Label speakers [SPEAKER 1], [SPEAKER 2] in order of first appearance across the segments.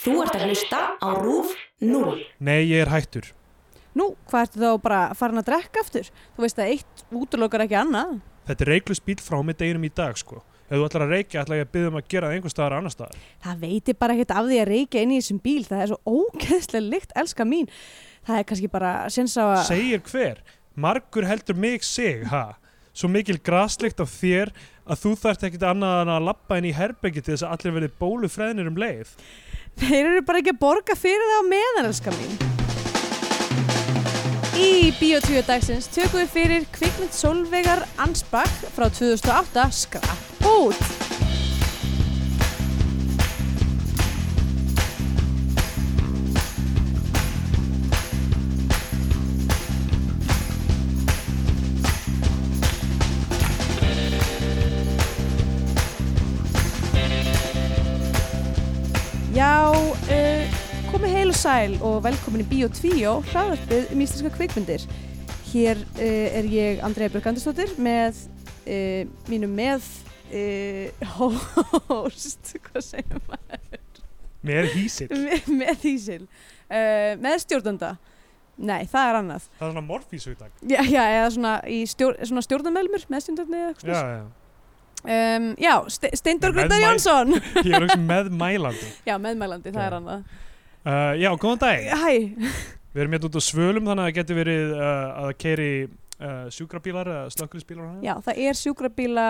[SPEAKER 1] Þú ert að hlusta á RÚF 0.
[SPEAKER 2] Nei, ég er hættur.
[SPEAKER 3] Nú, hvað ertu þá bara farin að drekka aftur? Þú veist að eitt útlokar ekki annað.
[SPEAKER 2] Þetta er reiklust bíl frá mig deginum í dag, sko. Ef þú ætlar að reykja, ætla ég að byggja um að gera það einhver staðar annar staðar.
[SPEAKER 3] Það veiti bara ekkert af því að reykja inn í þessum bíl. Það er svo ógeðslega lykt, elska mín. Það er kannski bara sinns á að...
[SPEAKER 2] Segir hver? Margur heldur mig sig, ha? Svo mikil grasleikt af þér að þú þarft ekkit annað en að lappa inn í herbyggi til þess að allir verði bólufræðinir um leið.
[SPEAKER 3] Þeir eru bara ekki að borga fyrir það á meðan, elska mín. Í Bíotvíu dagsins tökum við fyrir kvikmynd Solveigar Ansbach frá 2008 Skrapp út. Já, uh, komið heil og sæl og velkomin í Bíó 2, hraðvarpið um íslenska kvikmyndir. Hér uh, er ég, Andrea Björgandistóttir, með uh, mínu með uh, host, hvað segir maður?
[SPEAKER 2] Mér er hýsill.
[SPEAKER 3] Me, með Ísil, uh, með stjórnanda. Nei, það er annað.
[SPEAKER 2] Það er svona morfísugdag.
[SPEAKER 3] Já, já eða svona, í stjór, svona stjórnanmeðlumur, með stjórnandi eða
[SPEAKER 2] Já,
[SPEAKER 3] eitthvað.
[SPEAKER 2] já.
[SPEAKER 3] Já, um, já Ste Steindor
[SPEAKER 2] Með
[SPEAKER 3] Greitar
[SPEAKER 2] mæ-
[SPEAKER 3] Jónsson.
[SPEAKER 2] Ég er auðvitað með mælandi.
[SPEAKER 3] Já, meðmælandi, það
[SPEAKER 2] Já.
[SPEAKER 3] er annað.
[SPEAKER 2] Uh, já, góðan dag.
[SPEAKER 3] Hæ,
[SPEAKER 2] Við erum hérna út á svölum þannig að það getur verið uh, að keiri uh, sjúkrabílar eða slökkulisbílar.
[SPEAKER 3] já, það er sjúkrabíla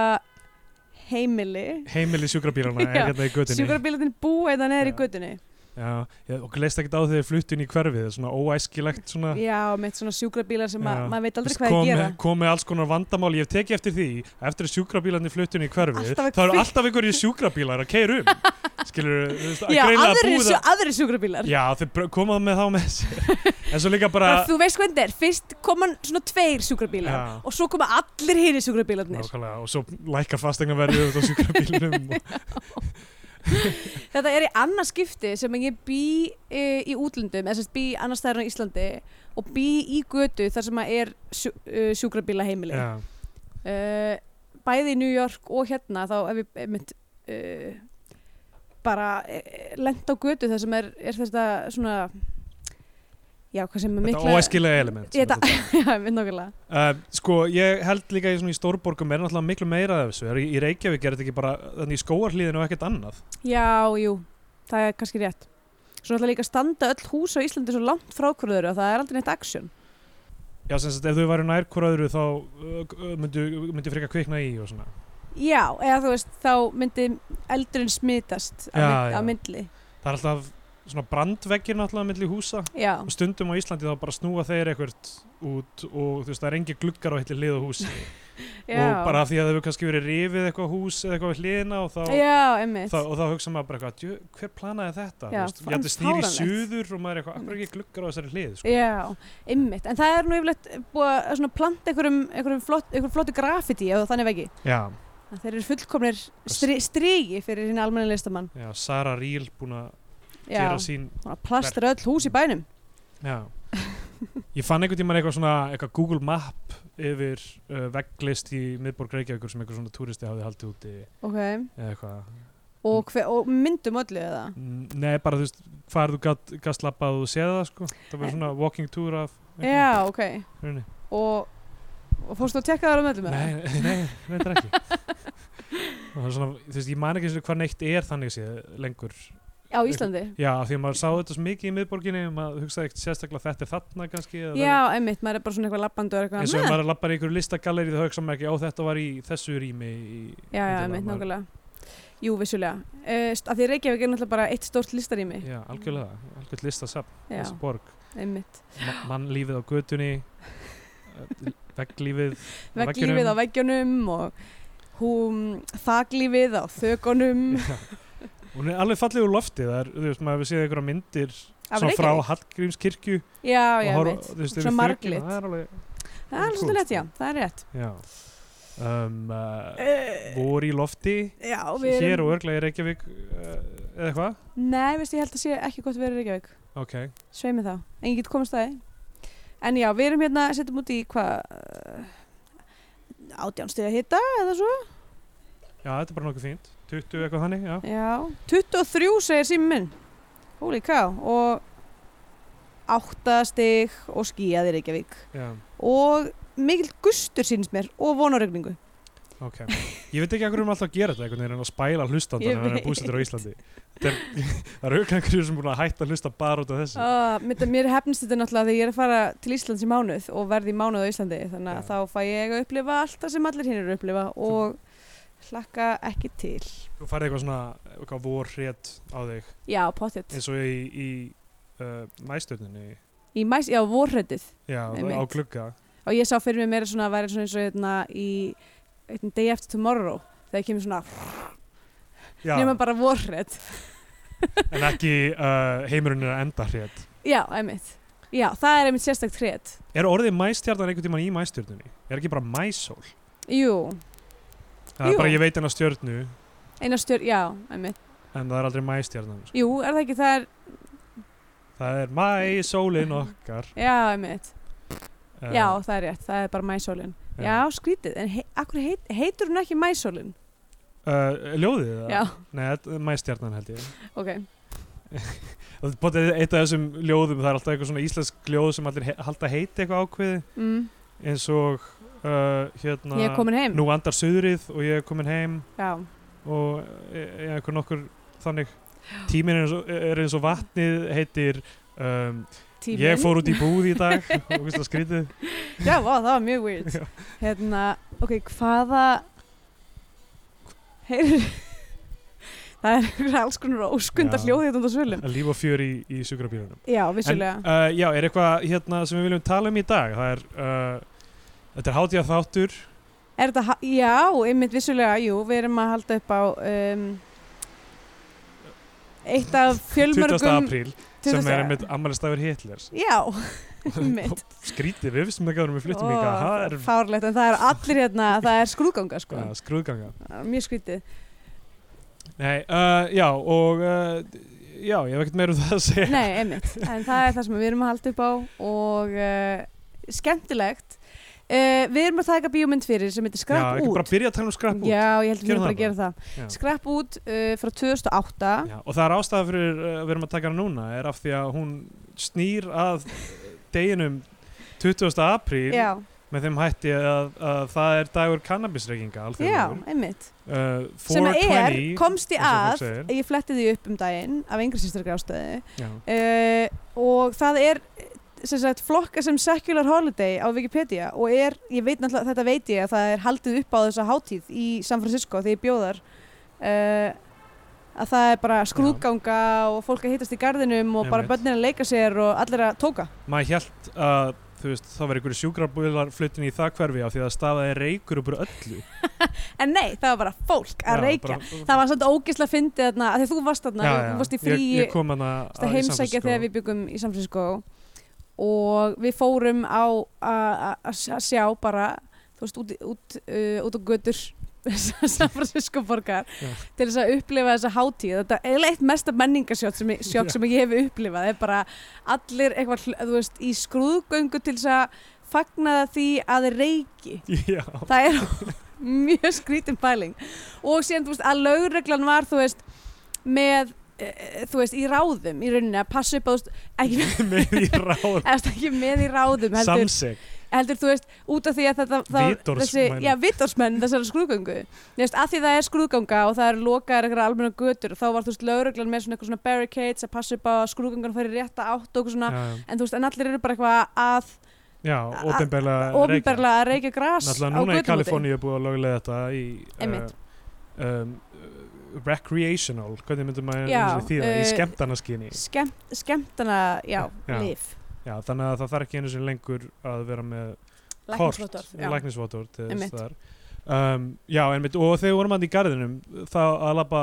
[SPEAKER 3] heimili
[SPEAKER 2] Heimili sjúkrabílarna er
[SPEAKER 3] Já,
[SPEAKER 2] hérna í götunni.
[SPEAKER 3] Sjúkrabílarnir búa eða neður í
[SPEAKER 2] Já.
[SPEAKER 3] götunni
[SPEAKER 2] Já, ég, okkur leist ekkert á þegar þeir fluttu inn í hverfið, það er svona óæskilegt svona
[SPEAKER 3] Já, meitt svona sjúkrabílar sem að
[SPEAKER 2] Já.
[SPEAKER 3] maður veit
[SPEAKER 2] Þú
[SPEAKER 3] aldrei
[SPEAKER 2] veist,
[SPEAKER 3] hvað er að
[SPEAKER 2] kom-
[SPEAKER 3] gera
[SPEAKER 2] kom með alls konar vandamál, ég hef tekið eftir því eftir að sjúkrabílarnir fluttu inn í hverfið
[SPEAKER 3] Alltaf að
[SPEAKER 2] þá eru
[SPEAKER 3] kvi-
[SPEAKER 2] alltaf einhverju sjúkrabílar að keira um skilur, þú veist, að
[SPEAKER 3] Já,
[SPEAKER 2] greina að
[SPEAKER 3] aðrir,
[SPEAKER 2] búið
[SPEAKER 3] sjú,
[SPEAKER 2] að-
[SPEAKER 3] aðrir sjúkrabílar
[SPEAKER 2] Já, þeir br- koma með þá með sér en svo líka bara
[SPEAKER 3] Bara, Þú veist hvernig þetta er, fyrst koma svona tveir sjúkrabílar
[SPEAKER 2] Já.
[SPEAKER 3] og svo koma allir hinn í sjúkrabílarnir
[SPEAKER 2] Nákvæmlega, og svo lækkar fasteignaverðið út á sjúkrabílinum og,
[SPEAKER 3] Þetta er í annað skipti sem ég bý e, í útlöndum, eða sem sagt bý annars stæður á Íslandi og bý í götu þar sem að er sjú, e, sjúkrabíla heimili
[SPEAKER 2] já,
[SPEAKER 3] uh, bæði í New York og hérna þá hef ég einmitt uh, bara uh, lent á götu þar sem er, er þetta svona já, hvað sem er
[SPEAKER 2] Þetta
[SPEAKER 3] mikla
[SPEAKER 2] óæskilega element sem
[SPEAKER 3] Þetta-
[SPEAKER 2] þetta-
[SPEAKER 3] já, einmitt nákvæmlega
[SPEAKER 2] Uh, sko, ég held líka í, svona í stórborgum er náttúrulega miklu meira af þessu, er, í í Reykjavík er þetta ekki bara þannig í skóarhlíðinu og ekkert annað
[SPEAKER 3] já, jú, það er kannski rétt svo náttúrulega líka standa öll hús á Íslandi svo langt frá hverður og það er aldrei neitt aksjón
[SPEAKER 2] Já, sem sagt, ef þau væru nær hvora öðru þá uh, uh, myndu, myndu frekar kvikna í og svona.
[SPEAKER 3] já, eða þú veist, þá myndi eldurinn smitast á,
[SPEAKER 2] Já,
[SPEAKER 3] mynd,
[SPEAKER 2] já.
[SPEAKER 3] á myndli
[SPEAKER 2] Það er alltaf svona brandveggir náttúrulega milli húsa
[SPEAKER 3] já,
[SPEAKER 2] og stundum á Íslandi þá bara snúa þeir eitthvað út og þú veist, það er engi gluggar á eitthvað hlið á húsi
[SPEAKER 3] já,
[SPEAKER 2] og bara af því að þau hefur kannski verið rifið eitthvað hús eða eitthvað við hliðina og þá,
[SPEAKER 3] já, einmitt
[SPEAKER 2] þá, og þá hugsa maður bara eitthvað, "Djö, hver planaði þetta?
[SPEAKER 3] Já,
[SPEAKER 2] Þú veist, ég ætti snýri
[SPEAKER 3] fáránlegt.
[SPEAKER 2] suður og maður er eitthvað, akkur ekki gluggar á þessari hlið, sko.
[SPEAKER 3] Já, ymmit, en það er nú yfirleitt búið að svona planta einhverjum, einhverjum, flott, einhverjum flottu graffiti eða þannig vegi.
[SPEAKER 2] Já,
[SPEAKER 3] Að Þeir eru fullkomnir stri, strigi fyrir hinn almenni listamann.
[SPEAKER 2] já, Sara Ríl búin að
[SPEAKER 3] Já,
[SPEAKER 2] gera sín
[SPEAKER 3] svona plastra öll hús í bænum.
[SPEAKER 2] Já. Ég fann einhvern tímann eitthvað svona eitthvað Google Map yfir uh, vegglist í miðborg Reykjavíkur sem einhver svona túristi hafði haldið úti
[SPEAKER 3] Ok,
[SPEAKER 2] eða eitthvað.
[SPEAKER 3] og, hve, og myndum öllu eða?
[SPEAKER 2] Mm, Nei, bara þú veist, hvað er þú gat, gast lappað og séð það sko? Það var svona walking tour af
[SPEAKER 3] Já, ok.
[SPEAKER 2] Nei,
[SPEAKER 3] Og, og fórstu að tekka Um það á möllum eða?
[SPEAKER 2] nei, nei, þetta er ekki. Það var svona, þú veist, ég man ekki einu sinni hvað neitt er þannig séð lengur.
[SPEAKER 3] Á Íslandi?
[SPEAKER 2] Já, af því að maður sá þetta svo mikið í miðborginni, maður hugsaði ekkert sérstaklega þetta er þarna kannski. eða
[SPEAKER 3] Já, ymmit, maður er bara svona eitthvað labbandu og
[SPEAKER 2] eins
[SPEAKER 3] eitthvað.
[SPEAKER 2] og ef
[SPEAKER 3] "Hmm."
[SPEAKER 2] maður lappar í einhverju listagalleri þá hugsa maður ekki á þetta var í þessu rými í,
[SPEAKER 3] Já, já,
[SPEAKER 2] Endilega,
[SPEAKER 3] ymmit,
[SPEAKER 2] maður-
[SPEAKER 3] nákvæmlega. Jú, vissulega. Uh, að því Reykjavík er náttúrulega bara eitt stórt listarými.
[SPEAKER 2] já, algjörlega, algjörlega listasafn
[SPEAKER 3] Já,
[SPEAKER 2] þessi borg,
[SPEAKER 3] ymmit.
[SPEAKER 2] Ma mannlífið á götunni eh, vegglífið á
[SPEAKER 3] vegglífið á
[SPEAKER 2] veggjunum.
[SPEAKER 3] veggjónum og húm, þaglífið á þögunum
[SPEAKER 2] Já. hún er alveg fallið úr lofti það er, þú veist, maður hefur séð einhverja myndir
[SPEAKER 3] af
[SPEAKER 2] svona frá
[SPEAKER 3] Reykjavík.
[SPEAKER 2] Hallgrímskirkju
[SPEAKER 3] Já,
[SPEAKER 2] og
[SPEAKER 3] já,
[SPEAKER 2] horfa-
[SPEAKER 3] veit.
[SPEAKER 2] þú veist,
[SPEAKER 3] Svona
[SPEAKER 2] yfir
[SPEAKER 3] marglit.
[SPEAKER 2] þökina, það er alveg,
[SPEAKER 3] Það er
[SPEAKER 2] Kúl,
[SPEAKER 3] svolítið lett,
[SPEAKER 2] sko.
[SPEAKER 3] já, það er rétt.
[SPEAKER 2] já um, uh,
[SPEAKER 3] Uh,
[SPEAKER 2] voru í lofti
[SPEAKER 3] já, við
[SPEAKER 2] hér og örglega í Reykjavík uh, eða eitthvað,
[SPEAKER 3] Nei, veist, ég held að sé ekki gott verið Reykjavík.
[SPEAKER 2] ok
[SPEAKER 3] Sveimi þá, en ég get komast að þið. En já, við erum hérna, setjum út í hvað, eh, átjánstuði að hitta eða svo.
[SPEAKER 2] já, þetta er bara nokkuð fínt 20 eitthvað þannig, já
[SPEAKER 3] Já, 23 segir síminn. Holy cow og áttastig og skíðaði Reykjavík
[SPEAKER 2] já,
[SPEAKER 3] og mikill gustur sínst mér og vonarögningu
[SPEAKER 2] ok Ég veit ekki að hverju um alltaf að gera þetta einhvern veginn en að spæla
[SPEAKER 3] Ég
[SPEAKER 2] hlustandana en að
[SPEAKER 3] veit.
[SPEAKER 2] búsettur á Íslandi Það er- það eru auðvitað einhverju sem búin að hætta að hlusta bara út af þessu
[SPEAKER 3] uh, Mér hefnist þetta náttúrulega þegar ég er að fara til Íslands í mánuð og verði í mánuð á Íslandi þannig að
[SPEAKER 2] Já.
[SPEAKER 3] þá fæ ég að upplifa allt það sem allir hinn eru að upplifa og hlakka ekki til
[SPEAKER 2] Þú farið eitthvað svona eitthvað vor hrétt á þig
[SPEAKER 3] Já, pottjött
[SPEAKER 2] eins og í, í uh, mæstöðinni
[SPEAKER 3] Í mæs, já, vorhröddið
[SPEAKER 2] Já,
[SPEAKER 3] Einmitt.
[SPEAKER 2] á glugga
[SPEAKER 3] og ég sá fyrir mig meira svona að væri svona eins og hérna í hérna, Day After Tomorrow þegar kemur svona
[SPEAKER 2] Já,
[SPEAKER 3] nema bara vorhrödd
[SPEAKER 2] en ekki uh, heimurinn er að enda hrétt
[SPEAKER 3] Já, einmitt Já, það er einmitt sérstakt hrétt
[SPEAKER 2] Er orðið mæstjarnan einhvern tímann í mæstjörnunni? Er ekki bara mæsól?
[SPEAKER 3] Jú,
[SPEAKER 2] Það er
[SPEAKER 3] Jú.
[SPEAKER 2] bara ég veit hennar stjörnu en
[SPEAKER 3] eina stjörn, já, einmitt.
[SPEAKER 2] það er aldrei mæstjarnan sko.
[SPEAKER 3] Jú, er það ekki það er,
[SPEAKER 2] Það er mæsólin okkar
[SPEAKER 3] já, einmitt.
[SPEAKER 2] uh,
[SPEAKER 3] Já, það er rétt, það er bara mæsólin. Já, skrítið, en he, akkur heit, heitur hún ekki mæsólin?
[SPEAKER 2] uh, Ljóðið það?
[SPEAKER 3] Já,
[SPEAKER 2] Nei, þetta er mæstjarnan held ég
[SPEAKER 3] ok.
[SPEAKER 2] Það er bara eitt af þessum ljóðum það er alltaf eitthvað svona íslensk ljóð sem allir he halda heiti eitthvað ákveði
[SPEAKER 3] Mm.
[SPEAKER 2] eins og uh, hérna
[SPEAKER 3] Ég er komin heim.
[SPEAKER 2] Nú andar suðrið og ég er komin heim
[SPEAKER 3] Já,
[SPEAKER 2] og e- e- einhver nokkur þannig tíminn er eins og, er eins og vatnið heitir um,
[SPEAKER 3] tíminn.
[SPEAKER 2] ég fór út í búð í dag og veist það skrítið
[SPEAKER 3] Já, vá, það var mjög weird. hérna, ok, hvaða, heyrður, það er einhver alls konar óskunda
[SPEAKER 2] Já.
[SPEAKER 3] hljóðið þetta undan svölum.
[SPEAKER 2] að líf og fjör í, í sjúkrabílunum
[SPEAKER 3] Já, vissulega.
[SPEAKER 2] uh, já, er eitthvað hérna sem við viljum tala um í dag það er uh, þetta er hátíða þáttur
[SPEAKER 3] Er þetta, ha- já, einmitt vissulega, jú, við erum að halda upp á um, eitt af
[SPEAKER 2] 20.
[SPEAKER 3] fjölmörgum...
[SPEAKER 2] apríl sem
[SPEAKER 3] 20.
[SPEAKER 2] er einmitt ammælistafur Hitlers
[SPEAKER 3] Já, einmitt.
[SPEAKER 2] skrítið, við vissum ekki að við fluttum í
[SPEAKER 3] Ó,
[SPEAKER 2] hvað það er
[SPEAKER 3] Fárlegt, en það er allir hérna, það er skrúðganga, sko.
[SPEAKER 2] ja, skrúðganga
[SPEAKER 3] Það er Mjög skrítið.
[SPEAKER 2] Nei, uh, já og uh, já, ég hef ekkert meira um það að segja
[SPEAKER 3] Nei, einmitt. En það er það sem við erum að halda upp á og uh, skemmtilegt. Uh, við erum að taka bíómynd fyrir sem heitir
[SPEAKER 2] já,
[SPEAKER 3] Skrapp
[SPEAKER 2] ekki
[SPEAKER 3] út.
[SPEAKER 2] bara byrja að tala um skrapp út
[SPEAKER 3] Já, ég held að við
[SPEAKER 2] Gerum
[SPEAKER 3] erum bara
[SPEAKER 2] það
[SPEAKER 3] að gera það.
[SPEAKER 2] Já.
[SPEAKER 3] Skrapp út uh, frá 2008.
[SPEAKER 2] Já, og það er ástæða fyrir uh, við erum að taka hana núna er af því að hún snýr að deginum 20. apríl
[SPEAKER 3] Já,
[SPEAKER 2] með þeim hætti að, að það er dagur kannabisreikinga
[SPEAKER 3] já,
[SPEAKER 2] alþjóðlegur.
[SPEAKER 3] einmitt.
[SPEAKER 2] uh,
[SPEAKER 3] sem að er,
[SPEAKER 2] 420,
[SPEAKER 3] komst
[SPEAKER 2] eins
[SPEAKER 3] ég
[SPEAKER 2] og
[SPEAKER 3] að
[SPEAKER 2] fólk segir.
[SPEAKER 3] ég fletti því upp um daginn af yngri sýsturgri ástöðu
[SPEAKER 2] já,
[SPEAKER 3] uh, og það er sem sagt, flokka sem secular holiday á Wikipedia og er, ég veit náttúrulega þetta veit ég að það er haldið upp á þessa hátíð í San Francisco þegar ég bjóðar uh, að það er bara skrúðganga og fólk að hittast í garðinum og bara
[SPEAKER 2] Einmitt. börnin
[SPEAKER 3] börnir að leika sér og allir að tóka
[SPEAKER 2] maður held að þú veist, það var einhverju sjúkrabúlar flutin í það hverfi á því að stafaði reykur upp úr öllu
[SPEAKER 3] en nei, það var bara fólk að
[SPEAKER 2] Já,
[SPEAKER 3] reykja
[SPEAKER 2] bara-
[SPEAKER 3] það var svona ógisla fyndið þarna af því að þú varst þarna,
[SPEAKER 2] Já, já,
[SPEAKER 3] þú varst í
[SPEAKER 2] ég,
[SPEAKER 3] fríi
[SPEAKER 2] ég kom hana
[SPEAKER 3] að heimsækja
[SPEAKER 2] sko.
[SPEAKER 3] þegar við byggum í San Francisco og við fórum á að að sjá bara þú veist, út, í- út, uh, út á götur San Francisco borgar
[SPEAKER 2] Já.
[SPEAKER 3] til þess að upplifa þessa hátíð þetta er eiginlega eitt mesta menningasjótt sem, ég- sjokk sem ég hef upplifað, það er bara allir eitthvað, hl- þú veist, í skrúðgöngu til þess að fagna því að þeir reyki
[SPEAKER 2] já,
[SPEAKER 3] það er mjög skrítin pæling og síðan þú veist að lögreglan var þú veist með e, þú veist í ráðum í rauninni að passa upp á þú veist, ekki,
[SPEAKER 2] með í ráð
[SPEAKER 3] eða þú veist, ekki með í ráðum heldur,
[SPEAKER 2] samseg
[SPEAKER 3] heldur þú veist út af því að þetta það, þessi,
[SPEAKER 2] Vitorðsmenn.
[SPEAKER 3] já, vitorsmenn þessari skrúðgöngu Þú veist, að því það er skrúðganga og það er lokaðar eitthvað almenna götur þá var þú veist lögreglan með svona, eitthvað svona barricades að passa upp á að skrúðgangan færi rétta átt og eitthvað svona
[SPEAKER 2] já,
[SPEAKER 3] en þú veist en allir eru bara eitthvað að
[SPEAKER 2] já ofinberlega
[SPEAKER 3] ofinberlega að reykja gras
[SPEAKER 2] Náttúrulega núna
[SPEAKER 3] á
[SPEAKER 2] í
[SPEAKER 3] götum úti.
[SPEAKER 2] Kaliforníu er búið að lögulega þetta í
[SPEAKER 3] Einmitt.
[SPEAKER 2] uh, um, uh, recreational, hvernig myndum maður
[SPEAKER 3] Já,
[SPEAKER 2] einu sinni því það, í
[SPEAKER 3] uh,
[SPEAKER 2] skemmtanaskynni
[SPEAKER 3] Skemt, skemmtana, já,
[SPEAKER 2] Já.
[SPEAKER 3] lif
[SPEAKER 2] Já, þannig að það þarf ekki einu sinni lengur að vera með kort,
[SPEAKER 3] Læknisvottorð, já.
[SPEAKER 2] læknisvotor til þess
[SPEAKER 3] Einmitt.
[SPEAKER 2] þar um, Já, einmitt, og þegar við vorum hann í garðinum þá að labba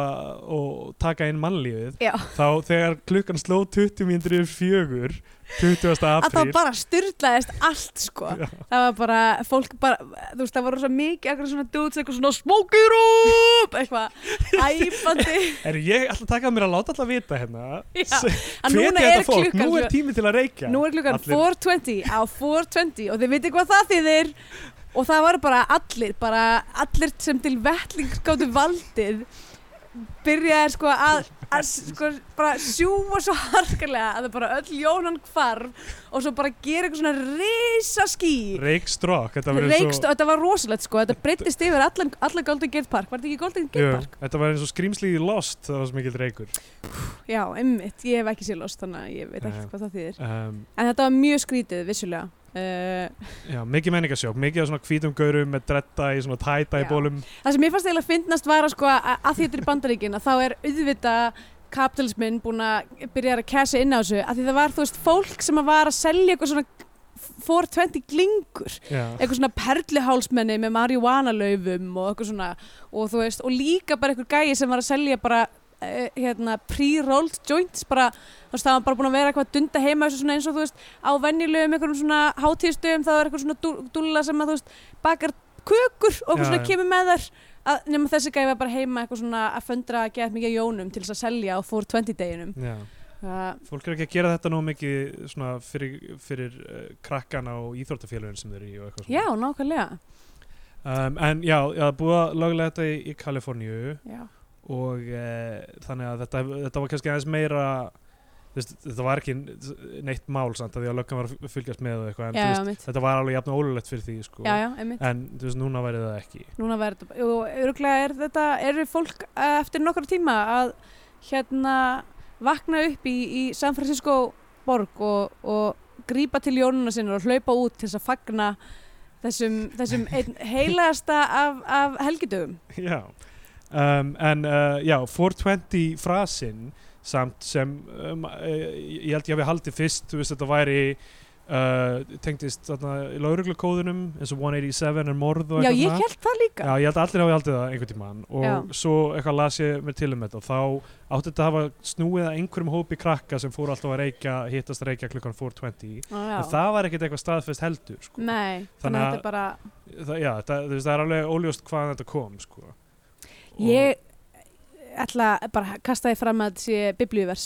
[SPEAKER 2] og taka inn mannlífið
[SPEAKER 3] Já.
[SPEAKER 2] þá þegar klukkan sló 20 mínútur yfir fjögur 20.
[SPEAKER 3] að það
[SPEAKER 2] apríl
[SPEAKER 3] bara styrlaðist allt sko það var bara, fólk bara þú veist, það var rosa mikið eitthvað svona dudes eitthvað svona smoke it up eitthvað æfandi
[SPEAKER 2] Er ég ætla að taka að mér að láta alltaf vita hérna
[SPEAKER 3] Já, að
[SPEAKER 2] Hvetja
[SPEAKER 3] núna
[SPEAKER 2] þetta
[SPEAKER 3] er
[SPEAKER 2] fólk,
[SPEAKER 3] klukkan
[SPEAKER 2] nú er tími til að reykja
[SPEAKER 3] nú er klukkan
[SPEAKER 2] Allir-
[SPEAKER 3] 4.20 á 4.20 og þið veitir hvað það þýðir og það var bara allir bara allir sem til vettling gáttu valdið byrjaði sko að, að sko, bara sjúa svo harkalega að það bara öll jónan hvarf og svo bara gera eitthvað svona risa ský
[SPEAKER 2] Reykstrokk, þetta var eins
[SPEAKER 3] Reykst,
[SPEAKER 2] og
[SPEAKER 3] þetta var rosalegt sko, þetta breyttist yfir allan, allan Golden Gate Park, var þetta ekki Golden Gate
[SPEAKER 2] Jú,
[SPEAKER 3] Park?
[SPEAKER 2] þetta var eins og skrýmslið í Lost, það var svo mikill reykur.
[SPEAKER 3] Já, einmitt, ég hef ekki sér lost þannig að ég veit ekki
[SPEAKER 2] Nei.
[SPEAKER 3] hvað það þýðir
[SPEAKER 2] Um,
[SPEAKER 3] En þetta var mjög skrítið, vissulega uh,
[SPEAKER 2] já, mikið menningasjók, mikið af svona hvítum gaurum með dretta í svona tæta í
[SPEAKER 3] Já.
[SPEAKER 2] bólum.
[SPEAKER 3] Það sem ég fannst eiginlega fyndnast var að sko að að því þetta er í bandaríkin að þá er auðvitað kapitalismin búin að byrja að kæsa inn á þessu að því það var þú veist fólk sem að var að selja eitthvað svona 420 glingur
[SPEAKER 2] Já,
[SPEAKER 3] eitthvað svona perlihálsmenni með marihuana-laufum og eitthvað svona og þú veist, og líka bara eitthvað gæi sem var að selja bara eh, hérna, pre-rolled joints bara, þú veist, það var bara búin að vera eitthvað að dunda heima þessu svona eins og þú veist, á venjulegum einhverjum svona hátíðstöfum, það var eitthvað svona dú- dúlla sem að þú veist, bakar kökur og eitthvað
[SPEAKER 2] Já,
[SPEAKER 3] svona
[SPEAKER 2] já.
[SPEAKER 3] kemur með þær að, nema þessi gæi var bara heima eitthvað svona að föndra að geða mikið af jónum til þess að selja á 420 deginum
[SPEAKER 2] já.
[SPEAKER 3] það,
[SPEAKER 2] Fólk er ekki að gera þetta nóg mikið svona fyrir, fyrir uh, krakkana og íþórtafélagin sem þeir eru í og eitthvað
[SPEAKER 3] já,
[SPEAKER 2] svona.
[SPEAKER 3] nákvæmlega
[SPEAKER 2] Um, en já, já, það er búið að lögulega þetta í, í Kaliforníu
[SPEAKER 3] já.
[SPEAKER 2] og uh, þannig að þetta, þetta var kannski aðeins meira, þú veist, þetta var ekki neitt mál samt að því að löggan var að fylgjast með og eitthvað, en
[SPEAKER 3] Já,
[SPEAKER 2] þú
[SPEAKER 3] já,
[SPEAKER 2] veist,
[SPEAKER 3] mitt.
[SPEAKER 2] þetta var alveg jafn ólulegt fyrir því, sko.
[SPEAKER 3] já, já, einmitt
[SPEAKER 2] En þú veist, núna væri það ekki.
[SPEAKER 3] Núna verður þetta bara, og öruglega er þetta, eru fólk eh, eftir nokkra tíma að hérna vakna upp í, í San Francisco borg og, og grípa til jónuna sinna og hlaupa út til þess að fagna þessum, þessum einn heilagasta af, af helgidögum.
[SPEAKER 2] Já, um, en uh, já, 420 frasinn samt sem um, uh, ég ég held ég hafi haldið fyrst, þú veist þetta væri uh, tengdist þarna í lauruglukóðunum eins og 187 er morð og
[SPEAKER 3] Já,
[SPEAKER 2] eitthvað
[SPEAKER 3] ég
[SPEAKER 2] svona.
[SPEAKER 3] held það líka.
[SPEAKER 2] Já, ég held að allir hafi haldið það einhvern tímann og
[SPEAKER 3] Já.
[SPEAKER 2] svo eitthvað las ég mér til um þetta og þá átti þetta að hafa snúið að einhverjum hópi krakka sem fór alltaf að reykja, hittast að reykja klukkan 420
[SPEAKER 3] Já,
[SPEAKER 2] en það var ekkert eitthvað staðfest heldur sko.
[SPEAKER 3] Nei, þannig,
[SPEAKER 2] Þannig
[SPEAKER 3] að
[SPEAKER 2] að-
[SPEAKER 3] þetta er bara,
[SPEAKER 2] það, já, það, þú veist, það er alveg óljóst hvaðan þetta kom sko. Og-
[SPEAKER 3] ég ætla bara að kasta því fram að þetta sé biblíuvers.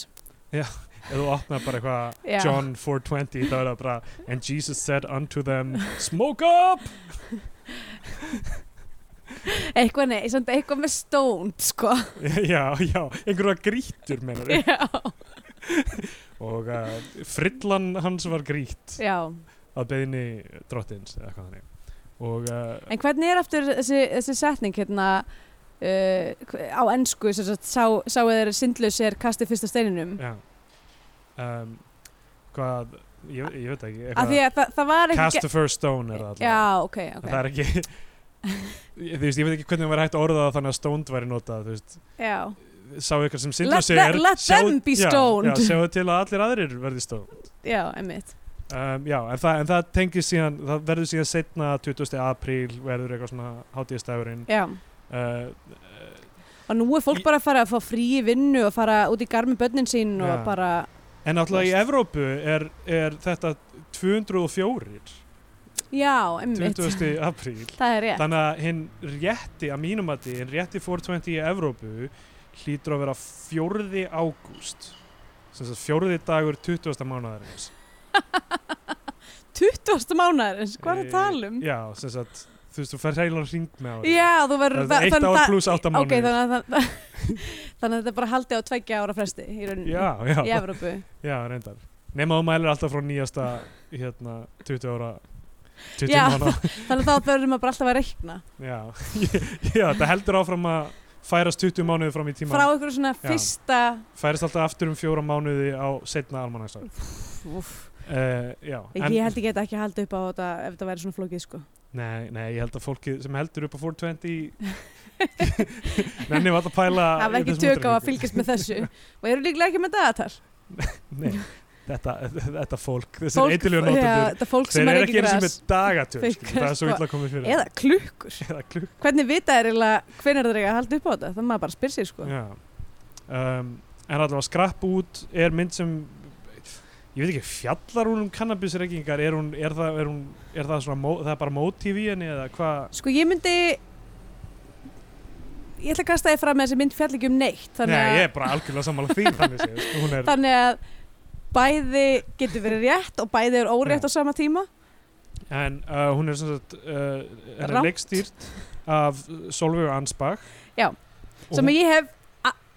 [SPEAKER 2] ef þú opnar bara eitthvað
[SPEAKER 3] Já.
[SPEAKER 2] John 420 þá er það bara and Jesus said unto them smoke up
[SPEAKER 3] Eitthvað nei, samt eitthvað með stónd, sko.
[SPEAKER 2] já, já, einhverja grítur meinar
[SPEAKER 3] Já,
[SPEAKER 2] og uh, frillan hans var grít
[SPEAKER 3] já.
[SPEAKER 2] að beðinni drottins eða eitthvað þannig og uh,
[SPEAKER 3] En hvernig er aftur þessi, þessi setning hérna uh, hv- á ennsku sem sagt, sá, sá eða sindlaus er kastið fyrsta steininum
[SPEAKER 2] já um, hvað ég, ég veit ekki
[SPEAKER 3] af því að það, það var ekki
[SPEAKER 2] cast the first stone er það alltaf
[SPEAKER 3] Já, ok, ok
[SPEAKER 2] það er ekki ég, þú veist, ég veit ekki hvernig það var hægt að orða það þannig að stoned væri notað þú veist
[SPEAKER 3] Já,
[SPEAKER 2] sá ykkur sem
[SPEAKER 3] Let
[SPEAKER 2] sindur sér
[SPEAKER 3] the- let
[SPEAKER 2] sjáu-
[SPEAKER 3] them be
[SPEAKER 2] já,
[SPEAKER 3] stoned.
[SPEAKER 2] já, sjáu til að allir aðrir verði stónd
[SPEAKER 3] já, emmitt
[SPEAKER 2] um, já, en, þa en það tengis síðan það verður síðan setna 20. apríl verður eitthvað svona hátíðastæðurinn
[SPEAKER 3] Já,
[SPEAKER 2] uh,
[SPEAKER 3] og nú er fólk
[SPEAKER 2] Í-
[SPEAKER 3] bara að fara að fá frí í vinnu og fara út í garmi börnin sín
[SPEAKER 2] Já.
[SPEAKER 3] og bara
[SPEAKER 2] en náttúrulega í Evrópu er, er þetta 204
[SPEAKER 3] Já, emmitt
[SPEAKER 2] 20. apríl
[SPEAKER 3] Það er rétt
[SPEAKER 2] þannig að hinn rétti að mínum að hinn rétti 420 í Evrópu hlýtur að vera 4. ágúst sem þess að fjórði dagur 20. mánuðarins
[SPEAKER 3] 20. mánuðarins, hvað er það að tala um?
[SPEAKER 2] Eh, Já, sem sagt, þú veist, þú fer heilan hring með ári
[SPEAKER 3] Já, þú verður
[SPEAKER 2] Það er eitt
[SPEAKER 3] þannig
[SPEAKER 2] ár
[SPEAKER 3] það-
[SPEAKER 2] plús átta
[SPEAKER 3] Ok,
[SPEAKER 2] mánuðir.
[SPEAKER 3] þannig að, þannig að, þannig að þetta er bara haldið á tveggja ára fresti í rauninni
[SPEAKER 2] Já, já,
[SPEAKER 3] í
[SPEAKER 2] já,
[SPEAKER 3] Evrópu
[SPEAKER 2] reyndar Nefna þú mælir alltaf frá nýjasta hérna, 20 ára 20
[SPEAKER 3] Já.
[SPEAKER 2] mánu
[SPEAKER 3] Þannig að þá verður maður bara alltaf að reikna
[SPEAKER 2] já. já, það heldur áfram að færast 20 mánuði fram í tíma
[SPEAKER 3] frá einhverju svona
[SPEAKER 2] Já.
[SPEAKER 3] fyrsta
[SPEAKER 2] færast alltaf aftur um fjóra mánuði á setna almanagsar uh,
[SPEAKER 3] Úf,
[SPEAKER 2] Já,
[SPEAKER 3] ég held ég get ekki haldið upp á þetta ef þetta væri svona flókið sko
[SPEAKER 2] nei, nei, ég held að fólki sem heldur upp á 420 Nenni var að pæla
[SPEAKER 3] það
[SPEAKER 2] í
[SPEAKER 3] var ekki
[SPEAKER 2] þessum
[SPEAKER 3] tök á að
[SPEAKER 2] útreikningi.
[SPEAKER 3] fylgjast með þessu og eru líklega ekki með dagatal
[SPEAKER 2] Nei, þetta, þetta fólk,
[SPEAKER 3] Fólk-
[SPEAKER 2] þessir eitilíu
[SPEAKER 3] já,
[SPEAKER 2] notendur
[SPEAKER 3] þetta fólk
[SPEAKER 2] Þeir
[SPEAKER 3] sem
[SPEAKER 2] eru
[SPEAKER 3] er
[SPEAKER 2] ekki
[SPEAKER 3] ekki
[SPEAKER 2] eins og
[SPEAKER 3] græs
[SPEAKER 2] með dagatöl
[SPEAKER 3] Þeir
[SPEAKER 2] skilur, það er svo
[SPEAKER 3] sko-
[SPEAKER 2] illa komið fyrir
[SPEAKER 3] eða klukkur
[SPEAKER 2] eða klukk
[SPEAKER 3] hvernig vita er eiginlega hvenær þeir eiga að halda upp á þetta þannig að maður bara spyr sér sko
[SPEAKER 2] já. um, en allavega skrapp út er mynd sem ég veit ekki, fjallar hún um kannabisreykingar er, hún, er, það, er, hún, er það svona mó, það er bara mótíf í henni eða hvað
[SPEAKER 3] sko ég myndi ég ætla að kasta þið fram með þessi mynd fjall ekki um neitt þannig
[SPEAKER 2] Nei,
[SPEAKER 3] að,
[SPEAKER 2] ég er bara algjörlega sammála því þannig séð, sko, hún er,
[SPEAKER 3] þannig að bæði getur verið rétt og bæði er órétt
[SPEAKER 2] Já.
[SPEAKER 3] á sama tíma
[SPEAKER 2] en uh, hún er sem sagt uh, henni
[SPEAKER 3] Rangt.
[SPEAKER 2] leikstýrt af Solveig Ansbach
[SPEAKER 3] Já,
[SPEAKER 2] Og
[SPEAKER 3] sem
[SPEAKER 2] hún-
[SPEAKER 3] ég hef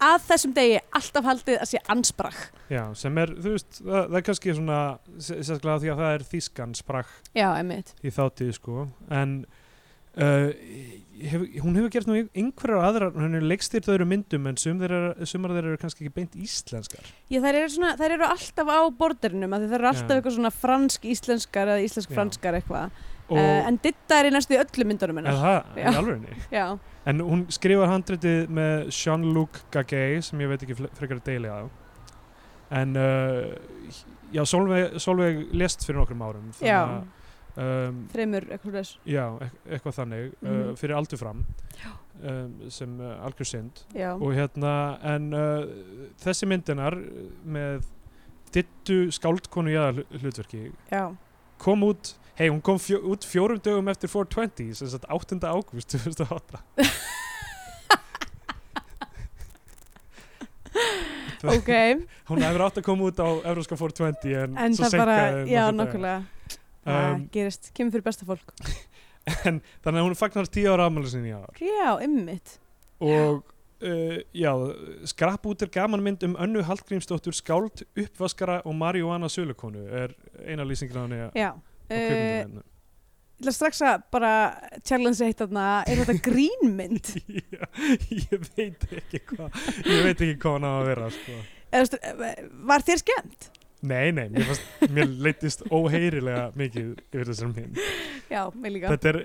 [SPEAKER 3] að þessum degi alltaf haldið að sé ansbrakk
[SPEAKER 2] já, sem er, þú veist, það, það er kannski svona sérstaklega því að það er þýskan sprakk
[SPEAKER 3] já, emmitt
[SPEAKER 2] í þáttíð sko en uh, hef, hún hefur gert nú einhverjar aðrar, hún er leikstýrt öðru myndum en sum þeirra, sumar þeirra eru kannski ekki beint íslenskar
[SPEAKER 3] Já, þær eru, svona, þær eru alltaf á borderinum af því þær eru alltaf
[SPEAKER 2] Já.
[SPEAKER 3] eitthvað svona fransk-íslenskar eða íslensk-franskar eitthvað
[SPEAKER 2] og
[SPEAKER 3] uh, en Ditta er í næstu í öllum myndunum
[SPEAKER 2] er
[SPEAKER 3] hennar
[SPEAKER 2] það,
[SPEAKER 3] Já.
[SPEAKER 2] í alvörinni
[SPEAKER 3] Já,
[SPEAKER 2] en hún skrifar handritið með Jean-Luc Gagay sem ég veit ekki fle- frekar að deili á en uh, já, Solveig, Solveig lest fyrir nokkrum árum þannig
[SPEAKER 3] já,
[SPEAKER 2] að, um,
[SPEAKER 3] fremur eitthvað þess
[SPEAKER 2] já, eit- eitthvað þannig uh,
[SPEAKER 3] Mhm.
[SPEAKER 2] fyrir aldur fram um, sem uh, algjör synd
[SPEAKER 3] Já,
[SPEAKER 2] og hérna en uh, þessi myndinar uh, með dittu skáldkonu í hlutverki
[SPEAKER 3] já, kom
[SPEAKER 2] kom út, hei hún kom fjó, út fjórum dögum eftir 420, sem sagt 8. ágúst 2008
[SPEAKER 3] Ok,
[SPEAKER 2] hún hefur átt að koma út á Evróska 420 en,
[SPEAKER 3] en
[SPEAKER 2] svo
[SPEAKER 3] það bara,
[SPEAKER 2] seinkaði hún
[SPEAKER 3] já,
[SPEAKER 2] nokkra daga.
[SPEAKER 3] nokkulega Það
[SPEAKER 2] um,
[SPEAKER 3] gerist, kemur fyrir besta fólk
[SPEAKER 2] en þannig að hún fagnar 10 ára afmæli sinni í ár
[SPEAKER 3] Já, ymmit
[SPEAKER 2] og uh, já, skrapp út er gamanmynd um önnu Hallgrímsdóttur skáld, uppvaskara og marihuana sölukonu er eina lýsingin á henni á
[SPEAKER 3] Já, uh,
[SPEAKER 2] kvikmyndinu
[SPEAKER 3] ég ætla strax að bara challenge eitt þarna, er þetta grínmynd?
[SPEAKER 2] Já, ég veit ekki hvað ég veit ekki hvað hann á að vera sko.
[SPEAKER 3] Eða, þú veist, var þér skemmt?
[SPEAKER 2] nei, nei, mér, fast, mér leittist óheyrilega mikið yfir þessar mynd
[SPEAKER 3] Já, mig líka
[SPEAKER 2] þetta er,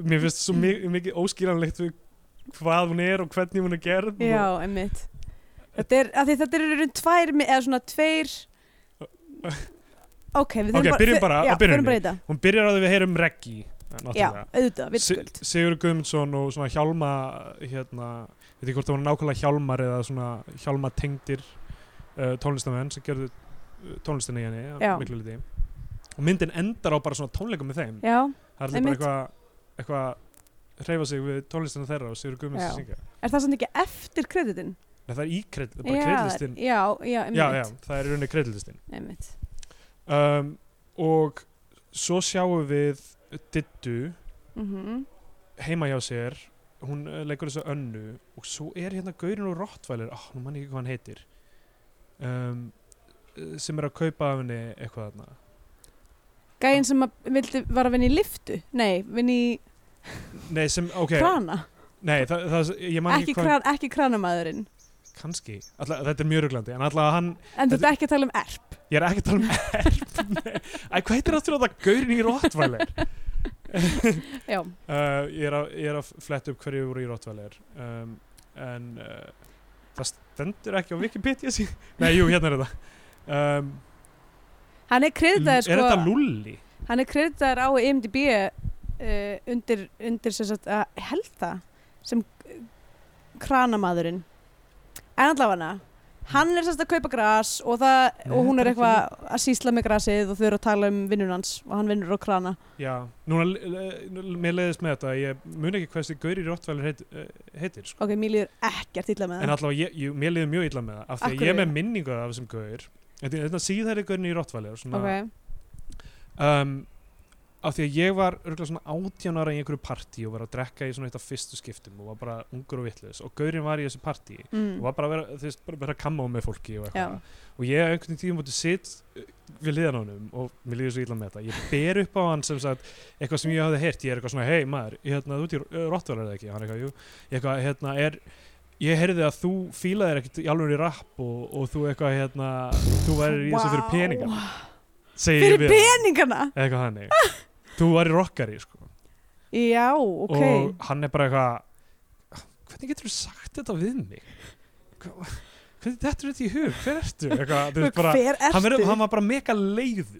[SPEAKER 2] mér finnst svo mi- mikið óskýranlegt við hvað hún er og hvernig hún er gerð
[SPEAKER 3] Já, einmitt Þetta er, af því þetta eru raun tvær mi- eða svona tveir Ok, við
[SPEAKER 2] Ok,
[SPEAKER 3] þurfum
[SPEAKER 2] byrjum
[SPEAKER 3] þau-
[SPEAKER 2] bara á
[SPEAKER 3] já,
[SPEAKER 2] byrjuninni.
[SPEAKER 3] förum bara í þetta
[SPEAKER 2] og hún byrjar á því við heyrum reggi
[SPEAKER 3] Já, auðvitað, vitskuld
[SPEAKER 2] Sigur Guðmundsson og svona Hjálma hérna, veit ekki hvort það voru nákvæmlega Hjálmar eða svona Hjálma tengdir uh, tónlistamenn sem gerðu uh, tónlistinni í henni að
[SPEAKER 3] Já.
[SPEAKER 2] miklu liti og myndin endar á bara svona tónleikum með þeim
[SPEAKER 3] Já,
[SPEAKER 2] það er allir bara
[SPEAKER 3] einmitt.
[SPEAKER 2] eitthvað eitthvað hreyfa sig við tónlistina þeirra og Sigur Guðmunds
[SPEAKER 3] Já.
[SPEAKER 2] að syngja
[SPEAKER 3] er það samt ekki eftir kreditin?
[SPEAKER 2] Nei, það er í kred, bara
[SPEAKER 3] já,
[SPEAKER 2] kredlistin
[SPEAKER 3] Já, já,
[SPEAKER 2] já, já,
[SPEAKER 3] einmitt,
[SPEAKER 2] það er í rauninni kredlistin
[SPEAKER 3] einmitt.
[SPEAKER 2] um, og svo sjáum við Dittu
[SPEAKER 3] Mm
[SPEAKER 2] heima hjá sér hún eh, leikur þessa önnu og svo er hérna Gaurin og Rottweiler ah, nú mann ég ekki hvað hann heitir um, eh, sem er að kaupa af henni eitthvað þarna
[SPEAKER 3] Gæinn sem að vildi, var að vinna í liftu Nei, vinna í
[SPEAKER 2] nei, sem, ok,
[SPEAKER 3] krana
[SPEAKER 2] nei, það, það, ég man
[SPEAKER 3] ekki,
[SPEAKER 2] ekki
[SPEAKER 3] kran, ekki kranamaðurinn
[SPEAKER 2] kannski, alla, þetta er mjög ruglandi en allavega hann,
[SPEAKER 3] En þú
[SPEAKER 2] Þetta-
[SPEAKER 3] ert ekki að tala um erp
[SPEAKER 2] ég er ekki að tala um erf, nei, Æ, hvað heitir aftur á það Gaurin í Rottweiler
[SPEAKER 3] Já,
[SPEAKER 2] Uh, ég, er að, ég er að fletta upp hverju voru í Rottweiler um, en uh, það stendur ekki á Wikipedia sí. Nei, jú, hérna er þetta um,
[SPEAKER 3] hann er kreditaður sko
[SPEAKER 2] Mm, Er þetta Lulli?
[SPEAKER 3] Hann er kreditaður á E IMDb uh, undir, undir sem sagt, að ég held það sem eh, kranamaðurinn En allavega hann er sem sagt að kaupa gras og, það,
[SPEAKER 2] Nei,
[SPEAKER 3] og hún
[SPEAKER 2] þetta
[SPEAKER 3] er
[SPEAKER 2] er ekki
[SPEAKER 3] eitthvað að sísla með grasið og þau eru að tala um vinnun hans og hann vinnur á krana
[SPEAKER 2] Já, núna, le- le- mér leiðist með þetta ég mun ekki hvað þessi Gauri Rottweiler heit, eh, heitir sko.
[SPEAKER 3] Ok, mér líður ekkert illa með
[SPEAKER 2] en
[SPEAKER 3] það
[SPEAKER 2] allavega, ég, ég, mér leiði mjög illa með það af því
[SPEAKER 3] Ah. Af
[SPEAKER 2] að ég er
[SPEAKER 3] hverju?
[SPEAKER 2] með minningu af þessum Gaur þetta er þetta síðari Gaurin í Rottweiler svona,
[SPEAKER 3] Ok,
[SPEAKER 2] um, af því að ég var örgulega svona átján ára í einhverju partí og var að drekka í svona eitt af fyrstu skiptum og var bara ungur og vitlaus og Gaurin var í þessu partí og
[SPEAKER 3] mm.
[SPEAKER 2] var bara að vera, þú veist, bara að vera að kamma á með fólki og
[SPEAKER 3] Já.
[SPEAKER 2] eitthvað og ég einhvern tíðum mútið sitt eh, við liðan á honum og mér líður svo illa með þetta ég ber upp á hann sem sagt eitthvað sem ég hafði heyrt, ég er eitthvað svona, hei maður hérna, þú ert í rottvalar eða ekki, hann eitthvað, jú ég eitthvað, hérna, er ég heyrði að þú fílaðir ekkert í alveg í rapp og, og þú eitthvað, hérna þú væri í þessu fyrir
[SPEAKER 3] Vá.
[SPEAKER 2] peningar segir
[SPEAKER 3] Fyrir
[SPEAKER 2] ég við hann,
[SPEAKER 3] peningana?
[SPEAKER 2] eitthvað hannig þú væri rockari, sko
[SPEAKER 3] Já, ok
[SPEAKER 2] og hann er bara eitthvað hvernig getur þú sagt þetta við mig Hva- hvernig þetta er þetta í hug hver ertu eitthvað, þú veist bara
[SPEAKER 3] Hver
[SPEAKER 2] hann,
[SPEAKER 3] ertu?
[SPEAKER 2] verið, hann var bara mega leiður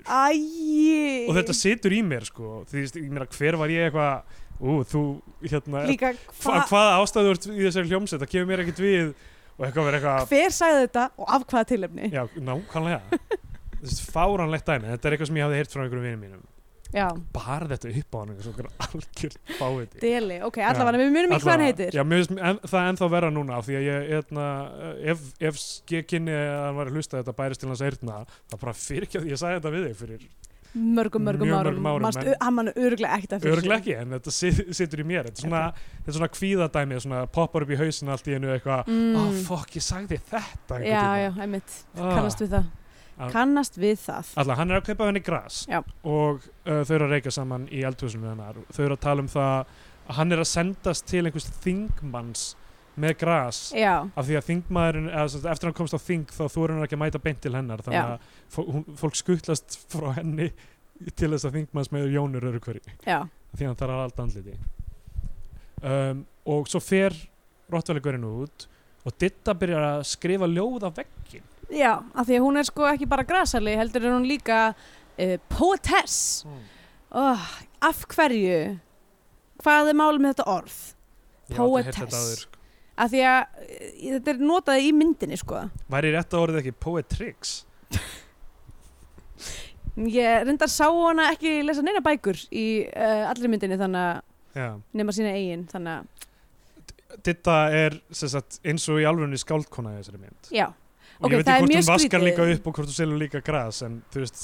[SPEAKER 3] Æi
[SPEAKER 2] og þetta situr í mér sko því þú veist, ég meina hver var ég eitthvað ú þú hérna
[SPEAKER 3] Líka,
[SPEAKER 2] hva,
[SPEAKER 3] hva,
[SPEAKER 2] hvaða ástæður í þessari hljómsveit það kemur mér ekkert við og eitthvað verið eitthvað
[SPEAKER 3] hver sagði þetta og af hvaða tilefni?
[SPEAKER 2] já nákvæmlega þú veist fáránlegt dæmi þetta er eitthvað sem ég hafði heyrt frá einhverjum vinum mínum
[SPEAKER 3] Já,
[SPEAKER 2] bar þetta upp á hann eins og okkur algjör fáviti
[SPEAKER 3] deli, ok,
[SPEAKER 2] Já.
[SPEAKER 3] allavega við munum ekki hvað hann
[SPEAKER 2] Alla-
[SPEAKER 3] heitir
[SPEAKER 2] Já, mér finnst en, það ennþá vera núna af því að ég, hérna, ef, ef ég kynni að hann var að hlusta þetta bærist til hans eyrna þá bara fyrir ekki að ég sagði þetta við þig fyrir
[SPEAKER 3] mörgum, mörgum
[SPEAKER 2] Mjög
[SPEAKER 3] árum,
[SPEAKER 2] mörgum árum,
[SPEAKER 3] Manstu-
[SPEAKER 2] en-
[SPEAKER 3] hann mann örglega ekkert eftir
[SPEAKER 2] Örglega ekki, en þetta sit- situr í mér Þetta er svona, þetta er svona kvíðadæmi, svona poppar upp í hausin allt í einu eitthvað
[SPEAKER 3] mm,
[SPEAKER 2] Ó, fokk, ég sagði þetta
[SPEAKER 3] já, já, einmitt,
[SPEAKER 2] Ah.
[SPEAKER 3] kannast við það
[SPEAKER 2] Ah.
[SPEAKER 3] kannast við það
[SPEAKER 2] Alla, hann er að kaupa henni gras
[SPEAKER 3] Já.
[SPEAKER 2] og uh, þau eru að reyka saman í eldhúsinu hennar þau eru að tala um það að hann er að sendast til einhvers þingmanns með gras
[SPEAKER 3] já,
[SPEAKER 2] af því að þingmaðurinn, eða, sem sagt, eftir hann komst á þing þá þú eru hann ekki að mæta beint til hennar þannig
[SPEAKER 3] Já.
[SPEAKER 2] að fó- hún, fólk skuttlast frá henni til þess að þingmanns með jónur eru hverju,
[SPEAKER 3] já,
[SPEAKER 2] því hann þarf að allt andliti um, og svo fer rottvæligurinn út og Ditta byrjar að skrifa ljóð á veggin
[SPEAKER 3] já af því að hún er sko ekki bara grasali heldur er hún líka uh, poetess oh, af hverju hvað er málum með þetta orð
[SPEAKER 2] Ég hef aldrei heyrt
[SPEAKER 3] Poetess.
[SPEAKER 2] þetta áður, sko.
[SPEAKER 3] af því að eh, þetta er notað í myndinni sko
[SPEAKER 2] væri rétt að orðið ekki poetrix
[SPEAKER 3] ég reyndar sá hana ekki lesa neina bækur í uh, allri myndinni þannig að
[SPEAKER 2] Já,
[SPEAKER 3] nema sína eigin þannig að
[SPEAKER 2] Ditta er sem sagt, eins og í alvörunni skáldkona í þessari mynd
[SPEAKER 3] já
[SPEAKER 2] og
[SPEAKER 3] Ok,
[SPEAKER 2] ég veit
[SPEAKER 3] það er
[SPEAKER 2] ekki hvort
[SPEAKER 3] mjög
[SPEAKER 2] hún vaskar
[SPEAKER 3] skrítið.
[SPEAKER 2] líka upp og hvort hún selur líka gras en þú veist,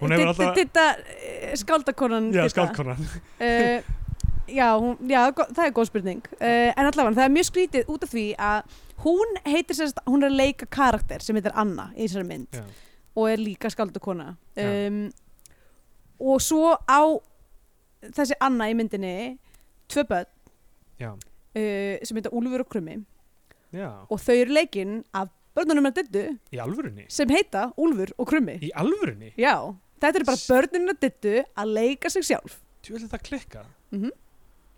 [SPEAKER 2] hún hefur
[SPEAKER 3] Ditta,
[SPEAKER 2] alltaf
[SPEAKER 3] Ditta eh, skáldakonan
[SPEAKER 2] já,
[SPEAKER 3] Didda.
[SPEAKER 2] skáldkonan
[SPEAKER 3] Eh, já, hún, já, go- það er góð spurning uh, en allavega, það er mjög skrítið út af því að hún heitir sérst, hún er að leika karakter sem heitir Anna í þessari mynd
[SPEAKER 2] já.
[SPEAKER 3] og er líka skaldakona
[SPEAKER 2] Já.
[SPEAKER 3] um, og svo á þessi Anna í myndinni tvö börn
[SPEAKER 2] Já.
[SPEAKER 3] uh, sem heita Úlfur og Krummi
[SPEAKER 2] já,
[SPEAKER 3] og þau eru leikinn af börnunum að dittu
[SPEAKER 2] í alvörunni
[SPEAKER 3] sem heita Úlfur og Krummi
[SPEAKER 2] í alvörunni,
[SPEAKER 3] Já, þetta eru bara
[SPEAKER 2] S-
[SPEAKER 3] börnunum að dittu að leika sig sjálf
[SPEAKER 2] þú veist þetta klikka
[SPEAKER 3] Mhm.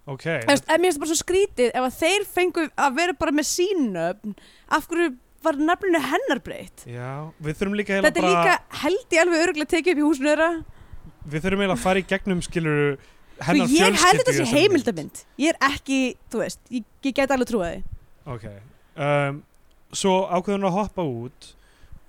[SPEAKER 2] ok,
[SPEAKER 3] Efst, en mér finnst það bara svo skrítið ef að þeir fengu að vera bara með sínöfn af hverju var nafninu hennar breytt
[SPEAKER 2] já við þurfum líka heila
[SPEAKER 3] Þetta er
[SPEAKER 2] bara
[SPEAKER 3] líka held ég alveg öruglega tekið upp í húsinu þeirra
[SPEAKER 2] við þurfum heila að fara í gegnum skilur
[SPEAKER 3] Svo
[SPEAKER 2] hennar
[SPEAKER 3] Sko, ég held
[SPEAKER 2] fjölskyldu í
[SPEAKER 3] þetta sé
[SPEAKER 2] þessari mynd.
[SPEAKER 3] heimildamind Ég er ekki, þú veist, ég, ég get alveg trúið því
[SPEAKER 2] ok um, svo ákveður hún að hoppa út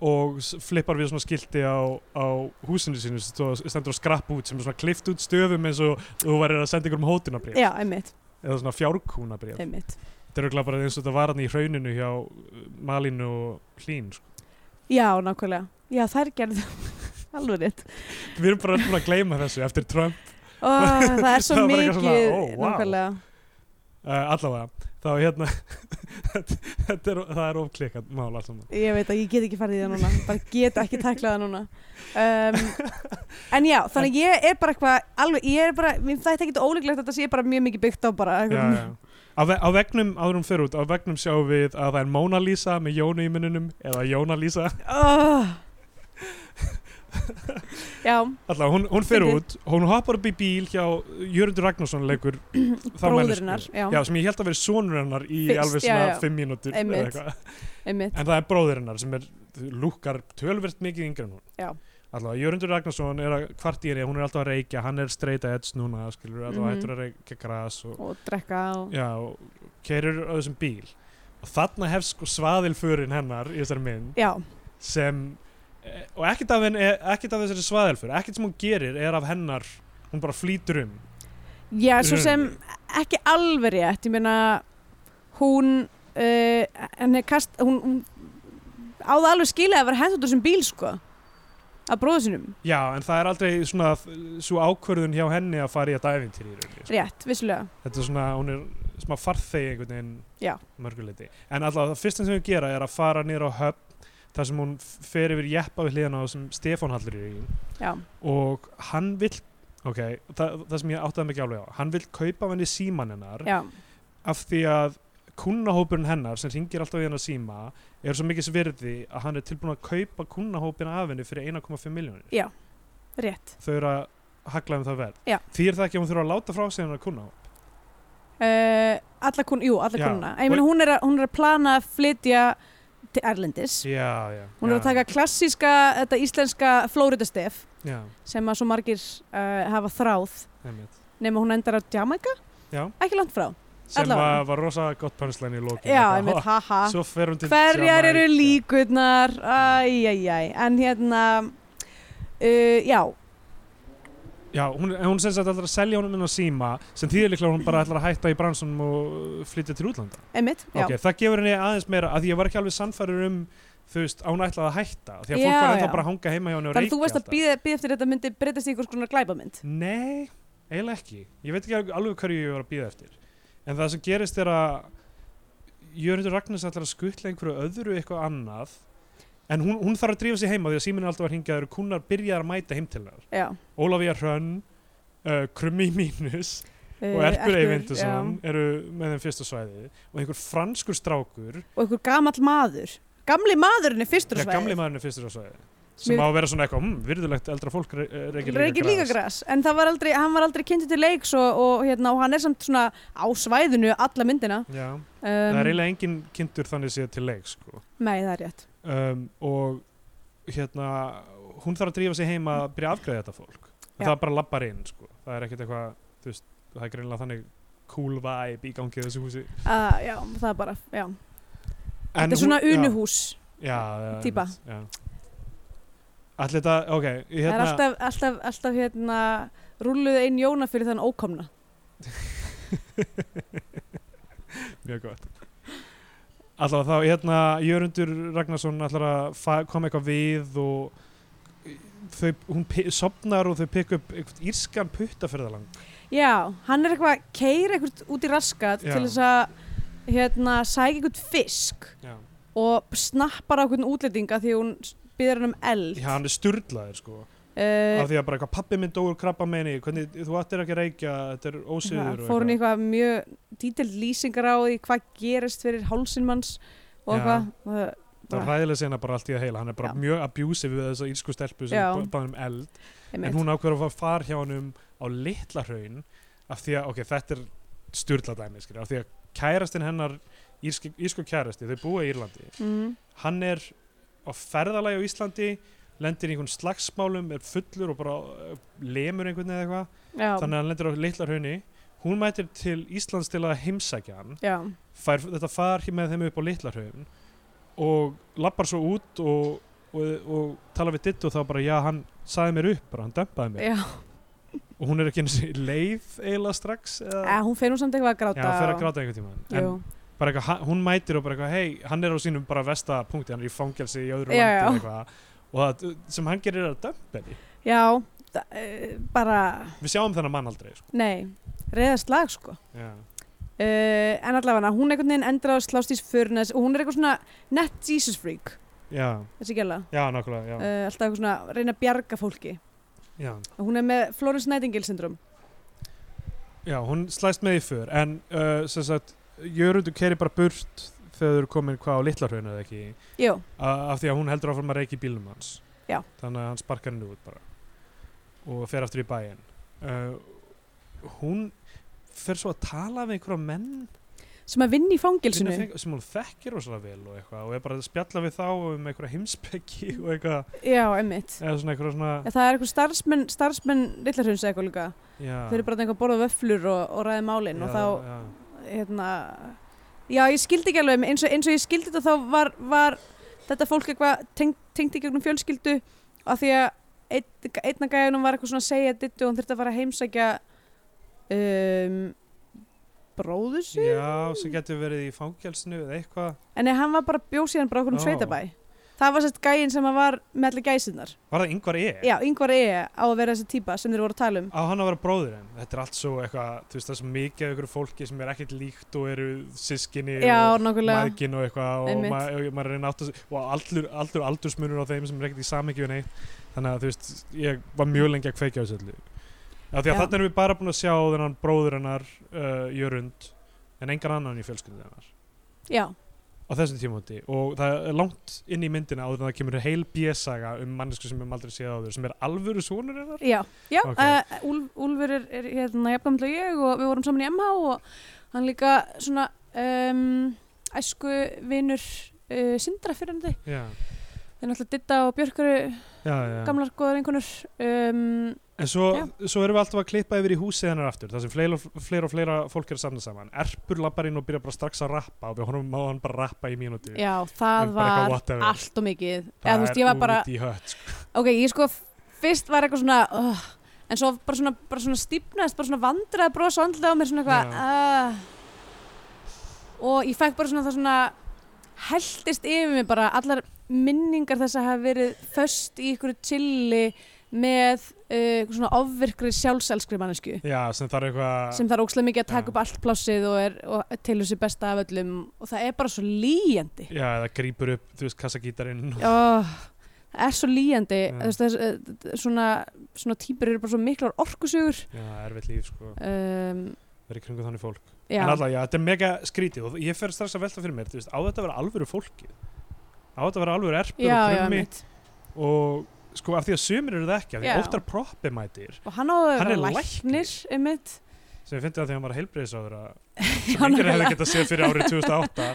[SPEAKER 2] og s- flippar við svona skilti á, á húsinu sínu sem stóð- stendur að skrappa út sem er svona klift út stöfum eins og þú værir að senda ykkur um hótunabrif
[SPEAKER 3] Já, einmitt,
[SPEAKER 2] eða svona fjárkúnabrif
[SPEAKER 3] einmitt
[SPEAKER 2] þetta eru bara eins og þetta var hann í hrauninu hjá uh, Malinu og Hlín sko.
[SPEAKER 3] Já, nákvæmlega Já, þær gerðu alveg rétt
[SPEAKER 2] við erum bara búin að gleyma þessu eftir Trump
[SPEAKER 3] Ó, Það er svo
[SPEAKER 2] Það var bara
[SPEAKER 3] mikið,
[SPEAKER 2] eitthvað svona, "Oh, ó, vá.
[SPEAKER 3] nákvæmlega
[SPEAKER 2] uh, allavega þá hérna þetta er, það er ofklikkað mál allt saman
[SPEAKER 3] Ég veit að ég get ekki farið í það núna, bara get ekki taklað það núna um, En já, þannig ég er bara eitthvað alveg, ég er bara, mér þætti ekkert óleiklegt að þetta sé bara mjög mikið byggt á bara
[SPEAKER 2] já, já. Á, ve á vegnum, áðurum fyrir út, á vegnum sjáum við að það er Mona Lisa með Jónu í mununum eða Jóna Lisa
[SPEAKER 3] Oh. Já,
[SPEAKER 2] Alltaf, hún, hún fer
[SPEAKER 3] Fyndið.
[SPEAKER 2] út, hún hoppar upp í bíl hjá Jörundur Ragnarsson leikur þá
[SPEAKER 3] bróðurinnar,
[SPEAKER 2] manneskju.
[SPEAKER 3] já,
[SPEAKER 2] Já, sem ég held að veri sonur hennar í
[SPEAKER 3] Fyrst,
[SPEAKER 2] alveg
[SPEAKER 3] já,
[SPEAKER 2] svona
[SPEAKER 3] já.
[SPEAKER 2] fimm mínútur eða
[SPEAKER 3] Einmitt.
[SPEAKER 2] eitthvað.
[SPEAKER 3] einmitt
[SPEAKER 2] En það er bróður hennar sem er, lúkkar tölvert mikið yngri en hún
[SPEAKER 3] Já.
[SPEAKER 2] Alltaf, Jörundur Ragnarsson er að kvart í henni, hún er alltaf að reykja, hann er straight edge núna, skilur, alltaf
[SPEAKER 3] Mhm.
[SPEAKER 2] hættur að reykja gras og,
[SPEAKER 3] og drekka og
[SPEAKER 2] já, og kerur á þessum bíl. Og þarna hefst sko svaðilförin hennar í þessari mynd
[SPEAKER 3] Já,
[SPEAKER 2] sem eh, og ekkert af, henn, ekkert af þessari svaðelfur ekkert sem hún gerir er af hennar hún bara flýtur um
[SPEAKER 3] já, svo sem ekki alveg rétt, ég meina hún uh, henni kast, hún, hún á það alveg skilið að vera hendur þessum bíl sko, að bróðu sinum
[SPEAKER 2] já en það er aldrei svona svo ákvörðun hjá henni að fara í þetta ævintýri í rauninni, sko.
[SPEAKER 3] rétt, vissulega
[SPEAKER 2] þetta er svona, hún er smá farþegi einhvern veginn
[SPEAKER 3] Já.
[SPEAKER 2] mörguleiti en alltaf það fyrsta sem hún gera er að fara niður á höfn þar sem hún f- fer yfir jeppa við hliðan á sem Stefán Hallur er í
[SPEAKER 3] Já,
[SPEAKER 2] og hann vill ok, það, það sem ég áttaði mikið alveg á hann vill kaupa af henni síman hennar
[SPEAKER 3] já,
[SPEAKER 2] af því að kúnnahópurinn hennar sem ringir alltaf í hennar síma er svo mikið sverði að hann er tilbúin að kaupa kúnnahópina af henni fyrir 1,5 miljónir.
[SPEAKER 3] rétt
[SPEAKER 2] Þau eru að hagla um það verð.
[SPEAKER 3] Já.
[SPEAKER 2] Því er það ekki að hún þurfa að láta frá sig hennar kúnnahóp.
[SPEAKER 3] uh, Alla kun, jú, alla
[SPEAKER 2] Já,
[SPEAKER 3] kunna Ég meina hún er, að, hún er að plana að flytja til Erlendis
[SPEAKER 2] Já, já.
[SPEAKER 3] Hún er
[SPEAKER 2] já,
[SPEAKER 3] að taka klassíska, þetta íslenska Flóridastef
[SPEAKER 2] Já,
[SPEAKER 3] sem að svo margir uh, hafa þráð
[SPEAKER 2] einmitt.
[SPEAKER 3] nema hún endar á Jamaica,
[SPEAKER 2] Já,
[SPEAKER 3] ekki langt frá
[SPEAKER 2] sem
[SPEAKER 3] Allavega.
[SPEAKER 2] að var rosa gott pönslan í lókinu.
[SPEAKER 3] Já, einmitt, haha
[SPEAKER 2] Svo fer hún til
[SPEAKER 3] Hverjar eru
[SPEAKER 2] Jamaica.
[SPEAKER 3] líkurnar? Æjæjæj, en hérna uh, Já,
[SPEAKER 2] Já, hún, en hún sem sagt ætlar að selja honum hennar síma sem þýðir líklega að hún bara ætlar að hætta í bransunum og uh, flytja til útlanda.
[SPEAKER 3] einmitt já.
[SPEAKER 2] ok, það gefur henni aðeins meira að því ég var ekki alveg sannfærir um þú veist, án ætlaði að hætta því að
[SPEAKER 3] Já,
[SPEAKER 2] fólk var ennþá
[SPEAKER 3] já.
[SPEAKER 2] bara að hanga heima hjá henni og
[SPEAKER 3] Þannig að
[SPEAKER 2] reykja
[SPEAKER 3] þú veist að
[SPEAKER 2] alltaf.
[SPEAKER 3] býða eftir þetta myndi breytast í einhvers konar glæbamynd.
[SPEAKER 2] Nei, eiginlega ekki. Ég veit ekki alveg hverju ég var að býða eftir. En það sem gerist er að Jörgundur Ragnars ætlar að skuttla einhverju öðru eitthvað annað en hún, hún þarf að drífa sig heima því að síminn er alltaf að hringja og kunnar byrjar að mæta heim til hennar.
[SPEAKER 3] Já.
[SPEAKER 2] Ólafía Hrönn, uh, Krummi Mínus og
[SPEAKER 3] Eh,
[SPEAKER 2] Erpur
[SPEAKER 3] já.
[SPEAKER 2] Eyvindursson eru með þeim fyrsta svæði og einhver franskur strákur,
[SPEAKER 3] og einhver gamall maður gamli maðurinn er fyrstur á
[SPEAKER 2] ja, gamli
[SPEAKER 3] svæði
[SPEAKER 2] maðurinn er fyrsta svæði sem á
[SPEAKER 3] Mér-
[SPEAKER 2] að vera svona eitthvað, hm, virðulegt eldra fólk re- reykir
[SPEAKER 3] reykir líka
[SPEAKER 2] gras."
[SPEAKER 3] græs en það var aldrei, hann var aldrei kynntur til leiks og, og, hérna, og hann er samt svona á svæðinu alla myndina um,
[SPEAKER 2] Já, það er eiginlega enginn kindur þannig séð til leik sko.
[SPEAKER 3] nei það er rétt
[SPEAKER 2] um, og hérna hún þarf að drífa sig heima að byrja að afgreða þetta fólk en
[SPEAKER 3] Já.
[SPEAKER 2] það bara lappar inn sko. það er ekkert eitthvað, þú veist, það er greinlega þannig cool vibe í gangi í þessu húsi
[SPEAKER 3] uh, já, það er bara, já
[SPEAKER 2] En
[SPEAKER 3] þetta er svona
[SPEAKER 2] hún- já,
[SPEAKER 3] unuhús
[SPEAKER 2] já, já,
[SPEAKER 3] típa.
[SPEAKER 2] einmitt, já. allir þetta, ok
[SPEAKER 3] það er
[SPEAKER 2] hérna,
[SPEAKER 3] alltaf, alltaf, alltaf hérna rúluð einn jóna fyrir þann ókomna
[SPEAKER 2] mjög gott Alltaf þá, hérna, Jörundur Ragnarsson ætlar að fa- koma eitthvað við og þau, hún pi- sofnar og þau pikk upp eitthvað írskan puttaferðalang
[SPEAKER 3] já, hann er eitthvað, keir eitthvað út í raskat
[SPEAKER 2] Já.
[SPEAKER 3] til þess að hérna, sækja eitthvað fisk
[SPEAKER 2] Já.
[SPEAKER 3] og snappar á eitthvað útlendinga því hún byður hann um eld
[SPEAKER 2] Já, hann er sturdlaður sko
[SPEAKER 3] uh,
[SPEAKER 2] af því að bara eitthvað pappi minn dóur krabba meini hvernig, þú ættir ekki að reykja, þetta er ósýður
[SPEAKER 3] fór hann í eitthvað mjög dítild lýsingar á því hvað gerist fyrir hálsinn manns og
[SPEAKER 2] Já.
[SPEAKER 3] eitthvað og-
[SPEAKER 2] það er ræðilega sena bara allt í að heila hann er bara
[SPEAKER 3] Já.
[SPEAKER 2] mjög abusive við þessa írsku stelpu sem
[SPEAKER 3] Já.
[SPEAKER 2] ba- bað um eld
[SPEAKER 3] einmitt.
[SPEAKER 2] en hún ákveður að fara far hjá hann um á litla hraun af því að, ok, þetta er sturdla dæmi skilur, af því að kærastinn hennar írsku, írsku kærasti, þau búa í Írlandi
[SPEAKER 3] mm,
[SPEAKER 2] hann er á ferðalagi á Íslandi lendir í einhvern slagsmálum, er fullur og bara uh, lemur einhvern eða eitthvað
[SPEAKER 3] já,
[SPEAKER 2] þannig að hann lendir á litlar hraunni hún mætir til Íslands til að heimsækja hann
[SPEAKER 3] já,
[SPEAKER 2] fær, þetta far hér með þeim upp á litlar hraun og lappar svo út og, og, og tala við ditt og þá bara já hann sagði mér upp bara hann dömpaði mér
[SPEAKER 3] já.
[SPEAKER 2] og hún er ekki einu sinni leið eiginlega strax eða
[SPEAKER 3] Eh, hún fer nú samt eitthvað að gráta
[SPEAKER 2] Já, hann fer að
[SPEAKER 3] og-
[SPEAKER 2] gráta einhvern tímann en
[SPEAKER 3] Jú.
[SPEAKER 2] bara eitthvað, ha- hún mætir og bara eitthvað hei, hann er á sínum bara vesta punkti hann er í fangelsi í öðru
[SPEAKER 3] Já,
[SPEAKER 2] landi
[SPEAKER 3] já.
[SPEAKER 2] eða eitthvað og það, sem hann gerir er að dömpa henni
[SPEAKER 3] já þa- eh, bara,
[SPEAKER 2] við sjáum þennan mann aldrei sko.
[SPEAKER 3] nei reyðast lag sko
[SPEAKER 2] já,
[SPEAKER 3] uh, en allavega hún einhvern veginn endur á að slást í fyrnes og hún er eitthvað svona net Jesus freak
[SPEAKER 2] já,
[SPEAKER 3] þessi gæla
[SPEAKER 2] já, nákvæmlega já,
[SPEAKER 3] uh, alltaf eitthvað svona að reyna að bjarga fólki
[SPEAKER 2] já.
[SPEAKER 3] hún er með Florence Nightingale syndrom
[SPEAKER 2] Já, hún slæst með í för en uh, sem sagt, Jörundur keri bara burt þegar þau eru komin hvað á litlarhraun eða ekki,
[SPEAKER 3] jú,
[SPEAKER 2] a- af því að hún heldur áfram að reyki bílum hans
[SPEAKER 3] Já.
[SPEAKER 2] þannig að hann sparkar henni út bara og fer aftur í bæinn uh, hún fer svo að tala við einhverja menn
[SPEAKER 3] sem að vinna í fangilsinu
[SPEAKER 2] finna þeng- sem hún þekkir rosalega vel og eitthvað og er bara að spjalla við þá um einhverja heimspeki og eitthvað,
[SPEAKER 3] já, emmitt
[SPEAKER 2] eða svona einhverja svona
[SPEAKER 3] En það er eitthvað starfsmenn, starfsmenn Lillarhrauns eða eitthvað líka.
[SPEAKER 2] já,
[SPEAKER 3] Þau eru bara eitthvað að borða vöflur og, og ræða málinn og þá,
[SPEAKER 2] já,
[SPEAKER 3] hérna, já ég skildi ekki alveg, eins og, eins og ég skildi þetta þá var, var þetta fólk eitthvað tengt, tengt í gegnum fjölskyldu af því að ein, einna gæðunum var eitthvað svona að segja dittu og hún þurfti að fara að heimsækja um, bróður sín.
[SPEAKER 2] já, sem getur verið í fangelsinu eða eitthvað
[SPEAKER 3] En nei, hann var bara bjóð síðan bara okkur
[SPEAKER 2] Ó.
[SPEAKER 3] um sveitabæ. Það var sérst gæinn sem að var með allir gæsinnar.
[SPEAKER 2] var það yngvar ég?
[SPEAKER 3] Já, yngvar E á að vera þessi típa sem þeir voru að tala um.
[SPEAKER 2] á hann að vera bróðir henn þetta er allt svo eitthvað, þú veist það er svo mikið af ykkur fólki sem er ekkert líkt og eru sískinni
[SPEAKER 3] Já,
[SPEAKER 2] og
[SPEAKER 3] nákvæmlega.
[SPEAKER 2] maðgin og eitthvað og
[SPEAKER 3] Einmitt.
[SPEAKER 2] ma- og maður er nátt og allur, allur aldursmunur á þeim sem er ekkert í samhengi við neitt þannig að þú veist, ég var mjög lengi að kveikja á þessu öllu af því að
[SPEAKER 3] Já.
[SPEAKER 2] þarna erum við bara búin að sjá þennan bróður hennar uh, Jörund en engan annan í fjölskyldu hennar
[SPEAKER 3] Já,
[SPEAKER 2] á þessum tímóti og það er langt inn í myndina áður en það kemur heil bjössaga um mannesku sem við höfum aldrei séð áður sem er alvöru sonur hennar
[SPEAKER 3] já, já
[SPEAKER 2] Ok.
[SPEAKER 3] okay. Úlf, Úlfur er, er hérna jafnkvæmlega ég og við vorum saman í MH og hann líka svona um, æsku vinur uh, Sindra fyrir hann þig
[SPEAKER 2] já,
[SPEAKER 3] þeir náttúrulega Ditta og Björkuru
[SPEAKER 2] já, já.
[SPEAKER 3] gamlar góðar einhvernur um,
[SPEAKER 2] En svo,
[SPEAKER 3] Já.
[SPEAKER 2] svo erum við alltaf að klippa yfir í húsið hennar aftur, þar sem fleira og fleira, og fleira fólk er að samna saman. Erpur lappar inn og byrjar bara strax að rappa og við honum má hann bara rappa í mínútu.
[SPEAKER 3] já, það
[SPEAKER 2] En bara eitthvað
[SPEAKER 3] var
[SPEAKER 2] whatever.
[SPEAKER 3] allt og mikið eða
[SPEAKER 2] það
[SPEAKER 3] þú veist, ég var bara,
[SPEAKER 2] út í hött. Sko.
[SPEAKER 3] ok, ég sko fyrst var eitthvað svona uh, en svo bara svona, bara svona stípnaðist, bara svona vandraði brosa andlið á mér svona eitthvað uh, og ég fekk bara svona það svona heldist yfir mig bara allar minningar þess að hafa verið föst í ykkur chilli með uh, einhver svona ofvirkri sjálfselskri mannesku
[SPEAKER 2] já, sem þarf eitthvað
[SPEAKER 3] sem þarf ókslega mikið að taka
[SPEAKER 2] Já.
[SPEAKER 3] upp allt plássið og, er, og telur sér besta af öllum og það er bara svo líjandi
[SPEAKER 2] já, eða grípur upp, þú veist, kassagítarinn og-
[SPEAKER 3] oh, það er svo líjandi
[SPEAKER 2] Já.
[SPEAKER 3] þess, þess, eh, svona, svona típur eru bara svo miklar orkusugur
[SPEAKER 2] já, erfitt líf, sko,
[SPEAKER 3] um,
[SPEAKER 2] verið kringum þannig fólk
[SPEAKER 3] já,
[SPEAKER 2] en alltaf, já, þetta er mega skrítið og ég fer strax að velta fyrir mér, þú veist, á þetta að vera alvöru fólki á þetta að vera alvöru erpur
[SPEAKER 3] já,
[SPEAKER 2] og
[SPEAKER 3] já,
[SPEAKER 2] krummi
[SPEAKER 3] mitt.
[SPEAKER 2] og sko, af því að sumir eru það ekki af því
[SPEAKER 3] Já.
[SPEAKER 2] að óttar proppi mætir
[SPEAKER 3] og hann á að
[SPEAKER 2] Hann
[SPEAKER 3] vera
[SPEAKER 2] er
[SPEAKER 3] læknir einmitt
[SPEAKER 2] sem ég fyndi að því að hann var heilbreyðisáður
[SPEAKER 3] Já,
[SPEAKER 2] sem enginn hefði
[SPEAKER 3] nákvæmlega.
[SPEAKER 2] getað séð fyrir árið 2008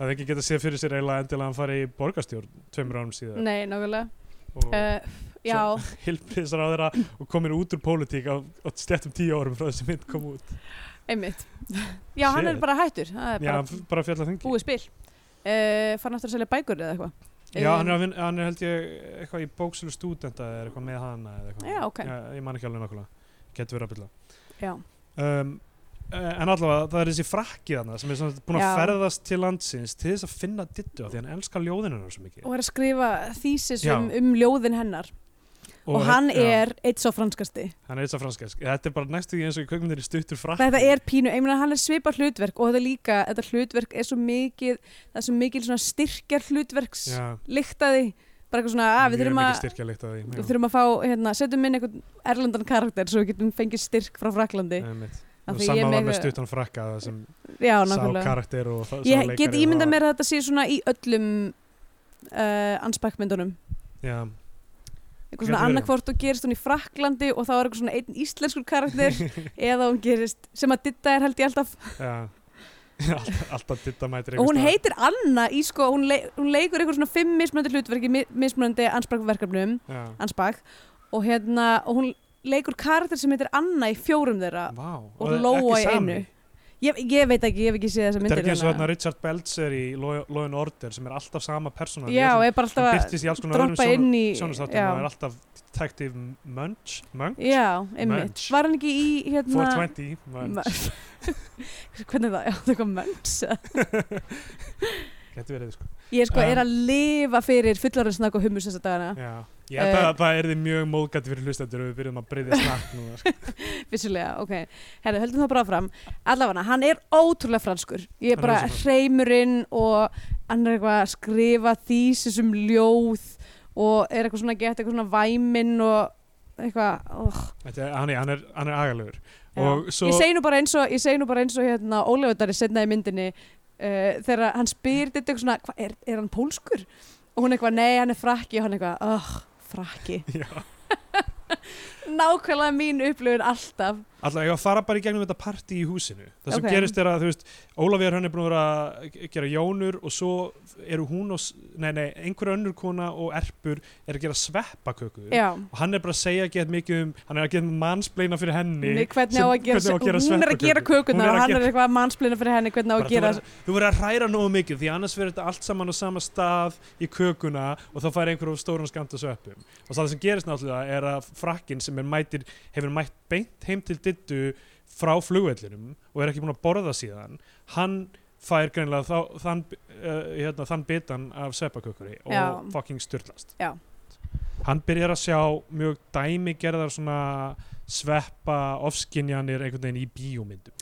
[SPEAKER 2] að enginn getað séð fyrir sér eiginlega endilega að hann fari í borgarstjórn tveimur árum síðan
[SPEAKER 3] nei, nákvæmlega
[SPEAKER 2] og
[SPEAKER 3] uh, já,
[SPEAKER 2] heilbreyðisáður og komin út úr pólitík á, á stettum tíu árum frá þessi mynd kom út
[SPEAKER 3] einmitt já, hann er
[SPEAKER 2] Shit.
[SPEAKER 3] bara hættur það er
[SPEAKER 2] já,
[SPEAKER 3] bara
[SPEAKER 2] hann f- bara fjalla þengi
[SPEAKER 3] búið spil uh, fann aftur að selja bækur eða eitthvað
[SPEAKER 2] já,
[SPEAKER 3] Um,
[SPEAKER 2] hann er, að vinna, hann er held ég eitthvað í bóksölu stúdenta eða er eitthvað með hana eða eitthvað
[SPEAKER 3] Já, ok.
[SPEAKER 2] ég man ekki alveg nákvæmlega, getur verið að bylla
[SPEAKER 3] já,
[SPEAKER 2] um, eh, en allavega það er þessi frakki þarna sem er svona búin að
[SPEAKER 3] Já.
[SPEAKER 2] ferðast til landsins til þess að finna dittu af því hann elskar ljóðinu hennar svo mikið
[SPEAKER 3] og er að skrifa þýsis
[SPEAKER 2] Já.
[SPEAKER 3] um, um ljóðin hennar og, hann
[SPEAKER 2] já,
[SPEAKER 3] er eitt svo franskasti
[SPEAKER 2] hann er eins og franskæsk, þetta er bara næstu því eins og í kveikmyndir í stuttur frakki
[SPEAKER 3] þetta er pínu, ég meina hann er svipað hlutverk og þetta líka, þetta hlutverk er svo mikið það er svo mikið svona styrkjar hlutverks
[SPEAKER 2] já,
[SPEAKER 3] lyktaði, bara eitthvað svona að Ah, við þurfum
[SPEAKER 2] mjög mikið
[SPEAKER 3] að
[SPEAKER 2] styrkja líkt að því
[SPEAKER 3] við þurfum að fá, hérna, setjum inn einhvern erlendan karakter svo við getum fengið styrk frá Fraklandi
[SPEAKER 2] einmitt.
[SPEAKER 3] Af
[SPEAKER 2] og
[SPEAKER 3] því
[SPEAKER 2] sama
[SPEAKER 3] ég
[SPEAKER 2] var
[SPEAKER 3] mega-
[SPEAKER 2] með stuttan frakka það sem
[SPEAKER 3] já,
[SPEAKER 2] Eh, sá
[SPEAKER 3] nákvæmlega
[SPEAKER 2] karakter og það- sá
[SPEAKER 3] ég
[SPEAKER 2] leikari
[SPEAKER 3] get
[SPEAKER 2] og
[SPEAKER 3] ímyndað
[SPEAKER 2] það-
[SPEAKER 3] mér að þetta sé svona í öllum uh, ansbækmyndunum
[SPEAKER 2] já,
[SPEAKER 3] eitthvað
[SPEAKER 2] Gæti
[SPEAKER 3] svona
[SPEAKER 2] verið.
[SPEAKER 3] annarkvort og gerist hún í Fraklandi og þá er eitthvað svona einn íslenskur karakter eða hún gerist sem að Ditta er held ég alltaf
[SPEAKER 2] já Alltaf- alltaf ditta mætir
[SPEAKER 3] og hún
[SPEAKER 2] einhvers staðar.
[SPEAKER 3] heitir Anna í sko hún, le hún leikur eitthvað svona fimm mismunandi hlutverki mi- mismunandi ansbækverkefnum
[SPEAKER 2] Já.
[SPEAKER 3] ansbæk og hérna og hún leikur karakter sem heitir Anna í fjórum þeirra
[SPEAKER 2] Vá,
[SPEAKER 3] og
[SPEAKER 2] það er ekki
[SPEAKER 3] Lóa í
[SPEAKER 2] sami.
[SPEAKER 3] einu ég, ég veit ekki, ég hef ekki séð þessa
[SPEAKER 2] Þetta er
[SPEAKER 3] myndir hérna.
[SPEAKER 2] ekki eins og
[SPEAKER 3] þannig
[SPEAKER 2] þarna
[SPEAKER 3] að-
[SPEAKER 2] Richard Belzer í Law Law and Order sem er alltaf sama persóna
[SPEAKER 3] já, og er bara
[SPEAKER 2] alltaf hann
[SPEAKER 3] alltaf
[SPEAKER 2] byrtist í alls
[SPEAKER 3] að
[SPEAKER 2] konar
[SPEAKER 3] droppa
[SPEAKER 2] öðrum
[SPEAKER 3] inn í
[SPEAKER 2] sjónastáttum
[SPEAKER 3] já.
[SPEAKER 2] og er alltaf Detective Munch, Munch
[SPEAKER 3] Já, einmitt.
[SPEAKER 2] Munch.
[SPEAKER 3] Var hann ekki í hérna...
[SPEAKER 2] 420 Munch,
[SPEAKER 3] Munch. Hvernig er það? Já, það er eitthvað mönns.
[SPEAKER 2] getur verið sko
[SPEAKER 3] Ég sko
[SPEAKER 2] Um.
[SPEAKER 3] er að lifa fyrir fullarinsnak og hummus þessa dagana,
[SPEAKER 2] Já, ég held
[SPEAKER 3] Eh.
[SPEAKER 2] að það er því mjög móðgætt fyrir hlustendur ef við byrjum að breyðja snakk núna sko.
[SPEAKER 3] vissulega, ok. Herðu, höldum það bara fram. Allavega, hann er ótrúlega franskur. Ég er
[SPEAKER 2] Hann er
[SPEAKER 3] bara
[SPEAKER 2] rosa franskur.
[SPEAKER 3] hreimurinn og hann er eitthvað að skrifa þýsis um ljóð og er eitthvað svona að geta eitthvað svona væminn og eitthvað, oh,
[SPEAKER 2] Þetta er- Hann er, hann er, hann er agalegur
[SPEAKER 3] Já.
[SPEAKER 2] Og svo,
[SPEAKER 3] ég segi nú bara eins og ég segi nú bara eins og hérna Ólefudari setna í myndinni uh, þegar hann spyr þetta eitthvað svona, hva, er, er hann pólskur? og hún eitthvað, nei hann er frakki og hann eitthvað, oh, frakki
[SPEAKER 2] já,
[SPEAKER 3] nákvæmlega mín upplöfun alltaf
[SPEAKER 2] alltaf ég var að fara bara í gegnum þetta partí í húsinu Það sem
[SPEAKER 3] Ok.
[SPEAKER 2] gerist er að, þú veist, Ólafjör hann er búin að vera að gera jónur og svo eru hún og, s- nei, nei, einhver önnur kona og erpur er að gera sveppakökur
[SPEAKER 3] já,
[SPEAKER 2] og hann er bara að segja gett mikið um hann er að geta mansbleina fyrir henni
[SPEAKER 3] nei, hvernig
[SPEAKER 2] sem-
[SPEAKER 3] á að gera,
[SPEAKER 2] hvernig á að gera
[SPEAKER 3] hún er að
[SPEAKER 2] sveppakökur.
[SPEAKER 3] gera
[SPEAKER 2] Hún
[SPEAKER 3] kökuna
[SPEAKER 2] er að
[SPEAKER 3] og hann
[SPEAKER 2] gera-
[SPEAKER 3] er eitthvað að mannsplina fyrir henni hvernig á
[SPEAKER 2] Bara,
[SPEAKER 3] að hérna gera
[SPEAKER 2] þú, verður- þú verður að hræra nógu mikið því annars verður þetta allt saman á sama stað í kökuna og þá fær einhver of stóran skamt að sveppum og það sem gerist náttúrulega er að frakkinn sem er mætir, hefur mætt beint heim til dittu frá flugvellinum og er ekki búin að borða síðan hann fær greinlega þá, þann, uh, hérna, þann bitan af sveppakökuri og
[SPEAKER 3] Já.
[SPEAKER 2] fucking styrlast
[SPEAKER 3] Já.
[SPEAKER 2] hann byrjar að sjá mjög dæmigerðar svona sveppa ofskinjanir einhvern veginn í bíómyndum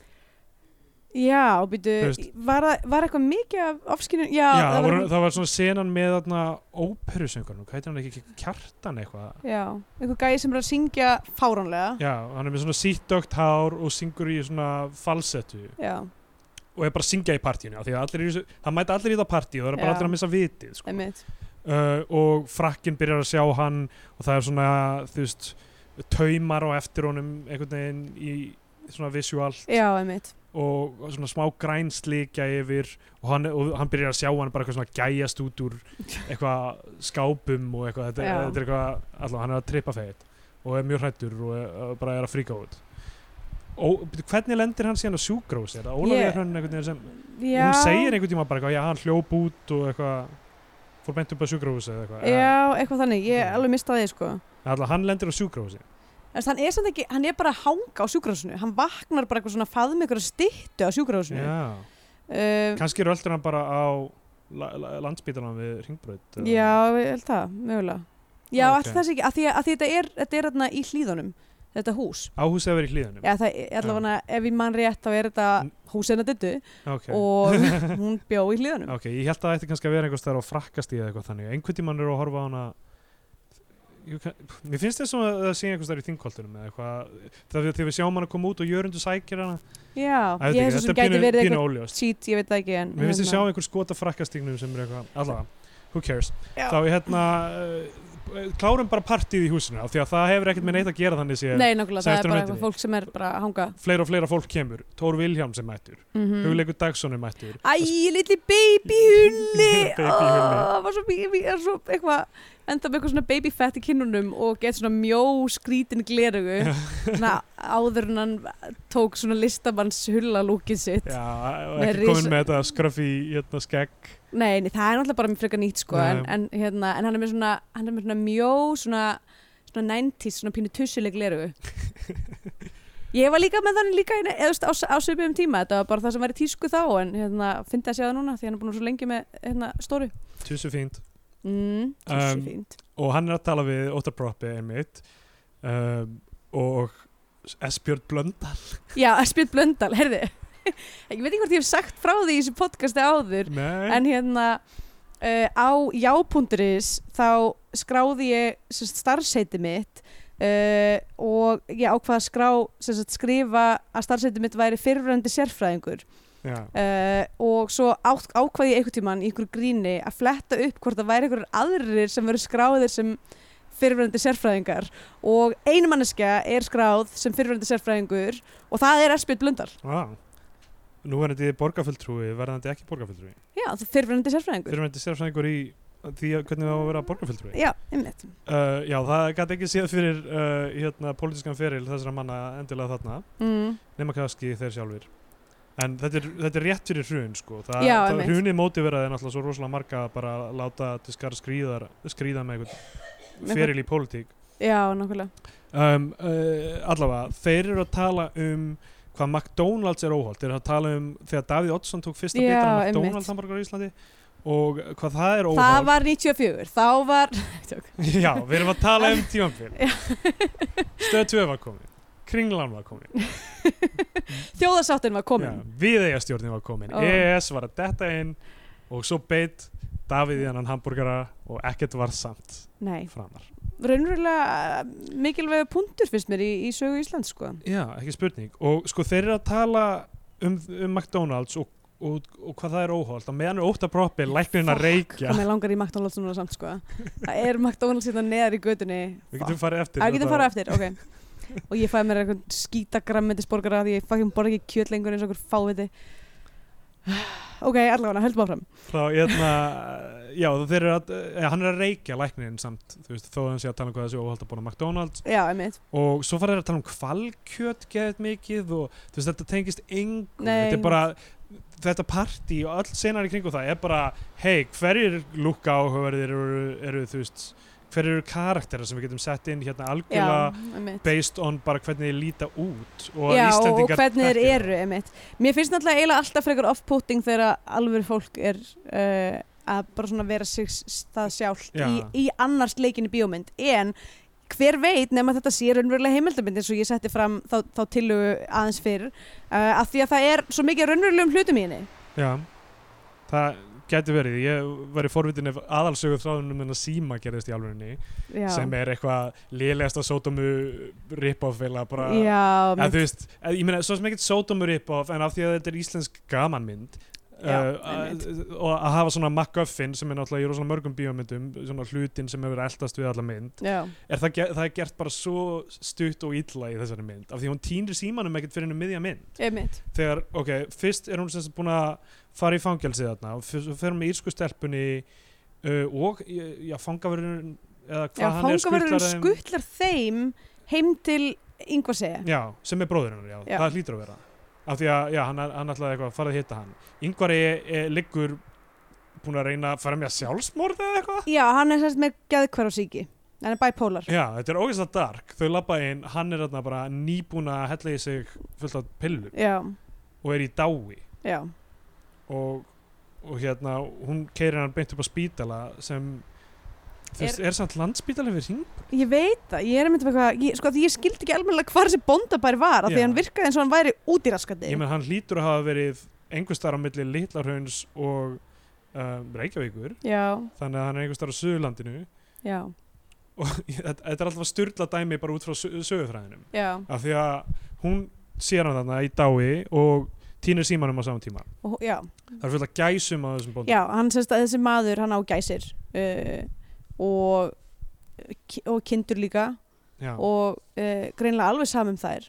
[SPEAKER 3] já, býtu,
[SPEAKER 2] Þú veist-
[SPEAKER 3] var, það- var eitthvað mikið af ofskinu, já,
[SPEAKER 2] Já, það var,
[SPEAKER 3] eitthvað-
[SPEAKER 2] það var svona senan með þarna óperusöngurinn, hvað heitir hann ekki, kjartan eitthvað?
[SPEAKER 3] já, eitthvað gæði sem er að syngja fáránlega
[SPEAKER 2] Já, hann er með svona síttdögt hár og syngur í svona falsettu
[SPEAKER 3] já,
[SPEAKER 2] og er bara að syngja í partíinu, af því að allir í þessu, það mæta allir í það partí og það er bara
[SPEAKER 3] Já.
[SPEAKER 2] allir að missa vitið, sko.
[SPEAKER 3] einmitt
[SPEAKER 2] Uh, og frakkinn byrjar að sjá hann og það er svona, þú veist, taumar á eftir honum einhvern veginn í svona visual
[SPEAKER 3] já, einmitt
[SPEAKER 2] og svona smá grænslikja yfir og hann, og hann byrjar að sjá hann bara eitthvað svona gæjast út úr eitthvað skápum og eitthvað þetta,
[SPEAKER 3] Já.
[SPEAKER 2] þetta er eitthvað, allavega hann er að trippa feit og er mjög hrættur og er, er bara er að fríka út og bíddu, hvernig lendir hann síðan á sjúkrós er það Ólafía
[SPEAKER 3] Ég-
[SPEAKER 2] yeah. hrönn einhvern veginn sem
[SPEAKER 3] já,
[SPEAKER 2] hún segir einhvern tíma bara eitthvað, já hann hljóp út og eitthvað fór beint upp á sjúkrós eða eitthvað En
[SPEAKER 3] Já, eitthvað þannig, ég
[SPEAKER 2] Já.
[SPEAKER 3] alveg mista það sko
[SPEAKER 2] allavega hann lendir á sjúkrósi
[SPEAKER 3] Þess, hann, er samt ekki, hann er bara að hanga á sjúkrásinu hann vaknar bara eitthvað svona faðum eitthvað stittu á sjúkrásinu
[SPEAKER 2] já,
[SPEAKER 3] uh,
[SPEAKER 2] kannski röldur hann bara á la- la- landsbítalann við ringbraut eða-
[SPEAKER 3] Já, ég held það, mögulega. Já,
[SPEAKER 2] Ok.
[SPEAKER 3] okay. alltaf ekki, að því, að því þetta er, þetta er þarna í hlýðunum, þetta hús.
[SPEAKER 2] á húsið að vera í hlíðanum
[SPEAKER 3] Já, það er allavega, ef ég mann rétt, þá er þetta
[SPEAKER 2] Mm.
[SPEAKER 3] húsina dittu
[SPEAKER 2] ok,
[SPEAKER 3] og hún bjó í hlýðunum.
[SPEAKER 2] ok, ég held að það ætti kannski að vera einhvers þar á frakkastíð eða eitthvað þannig, einhvern tímann eru að horfa á hana Ég kann- mér finnst þessum að það sé einhvers þar í þingkoltunum eða eitthvað, þegar þegar við sjáum hana koma út og jörundu sækir hana
[SPEAKER 3] Já,
[SPEAKER 2] Æ, veit
[SPEAKER 3] ég
[SPEAKER 2] ekki,
[SPEAKER 3] hef svo
[SPEAKER 2] þetta
[SPEAKER 3] sem
[SPEAKER 2] er
[SPEAKER 3] gæti
[SPEAKER 2] pínu-
[SPEAKER 3] verið
[SPEAKER 2] pínu
[SPEAKER 3] eitthvað
[SPEAKER 2] óljóst
[SPEAKER 3] cheat, ég veit það ekki, en...
[SPEAKER 2] Mér finnst ég sjá
[SPEAKER 3] hérna,
[SPEAKER 2] einhver skota frakkastíknum sem er eitthvað, allavega, who cares
[SPEAKER 3] Já.
[SPEAKER 2] þá ég hérna uh, klárum bara partíð í húsinu af því að það hefur ekkert með neitt að gera þannig sé
[SPEAKER 3] Nei, nákvæmlega, það
[SPEAKER 2] Sætur á
[SPEAKER 3] er bara
[SPEAKER 2] nætunni.
[SPEAKER 3] eitthvað fólk sem er bara að hanga.
[SPEAKER 2] fleira og fleira fólk kemur, Tór Vilhjálm sem mættur
[SPEAKER 3] Mm
[SPEAKER 2] Hugleikur Dagsson er mættur
[SPEAKER 3] Æ, litli babyhulli
[SPEAKER 2] Babyhulli.
[SPEAKER 3] Ó, var svo, mikið- mikið- er svo eitthvað enda með eitthvað svona babyfett í kinnunum og get svona mjó skrítin glerugu svona áður en hann tók svona listamanns hullalúkið sitt
[SPEAKER 2] Já, og
[SPEAKER 3] Með
[SPEAKER 2] ekki
[SPEAKER 3] risa-
[SPEAKER 2] komin með þetta skröfi hérna skegg
[SPEAKER 3] nei, nei, það er náttúrulega bara mjög frekar nýtt sko en,
[SPEAKER 2] Nei.
[SPEAKER 3] en, hérna, en hann er með svona, hann er með svona mjó svona, svona 90s, svona pínu tussuleg glerugu Ég var líka með þannig líka eða, eða, á, á svipum tíma, þetta var bara það sem var í tísku þá en hérna, fyndi að sjá það núna því hann er búin að vera svo lengi með hérna, stóru
[SPEAKER 2] Tussu fínt
[SPEAKER 3] Mm,
[SPEAKER 2] Um,
[SPEAKER 3] um, fínt.
[SPEAKER 2] Og hann er að tala við Óttar Proppi einmitt um, Og Esbjörn Blöndal
[SPEAKER 3] Já, Esbjörn Blöndal, herði Ég veit ekki hvort ég hef sagt frá því í þessu podcasti áður
[SPEAKER 2] Nei,
[SPEAKER 3] En hérna uh, á já.is þá skráði ég sem sagt, starfseiti mitt uh, og ég ákvað að skrá sem sagt, skrifa að starfseiti mitt væri fyrrverandi sérfræðingur
[SPEAKER 2] já,
[SPEAKER 3] uh, og svo átt, ákvað ég einhvern tímann í einhverju gríni að fletta upp hvort það væri einhverjur aðrir sem verður skráðir sem fyrirverandi sérfræðingar og einu manneskja er skráð sem fyrirverandi sérfræðingur og það er Esbjörn Blöndal
[SPEAKER 2] já Nú verðandi borgarfulltrúi, verðandi ekki borgarfulltrúi
[SPEAKER 3] já, það er fyrirverandi sérfræðingur
[SPEAKER 2] Fyrir verðandi sérfræðingur í því að hvernig það á að vera borgarfulltrúi
[SPEAKER 3] já, einmitt
[SPEAKER 2] uh, Já, það gæti ekki séð fyrir uh, hérna, pólitískan feril þessara manna endilega þarna
[SPEAKER 3] mm.
[SPEAKER 2] nema kannski þeir sjálfir en þetta er, þetta er rétt fyrir hrun sko. Þa,
[SPEAKER 3] Já,
[SPEAKER 2] það
[SPEAKER 3] einmitt.
[SPEAKER 2] hrunið mótiveraði náttúrulega svo rosalega marga að bara láta til skar skrýðar, skrýða með
[SPEAKER 3] Með
[SPEAKER 2] einhvern feril í pólitík
[SPEAKER 3] já, nákvæmlega
[SPEAKER 2] um, uh, allavega, þeir eru að tala um hvað McDonalds er óholt þeir eru að tala um þegar Davíð Oddsson tók fyrsta
[SPEAKER 3] Já,
[SPEAKER 2] bitar af
[SPEAKER 3] einmitt.
[SPEAKER 2] McDonalds hamburgar í Íslandi og hvað það er óholt
[SPEAKER 3] það var 94, þá var Tjók.
[SPEAKER 2] Já, við erum að tala um tímanfél Stöð 2 var komin Kringlan var komin
[SPEAKER 3] þjóðarsáttin var komin
[SPEAKER 2] Já, Viðeigastjórnin var komin
[SPEAKER 3] Ó.
[SPEAKER 2] EES var að detta inn og svo beitt Davíð í hann hambúrgara og ekkert var samt
[SPEAKER 3] nei,
[SPEAKER 2] framar
[SPEAKER 3] raunverulega eh, mikilvægur punktur finnst mér í, í sögu Íslands sko
[SPEAKER 2] Já, ekki spurning og sko þeir eru að tala um, um McDonalds og, og, og hvað það er óholt og meðan er óttabroppi læknirinn að reykja
[SPEAKER 3] hvað mér langar í McDonalds núna samt sko það er McDonalds hérna neðar í götunni
[SPEAKER 2] Við getum hérna farið eftir
[SPEAKER 3] að við getum
[SPEAKER 2] þetta.
[SPEAKER 3] farað eftir, ok og ég fæði mér eitthvað skítagrammetisborgara því ég fucking borða ekki kjöt lengur eins og okkur fáviti ok, allavega, höldum áfram
[SPEAKER 2] þá hérna já þeir eru að eh, hann er að reykja læknirinn samt þú veist þó að hann sé að tala um hvað þessi óholt að bóna McDonalds
[SPEAKER 3] já, einmitt,
[SPEAKER 2] og svo fara þeir að tala um kvalkjöt geðið mikið og þú veist þetta tengist engu
[SPEAKER 3] Nei.
[SPEAKER 2] þetta er bara þetta partí og öll senar í kringum það er bara hei hverjir lúka áhugaverðir eru, eru þú veist hverjir eru karakterar sem við getum sett inn hérna
[SPEAKER 3] já,
[SPEAKER 2] algjörlega
[SPEAKER 3] einmitt
[SPEAKER 2] based on bara hvernig þeir líta út og að
[SPEAKER 3] já, og
[SPEAKER 2] Íslendingar
[SPEAKER 3] hvernig þeir
[SPEAKER 2] þekki það.
[SPEAKER 3] eru, einmitt mér finnst náttúrulega eiginlega alltaf frekar off-putting þegar alveg fólk er uh, að bara svona vera sig s- það sjálft
[SPEAKER 2] Já.
[SPEAKER 3] í, í annars leikinni bíómynd en hver veit nema þetta sé raunverulega heimildamynd eins og ég setti fram þá, þá tillögu aðeins fyrr uh, af því að það er svo mikið af raunverulegum hlutum í henni
[SPEAKER 2] já, það gæti verið ég væri forvitin ef aðalsögur þráðunum en að síma gerðist í alvörinni
[SPEAKER 3] Já.
[SPEAKER 2] sem er eitthvað lélegasta sótomu rip-off eiginlega bara
[SPEAKER 3] Já,
[SPEAKER 2] En
[SPEAKER 3] mitt,
[SPEAKER 2] þú veist, eh, ég meina, svo sem ekkert sótumur upp of, en af því að þetta er íslensk gamanmynd
[SPEAKER 3] Já,
[SPEAKER 2] uh, að- og að hafa svona MacGuffin sem er náttúrulega í rosalega mörgum bíómyndum svona hlutin sem hefur eldast við alla mynd
[SPEAKER 3] já,
[SPEAKER 2] er það, ge- það er gert bara svo stutt og illa í þessari mynd af því hún týnir símanum ekkert fyrir hennu miðja mynd
[SPEAKER 3] einmitt.
[SPEAKER 2] þegar, ok, fyrst er hún sem sagt búin að fara í fangelsið þarna og fyrst fer hún með írsku stelpunni uh, og, eh, já, fangaverðurinn eða hvað
[SPEAKER 3] Já,
[SPEAKER 2] hann er
[SPEAKER 3] fangaverðurinn
[SPEAKER 2] skutlar þeim-
[SPEAKER 3] skuttlar þeim heim til yngvar segja.
[SPEAKER 2] Já, sem er bróðurinn hennar, já.
[SPEAKER 3] Já.
[SPEAKER 2] það hlýtur að vera af því að já, hann, hann ætlaði eitthvað að fara að hitta hann yngvari er, liggur búin að reyna að fara með sjálfsmorð eða eitthvað
[SPEAKER 3] Já, hann er sérst með geðkvar á síki. Hann er bipolar.
[SPEAKER 2] Já, þetta er ógeðslega dark, þau labba inn hann er þarna bara nýbúin að hella í sig fullt af pillur
[SPEAKER 3] Já,
[SPEAKER 2] og er í dái
[SPEAKER 3] já.
[SPEAKER 2] og og hérna, hún keirir hann beint upp á spítala sem þú veist, er, samt landspítala við hring
[SPEAKER 3] Ég veit það, ég er einmitt um eitthvað, ég, sko því ég skildi ekki almennilega hvar þessi bóndabær var, af því
[SPEAKER 2] Já.
[SPEAKER 3] hann virkaði eins og hann væri út í raskandi.
[SPEAKER 2] ég menn hann hlýtur að hafa verið einhvers staðar á milli Litlarhauns og um, Reykjavíkur
[SPEAKER 3] Já,
[SPEAKER 2] þannig að hann er einhvers staðar á Suðurlandinu
[SPEAKER 3] já,
[SPEAKER 2] og þetta þetta er alltaf styrla dæmi bara út frá su- sögufræðinum
[SPEAKER 3] já.
[SPEAKER 2] af því að hún sér hann þarna í dái og týnir símanum á saman tíma
[SPEAKER 3] Og, já,
[SPEAKER 2] það er fullt að gæsum á þessum bóndum
[SPEAKER 3] Mm. já, hann sérst að þessi maður, hann á gæsir uh, og, og kindur líka
[SPEAKER 2] Já,
[SPEAKER 3] og uh, greinlega alveg samum þær.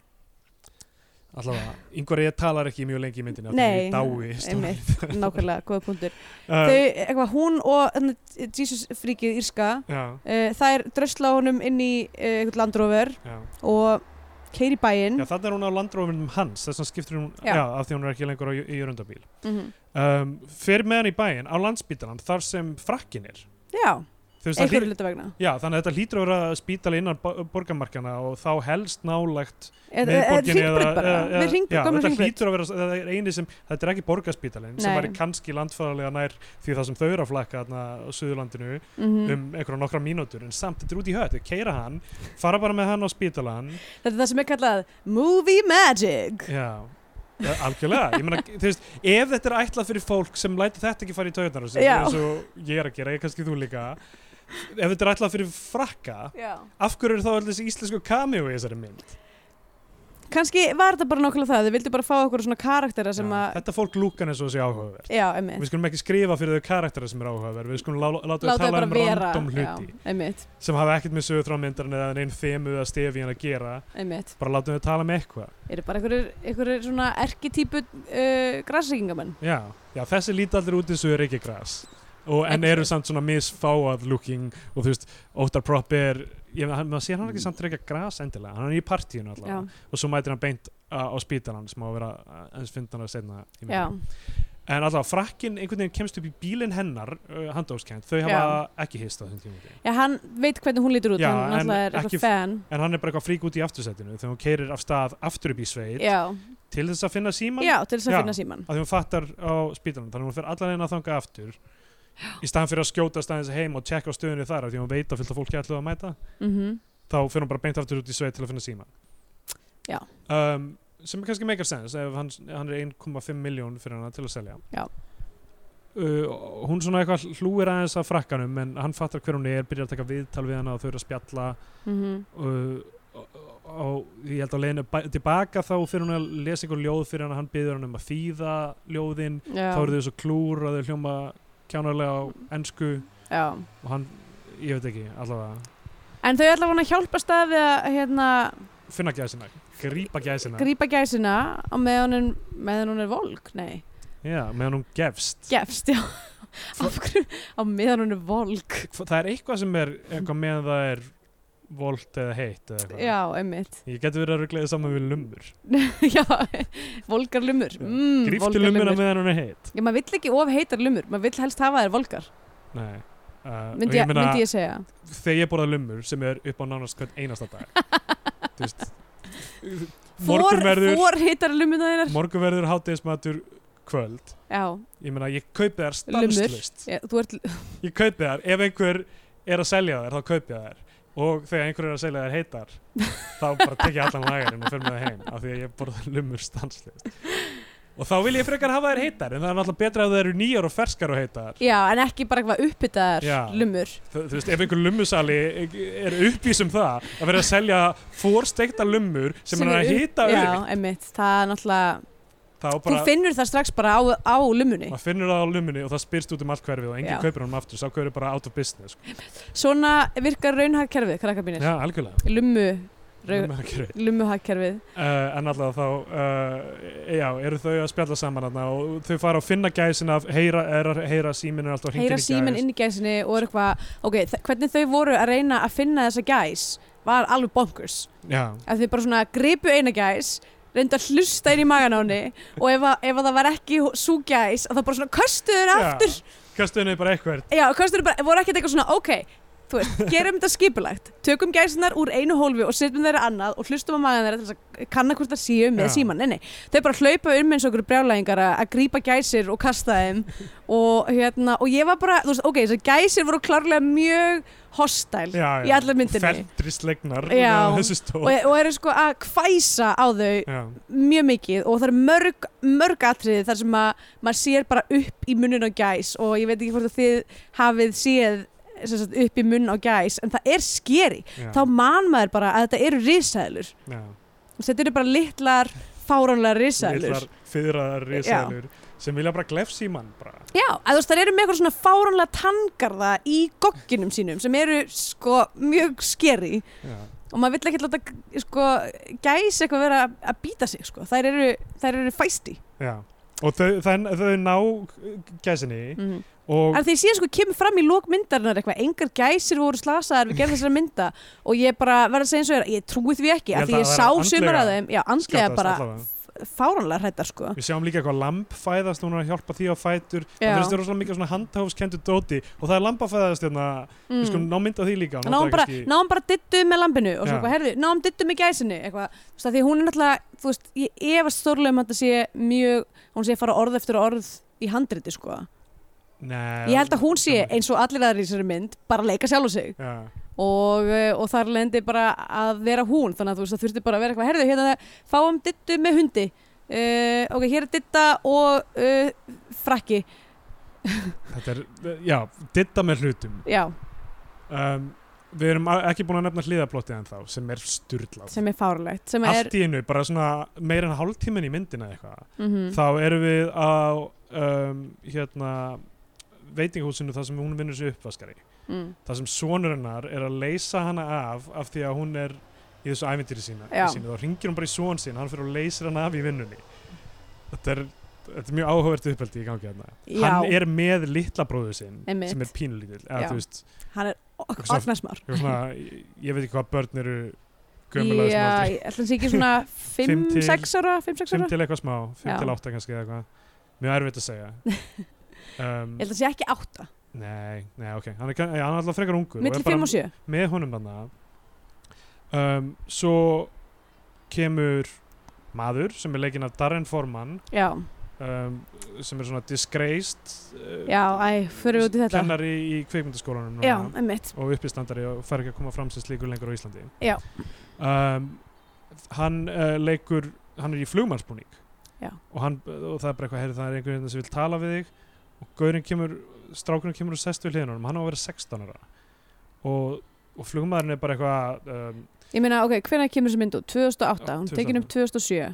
[SPEAKER 2] allavega, yngvar ég talar ekki mjög lengi í myndinu af því
[SPEAKER 3] Nei,
[SPEAKER 2] ég dái í stóri.
[SPEAKER 3] einmitt, nákvæmlega, góða punktur.
[SPEAKER 2] Uh,
[SPEAKER 3] Þau, eitthvað, hún og þarna, Jesus fríkið Írska,
[SPEAKER 2] já,
[SPEAKER 3] uh, þær drösla honum inn í uh, eitthvað landrófur
[SPEAKER 2] já.
[SPEAKER 3] og keiri bæinn.
[SPEAKER 2] já, þannig er hún á landrófinum hans þess vegna skiptir hún,
[SPEAKER 3] Já.
[SPEAKER 2] já. af því hún er ekki lengur á, í, í jörundabíl
[SPEAKER 3] Mhm.
[SPEAKER 2] um, fyrir með hann í bæinn á landsbítalan þar sem frakkin er
[SPEAKER 3] Já,
[SPEAKER 2] Þú veist, það
[SPEAKER 3] einhverju
[SPEAKER 2] hlý-
[SPEAKER 3] hluta vegna.
[SPEAKER 2] já, þannig að þetta lítur að vera spítala innan bo- borgarmarkana og þá helst nálægt
[SPEAKER 3] Hringbröð
[SPEAKER 2] miðborginni
[SPEAKER 3] bara,
[SPEAKER 2] eða-
[SPEAKER 3] við hringbröð,
[SPEAKER 2] já,
[SPEAKER 3] gömlu
[SPEAKER 2] þetta
[SPEAKER 3] hringbröð
[SPEAKER 2] hlýtur að vera, þetta er eini sem þetta er ekki borgarspítalinn sem
[SPEAKER 3] Nei.
[SPEAKER 2] væri kannski landfæðarlega nær því það sem þau eru að flakka þarna á Suðurlandinu
[SPEAKER 3] Mhm.
[SPEAKER 2] um einhverja nokkra mínútur en samt þetta er út í hött, þau keira hann fara bara með hann á spítalan
[SPEAKER 3] Þetta er það sem er kallað movie magic
[SPEAKER 2] já, eh, algjörlega ég meina, þú veist, ef þetta er ætlað fyrir fólk sem lætur þetta ekki fara í taugarnar á sér,
[SPEAKER 3] Já.
[SPEAKER 2] eins og ég er að gera, ég kannski þú líka ef þetta er ætlað fyrir frakka
[SPEAKER 3] Já.
[SPEAKER 2] af hverju eru þá allir þessi íslensku cameo í þessari mynd
[SPEAKER 3] Kannski var þetta bara nákvæmlega það, þau vildu bara fá okkur svona karaktera sem
[SPEAKER 2] Já,
[SPEAKER 3] að
[SPEAKER 2] þetta fólk lúkan eins og þessi áhugaverð
[SPEAKER 3] Já, einmitt
[SPEAKER 2] við skulum ekki skrifa fyrir þau karaktera sem er áhugaverð við skulum lá, láta þau
[SPEAKER 3] Láta þau
[SPEAKER 2] tala
[SPEAKER 3] bara
[SPEAKER 2] um
[SPEAKER 3] vera
[SPEAKER 2] random hluti
[SPEAKER 3] Já, einmitt,
[SPEAKER 2] sem hafa ekkert með sögutrámyndarinn eða neinn þemu eða stefi hérna að gera
[SPEAKER 3] einmitt
[SPEAKER 2] bara láta þau tala um eitthvað
[SPEAKER 3] Eru bara einhverjir, einhverjir svona erkitýpu uh, græsreikingamenn
[SPEAKER 2] Já, já þessi líti allir út eins og er ekki græs og en eru samt svona misfáað looking og þú veist, Óttar Propp er ég, hann- maður sér hann ekki samt reykja græs endilega hann er í partíinu
[SPEAKER 3] Já,
[SPEAKER 2] allavega og svo mætir hann beint uh, á, á spítalan sem á að vera uh, eins fyndan að setna
[SPEAKER 3] já,
[SPEAKER 2] en allavega frakkin einhvern veginn kemst upp í bílinn hennar uh, handóskend, þau hafa ekki hist á þessum tímundi
[SPEAKER 3] já, hann veit hvernig hún lítur út,
[SPEAKER 2] Já,
[SPEAKER 3] hann
[SPEAKER 2] en
[SPEAKER 3] náttúrulega er
[SPEAKER 2] ekki-
[SPEAKER 3] eitthvað fan
[SPEAKER 2] en hann er bara eitthvað frík út í aftursætinu þegar hún keirir af stað aftur upp í sveit
[SPEAKER 3] Já,
[SPEAKER 2] til þess að finna síman
[SPEAKER 3] já, til þess að
[SPEAKER 2] Já.
[SPEAKER 3] finna síman
[SPEAKER 2] að því hún fattar á spítalunum þannig að hún fer allan einn að þanga aftur í staðan fyrir að skjóta staðins heim og tjekka á stöðunni þar af því hún veit að fylgta fólki ætluð að mæta
[SPEAKER 3] Mhm.
[SPEAKER 2] þá fer hún bara beint aftur út í sveit til að finna síma
[SPEAKER 3] Já.
[SPEAKER 2] um, sem er kannski meikar sens ef hann, hann er 1,5 miljón fyrir hana til að selja
[SPEAKER 3] Já.
[SPEAKER 2] Uh, og hún svona eitthvað hlúir aðeins að frakkanum en hann fattar hver hún er, byrjar að taka viðtal við hana og þau eru að spjalla
[SPEAKER 3] Mhm.
[SPEAKER 2] uh, og, og ég held að leiðinu tilbaka þá fyrir hún að lesa einhver ljóð fyrir hann hann byður hann um að þýða ljóðin
[SPEAKER 3] Já,
[SPEAKER 2] þá eru þau svo klúr að þau hljóma kjánarlega á ennsku
[SPEAKER 3] já
[SPEAKER 2] og hann, ég veit ekki, allavega
[SPEAKER 3] En þau ætla að hjálpast að við að hérna,
[SPEAKER 2] finna gæsina, grípa gæsina
[SPEAKER 3] grípa gæsina á meðan hún, meðan hún er volk, nei,
[SPEAKER 2] já, meðan hún gefst
[SPEAKER 3] gefst, já, af hverju, á meðan hún er volk,
[SPEAKER 2] Hva- það er eitthvað sem er, eitthvað meðan það er volt eða heitt eða eitthvað
[SPEAKER 3] já, einmitt,
[SPEAKER 2] ég geti verið að ruggla þið saman við lumur
[SPEAKER 3] já, volgar lumur, mm,
[SPEAKER 2] grífti
[SPEAKER 3] volgar
[SPEAKER 2] lumuna
[SPEAKER 3] lumur,
[SPEAKER 2] meðan hún er heitt
[SPEAKER 3] já, maður vill ekki of heitar lumur, maður vill helst hafa þær volgar,
[SPEAKER 2] nei Uh, og
[SPEAKER 3] myndi
[SPEAKER 2] ég
[SPEAKER 3] ég,
[SPEAKER 2] meina,
[SPEAKER 3] myndi ég segja,
[SPEAKER 2] þegar ég borða lumur sem er upp á nánast hvern einasta dag Þú veist,
[SPEAKER 3] fór,
[SPEAKER 2] morgunverður
[SPEAKER 3] fór heitar lumuna þeinar,
[SPEAKER 2] morgunverður, hátegismatur, kvöld
[SPEAKER 3] já,
[SPEAKER 2] ég meina, ég kaupi þær
[SPEAKER 3] Lumur.
[SPEAKER 2] stanslust
[SPEAKER 3] já, þú ert,
[SPEAKER 2] ég kaupi þær, ef einhver er að selja þær þá kaupi ég þær og þegar einhver er að selja þær heitar þá bara tek ég allan lagarinn og fyrir með það heim af því að ég borða lumur stanslist og þá vil ég frekar hafa þær heitar en það er náttúrulega betra að þær eru nýjar og ferskar og heitar
[SPEAKER 3] já, en ekki bara eitthvað uppbyttaðar
[SPEAKER 2] Já.
[SPEAKER 3] lumur,
[SPEAKER 2] þú, þú veist, ef einhver lumusali er uppvís um það að vera að selja fórstekta lumur sem, er að hita
[SPEAKER 3] já,
[SPEAKER 2] öðru
[SPEAKER 3] einmitt, það er náttúrulega,
[SPEAKER 2] þá
[SPEAKER 3] þú
[SPEAKER 2] bara,
[SPEAKER 3] finnur það strax bara á, á lumunni,
[SPEAKER 2] maður finnur það á lumunni og það spyrst út um allt hverfið og enginn
[SPEAKER 3] Já.
[SPEAKER 2] kaupir honum aftur, sá kaupir bara out of business sko.
[SPEAKER 3] Svona virkar raunhagkerfið, krakkar mínir.
[SPEAKER 2] já, algjörlega
[SPEAKER 3] Lummu, rau,
[SPEAKER 2] Lumurhagkerfið.
[SPEAKER 3] lummuhagkerfið.
[SPEAKER 2] Uh, en allavega þá uh, já, eru þau að spjalla saman þarna og þau fara að finna gæsin af heyra, er að heyra síminn er alltaf hringinn
[SPEAKER 3] Heyra
[SPEAKER 2] í gæs.
[SPEAKER 3] síminn inn í gæsinni og er eitthvað, ok, þ- hvernig þau voru að reyna að finna þessa gæs var alveg bonkers.
[SPEAKER 2] já,
[SPEAKER 3] Að þau bara svona gripu eina gæs, reyndu að hlusta inn í magan á henni og ef, að, ef að það var ekki hú- sú gæs, að það bara svona köstuður
[SPEAKER 2] Já.
[SPEAKER 3] aftur.
[SPEAKER 2] kastuðinu bara eitthvað
[SPEAKER 3] Já, köstuður bara, voru ekkert eitthvað svona, ok, þú veist, gerum þetta skipulagt tökum gæsinar úr einu hólfi og setjum þeirra annað og hlustum á magan þeirra til þess að kanna hvort það séu með
[SPEAKER 2] Já.
[SPEAKER 3] síman, nei nei þau bara hlaupa um eins og okkur brjálæðingar að að grípa gæsir og kasta þeim og hérna, og ég var bara, þú veist, ok þessar gæsir voru klárlega mjög hostile í allar myndinni
[SPEAKER 2] Feldri slegnar
[SPEAKER 3] Já.
[SPEAKER 2] með þessu stól
[SPEAKER 3] og, og eru sko að hvæsa á þau
[SPEAKER 2] Já,
[SPEAKER 3] mjög mikið og það er mörg, mörg atriði þar sem að maður sér bara upp í munun á gæs og ég veit ekki hvort að þið hafið séð sem sagt, upp í munun á gæs en það er skeri,
[SPEAKER 2] já,
[SPEAKER 3] þá man maður bara að þetta eru risaðlur
[SPEAKER 2] já.
[SPEAKER 3] þetta eru bara litlar, fáránlega risaðlur
[SPEAKER 2] Litlar fyrraðar risaðlur sem vilja bara glefsi í mann bara.
[SPEAKER 3] Já, að þú veist, það eru með eitthvað svona fáránlega tangarða í gogginum sínum sem eru sko mjög skeri
[SPEAKER 2] Já.
[SPEAKER 3] og maður vill ekki láta sko gæs eitthvað vera að býta sig sko, þær eru, þær eru fæsti
[SPEAKER 2] Já. Og þau, þau, þau ná gæsinni
[SPEAKER 3] mm.
[SPEAKER 2] og
[SPEAKER 3] En þegar síðan sko kemur fram í lókmyndarinnar eitthvað, engar gæsir voru slasaðar við gerðum þessari mynda og ég bara verð að segja eins og þér, ég trúi því ekki
[SPEAKER 2] Ég
[SPEAKER 3] af
[SPEAKER 2] held að
[SPEAKER 3] því ég
[SPEAKER 2] það
[SPEAKER 3] sá
[SPEAKER 2] væri
[SPEAKER 3] sumar að
[SPEAKER 2] andlega
[SPEAKER 3] þeim, já, andlega
[SPEAKER 2] skjátaðist
[SPEAKER 3] bara
[SPEAKER 2] allavega.
[SPEAKER 3] fáranlega hrættar sko.
[SPEAKER 2] Við sjáum líka eitthvað lamb fæðast, hún er að hjálpa því á fætur
[SPEAKER 3] Já.
[SPEAKER 2] Það þurftur rosalega mikið svona handháfskendu dóti og það er lamb að fæðast hérna, við skulum ná mynd á því líka og nota
[SPEAKER 3] Náum Mm. bara,
[SPEAKER 2] kannski-
[SPEAKER 3] náum bara dittu með lambinu og svo
[SPEAKER 2] Já.
[SPEAKER 3] eitthvað, herðu, náum dittu með gæsinu eitthvað, þú veist að því hún er náttúrulega þú veist, ég efast stórlega um að þetta sé mjög hún sé að fara orð eftir orð í handriti sko.
[SPEAKER 2] Nei,
[SPEAKER 3] Ég held að hún sé
[SPEAKER 2] gaman.
[SPEAKER 3] eins og allir aðri í þessari mynd bara að leika sjálf sig
[SPEAKER 2] Já.
[SPEAKER 3] og, eh, og þar lendi bara að vera hún þannig að þú veist það þurfti bara að vera eitthvað herðu hérna fáum dittu með hundi uh, ok, hér er ditta og uh, frakki,
[SPEAKER 2] Þetta er, já, ditta með hlutum
[SPEAKER 3] já,
[SPEAKER 2] um, Við erum a- ekki búin að nefna hliðaplottið en þá sem er styrlað
[SPEAKER 3] sem er fárlegt sem er,
[SPEAKER 2] Allt í einu, bara svona meira en hálftímin í myndina eða eitthvað
[SPEAKER 3] mhm,
[SPEAKER 2] Þá erum við á um, hérna veitingahúsinu þar sem hún vinnur sér uppvaskari
[SPEAKER 3] mm,
[SPEAKER 2] þar sem sonur hennar er að leysa hana af af því að hún er í þessu ævintýri sína,
[SPEAKER 3] Já.
[SPEAKER 2] sínu, þá ringir hún bara í son sín hann fyrir að leysa hana af í vinnunni þetta er, þetta er mjög áhugavert uppeldi í gangi hérna,
[SPEAKER 3] Já.
[SPEAKER 2] hann er með litla bróður sinn
[SPEAKER 3] Einmitt.
[SPEAKER 2] sem er pínulítill eða
[SPEAKER 3] Já.
[SPEAKER 2] þú veist,
[SPEAKER 3] hann er
[SPEAKER 2] Eitthvað svona-
[SPEAKER 3] oknarsmár
[SPEAKER 2] eitthvað svona, ég, ég veit ekki hvað börn eru gömulega sem
[SPEAKER 3] Já,
[SPEAKER 2] aldrei,
[SPEAKER 3] ég ætla að sé ekki svona
[SPEAKER 2] Fimm til-
[SPEAKER 3] 5-6 ára 5-6
[SPEAKER 2] sem
[SPEAKER 3] ára,
[SPEAKER 2] til eitthvað smá
[SPEAKER 3] Já.
[SPEAKER 2] 5 til 8 kannski eða eitthvað, mjög erfitt að segja um,
[SPEAKER 3] ég ætla að sé ekki 8
[SPEAKER 2] nei, nei, ok hann er, kann- já, hann er alltaf frekar ungur
[SPEAKER 3] milli
[SPEAKER 2] er bara
[SPEAKER 3] 5 og 7
[SPEAKER 2] með honum þarna um, svo kemur maður sem er leikinn af Darren Forman
[SPEAKER 3] já,
[SPEAKER 2] um, sem er svona disgraced uh,
[SPEAKER 3] já, æ, förum við út í þetta
[SPEAKER 2] kennari í kveikmyndaskólanum
[SPEAKER 3] já,
[SPEAKER 2] núna
[SPEAKER 3] emmitt,
[SPEAKER 2] og uppistandari og fær ekki að koma fram sem slíkur lengur á Íslandi
[SPEAKER 3] Já.
[SPEAKER 2] um, hann uh, leikur hann er í flugmannsbúning
[SPEAKER 3] Já.
[SPEAKER 2] og, hann, og það er bara eitthvað heyrðu, það er einhvern veginn sem vil tala við þig og gaurinn kemur strákurinn kemur og sest við hliðinum hann á að vera 16 ára og, og flugmaðurinn er bara eitthvað um,
[SPEAKER 3] ég meina, ok, hvenær kemur þessi mynd út? 2008,
[SPEAKER 2] Já,
[SPEAKER 3] hún tekin upp 2007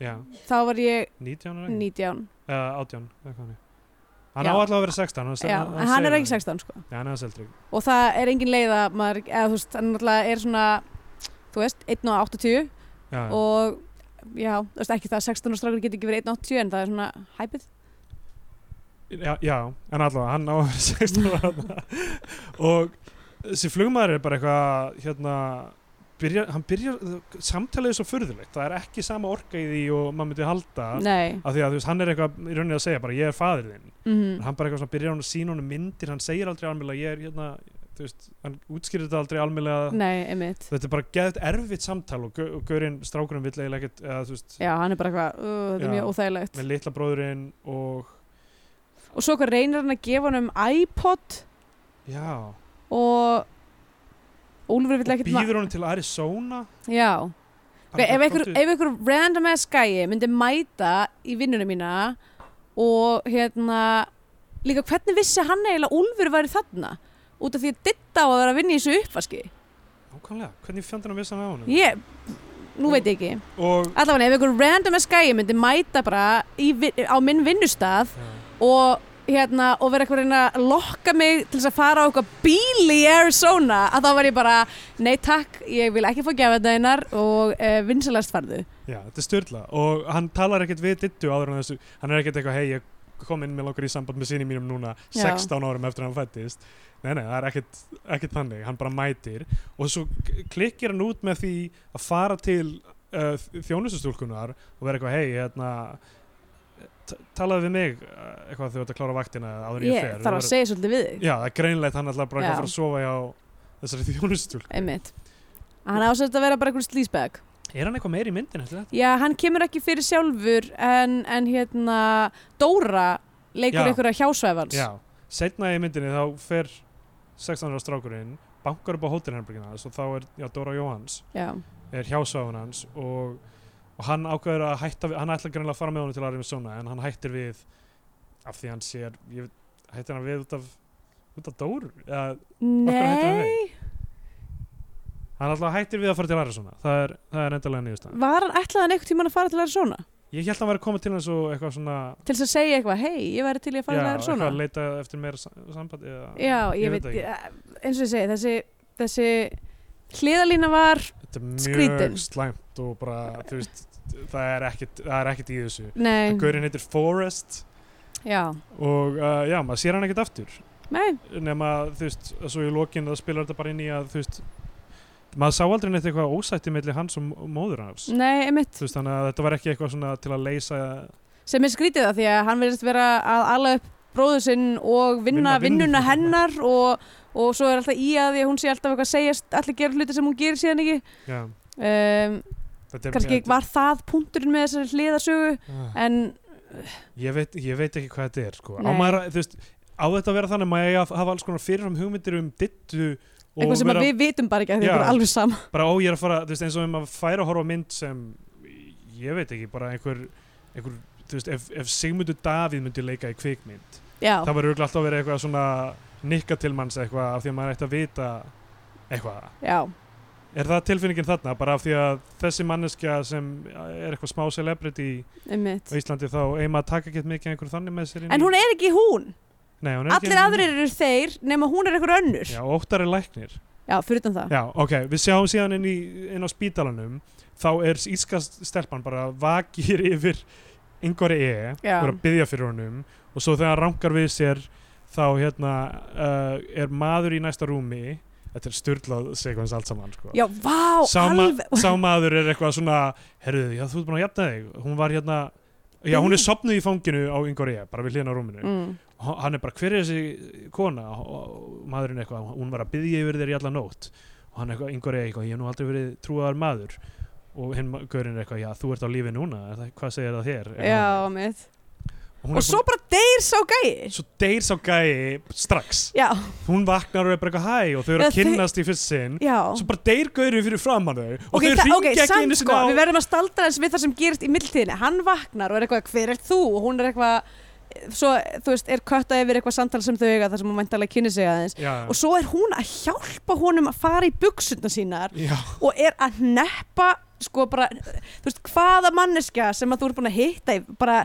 [SPEAKER 2] já,
[SPEAKER 3] þá var ég
[SPEAKER 2] 19 ára ekki?
[SPEAKER 3] 19
[SPEAKER 2] eða 18 eða hvað hann er. hann
[SPEAKER 3] Já.
[SPEAKER 2] á alltaf að vera 16 hann,
[SPEAKER 3] Já, en hann er
[SPEAKER 2] segir
[SPEAKER 3] ekki
[SPEAKER 2] það.
[SPEAKER 3] 16 sko
[SPEAKER 2] Já, hann er aðeins eldri.
[SPEAKER 3] og það er engin leið að maður eða þú veist, hann náttúrulega er svona þú veist, 1 og 80
[SPEAKER 2] Já, já.
[SPEAKER 3] og já, þú veist ekki það að 16 og strákur getur ekki verið 1 og 80 en það er svona hæpið
[SPEAKER 2] já, já, en allavega hann á að vera 16 ára þarna. og þessi flugmaður er bara eitthvað hérna byrja, hann byrjar, samtalið er svo furðulegt það er ekki sama orka í því og maður myndi halda
[SPEAKER 3] Nei,
[SPEAKER 2] af því að þú veist, hann er eitthvað í rauninni að segja bara ég er fadir þinn
[SPEAKER 3] mhm,
[SPEAKER 2] hann bara eitthvað svona byrjar hann að sína honum myndir hann segir aldrei almjölega ég er hérna þú veist, hann útskýrir þetta aldrei almjölega
[SPEAKER 3] nei, einmitt
[SPEAKER 2] þetta er bara geðt erfitt samtal og, gau- og gaurinn strákurinn vill eiginlega ekkert eða þú veist,
[SPEAKER 3] Já, hann er bara eitthvað, uh, þetta er
[SPEAKER 2] Já.
[SPEAKER 3] mjög óþægilegt
[SPEAKER 2] með litla bróðurinn og
[SPEAKER 3] og svo hvað reynir hann að gefa hann um iPod
[SPEAKER 2] já,
[SPEAKER 3] og Úlfur vill
[SPEAKER 2] og
[SPEAKER 3] ekkert ma-
[SPEAKER 2] býður honum til Arizona
[SPEAKER 3] Já,
[SPEAKER 2] Bara
[SPEAKER 3] Okay,
[SPEAKER 2] eitthvað,
[SPEAKER 3] ef, einhver,
[SPEAKER 2] "Komdu."
[SPEAKER 3] ef einhver random ass gæi myndi mæta í vinnunum mína og hérna líka hvernig vissi hann eiginlega Úlfur væri þarna út af því að ditta á að vera að vinna í þessu uppvaski
[SPEAKER 2] Nákvæmlega, hvernig fjandinn að missa hann á honum?
[SPEAKER 3] ég, nú veit ég ekki
[SPEAKER 2] Og,
[SPEAKER 3] allavega ef einhver random ass gæi myndi mæta bara í, vin- á minn vinnustað og hérna og vera eitthvað að reyna að lokka mig til þess að fara á eitthvað bíl í Arizona að þá var ég bara, nei takk ég vil ekki fá gefaðeinar og uh, vinsalast farðu
[SPEAKER 2] já, þetta er styrla og hann talar ekkert við dittu áður en þessu hann er ekkert eitthvað, hei, ég kom inn með langar í samband með sinni mínum núna
[SPEAKER 3] Já.
[SPEAKER 2] 16 árum eftir að hann fættist Nei, nei, það er ekkert, ekkert þannig, hann bara mætir og svo k- klikkir hann út með því eh, að fara til uh, þjónustustúlkunar og vera eitthvað, hei, hérna t- talaði við mig eh, eitthvað þegar þú ert að klára vaktina eða áður en ég
[SPEAKER 3] ég
[SPEAKER 2] fer
[SPEAKER 3] þarf að
[SPEAKER 2] Þú
[SPEAKER 3] segja svolítið við þig
[SPEAKER 2] Já, það er greinlegt hann alltaf bara
[SPEAKER 3] Já.
[SPEAKER 2] eitthvað að fara að sofa hjá þessari þjónustúlku.
[SPEAKER 3] einmitt hann ásætt að vera bara einhvern slísbæk
[SPEAKER 2] Er hann eitthvað meir í myndin eftir þetta?
[SPEAKER 3] Já, hann kemur ekki fyrir sjálfur en, en hérna Dóra leikur
[SPEAKER 2] Já.
[SPEAKER 3] einhverja hjásvæfans
[SPEAKER 2] Já, setna í myndinni þá fer 16 ára strákurinn, bankar upp á hótelherbergina hans og þá er, já, Dóra Jóhans
[SPEAKER 3] Já.
[SPEAKER 2] er hjásvæðun hans og, og hann ákveður að hætta við, hann ætlar greinlega að fara með honum til Arjum Sona en hann hættir við af því hann sér, ég veit, hættir hann við út af, út af Dóru eða
[SPEAKER 3] Nei,
[SPEAKER 2] Nei Hann alltaf hættir við að fara til Arjusona Það er, það er endalega nýðustan
[SPEAKER 3] var hann ætlaði hann einhvern tímann að fara til að vera svona?
[SPEAKER 2] Ég held að hann væri komið til hans og eitthvað svona
[SPEAKER 3] Til þess að segja eitthvað, hei, ég væri til í að fara til að vera
[SPEAKER 2] eitthvað
[SPEAKER 3] svona
[SPEAKER 2] að leita eftir meira sa- sambandi eða,
[SPEAKER 3] Já, ég,
[SPEAKER 2] Ég veit
[SPEAKER 3] veit, eins og ég segi, þessi, þessi hliðalína var,
[SPEAKER 2] Þetta er mjög
[SPEAKER 3] Skrýtin.
[SPEAKER 2] slæmt og bara, þú veist það er ekkit, það er ekkit í þessu
[SPEAKER 3] nei,
[SPEAKER 2] Gaurinn heitir Forrest
[SPEAKER 3] já,
[SPEAKER 2] og uh, já, maður sér hann ekkit aftur
[SPEAKER 3] nei,
[SPEAKER 2] nema, þú veist, að svo í lokin það spilar þetta bara inn í að, þú veist maður sá aldrei neitt eitthvað ósætti milli hans og m- móður hans
[SPEAKER 3] nei, einmitt,
[SPEAKER 2] þú veist, þannig að þetta var ekki eitthvað svona til að leysa
[SPEAKER 3] sem er skrítið það því að hann verðist vera að ala upp bróður sinn og vinna,
[SPEAKER 2] Vinna
[SPEAKER 3] vinnuna
[SPEAKER 2] vinnuna.
[SPEAKER 3] hennar og, og svo er alltaf í að því að hún sé alltaf eitthvað að segja, allir gera hluti sem hún gerir síðan ekki
[SPEAKER 2] já,
[SPEAKER 3] um,
[SPEAKER 2] þetta er-
[SPEAKER 3] kannski
[SPEAKER 2] þetta-
[SPEAKER 3] var það punkturinn með þessari hliðarsögu
[SPEAKER 2] Ah.
[SPEAKER 3] en
[SPEAKER 2] Ég veit, ég veit ekki hvað þetta er sko. á,
[SPEAKER 3] Nei.
[SPEAKER 2] maður, að- þú veist, á þetta að vera þannig að maður eigi að hafa alls konar fyrirfram hugmyndir um dittu og
[SPEAKER 3] eitthvað sem
[SPEAKER 2] vera
[SPEAKER 3] að við vitum bara ekki að því
[SPEAKER 2] Já.
[SPEAKER 3] okkur er alveg sama
[SPEAKER 2] bara ó ég er að fara þú veist, eins og ef maður færa að horfa á mynd sem ég veit ekki, bara einhver, einhver þú veist, ef, ef Sigmundur Davíð myndi leika í kvikmynd
[SPEAKER 3] Já,
[SPEAKER 2] það var auðvitað alltaf að vera eitthvað svona nikka til manns eitthvað af því að maður ætti að vita eitthvað
[SPEAKER 3] já,
[SPEAKER 2] er það tilfinningin þarna bara af því að þessi manneskja sem er eitthvað smá celebrity
[SPEAKER 3] einmitt
[SPEAKER 2] á Íslandi þá eigi maður að taka ekki mikið af einhverju þannig með sér inn
[SPEAKER 3] En
[SPEAKER 2] í-
[SPEAKER 3] hún er ekki hún,
[SPEAKER 2] Nei, hún er ekki-
[SPEAKER 3] allir aðrir eru þeir nema hún er einhver önnur Já,
[SPEAKER 2] Já, óttar er læknir.
[SPEAKER 3] fyrir utan það
[SPEAKER 2] Já, ok, við sjáum síðan inn, í, inn á spítalanum, þá er íska stelpan bara vakir yfir yngvari E
[SPEAKER 3] Já.
[SPEAKER 2] og er að byggja fyrir honum og svo þegar hann rankar við sér þá hérna uh, er maður í næsta rúmi, þetta er styrlað sekvens allt saman, sko.
[SPEAKER 3] Já, vá,
[SPEAKER 2] sá, ma
[SPEAKER 3] alveg
[SPEAKER 2] sá maður er eitthvað svona, herruðu, já, þú ert búin að jafna þig, hún var hérna, já, hún er sopnuð í fanginu á yngvari E, bara við hliðin á rúminu
[SPEAKER 3] mm.
[SPEAKER 2] og hann er bara hver er þessi kona og og maðurinn eitthvað, hún var að byggja yfir þér í alla nótt og hann eitthvað, yngur er eitthvað, ég hef nú aldrei verið trúaðar maður og hinn gaurinn er eitthvað, já þú ert á lífi núna er það, hvað segir það þér
[SPEAKER 3] Já, mitt
[SPEAKER 2] og, hún
[SPEAKER 3] Og
[SPEAKER 2] er
[SPEAKER 3] svo bara deyr sá
[SPEAKER 2] búin,
[SPEAKER 3] gæi
[SPEAKER 2] svo deyr sá gæi strax,
[SPEAKER 3] Já,
[SPEAKER 2] hún vaknar og er bara eitthvað hæ og þau eru
[SPEAKER 3] Já,
[SPEAKER 2] að
[SPEAKER 3] þau-
[SPEAKER 2] kynnast í fyrst sinn
[SPEAKER 3] já
[SPEAKER 2] svo bara deyr gaurinn fyrir framann þau og
[SPEAKER 3] Ok,
[SPEAKER 2] þau
[SPEAKER 3] það- ok,
[SPEAKER 2] ringja ekki
[SPEAKER 3] samt
[SPEAKER 2] einu
[SPEAKER 3] sko,
[SPEAKER 2] sinna á
[SPEAKER 3] við verðum að staldra eins við það sem gerist í mildtíðinni Hann vaknar og er eitthvað, hver er þú? Og hún er eitthvað, svo, þú veist, er kötta yfir eitthvað samtal sem þau eiga þar sem hún væntalega kynni sig aðeins
[SPEAKER 2] já,
[SPEAKER 3] og svo er hún að hjálpa honum að fara í buksuna sínar
[SPEAKER 2] já,
[SPEAKER 3] og er að neppa sko bara, þú veist, hvaða manneskja sem að þú ert búin að hitta í bara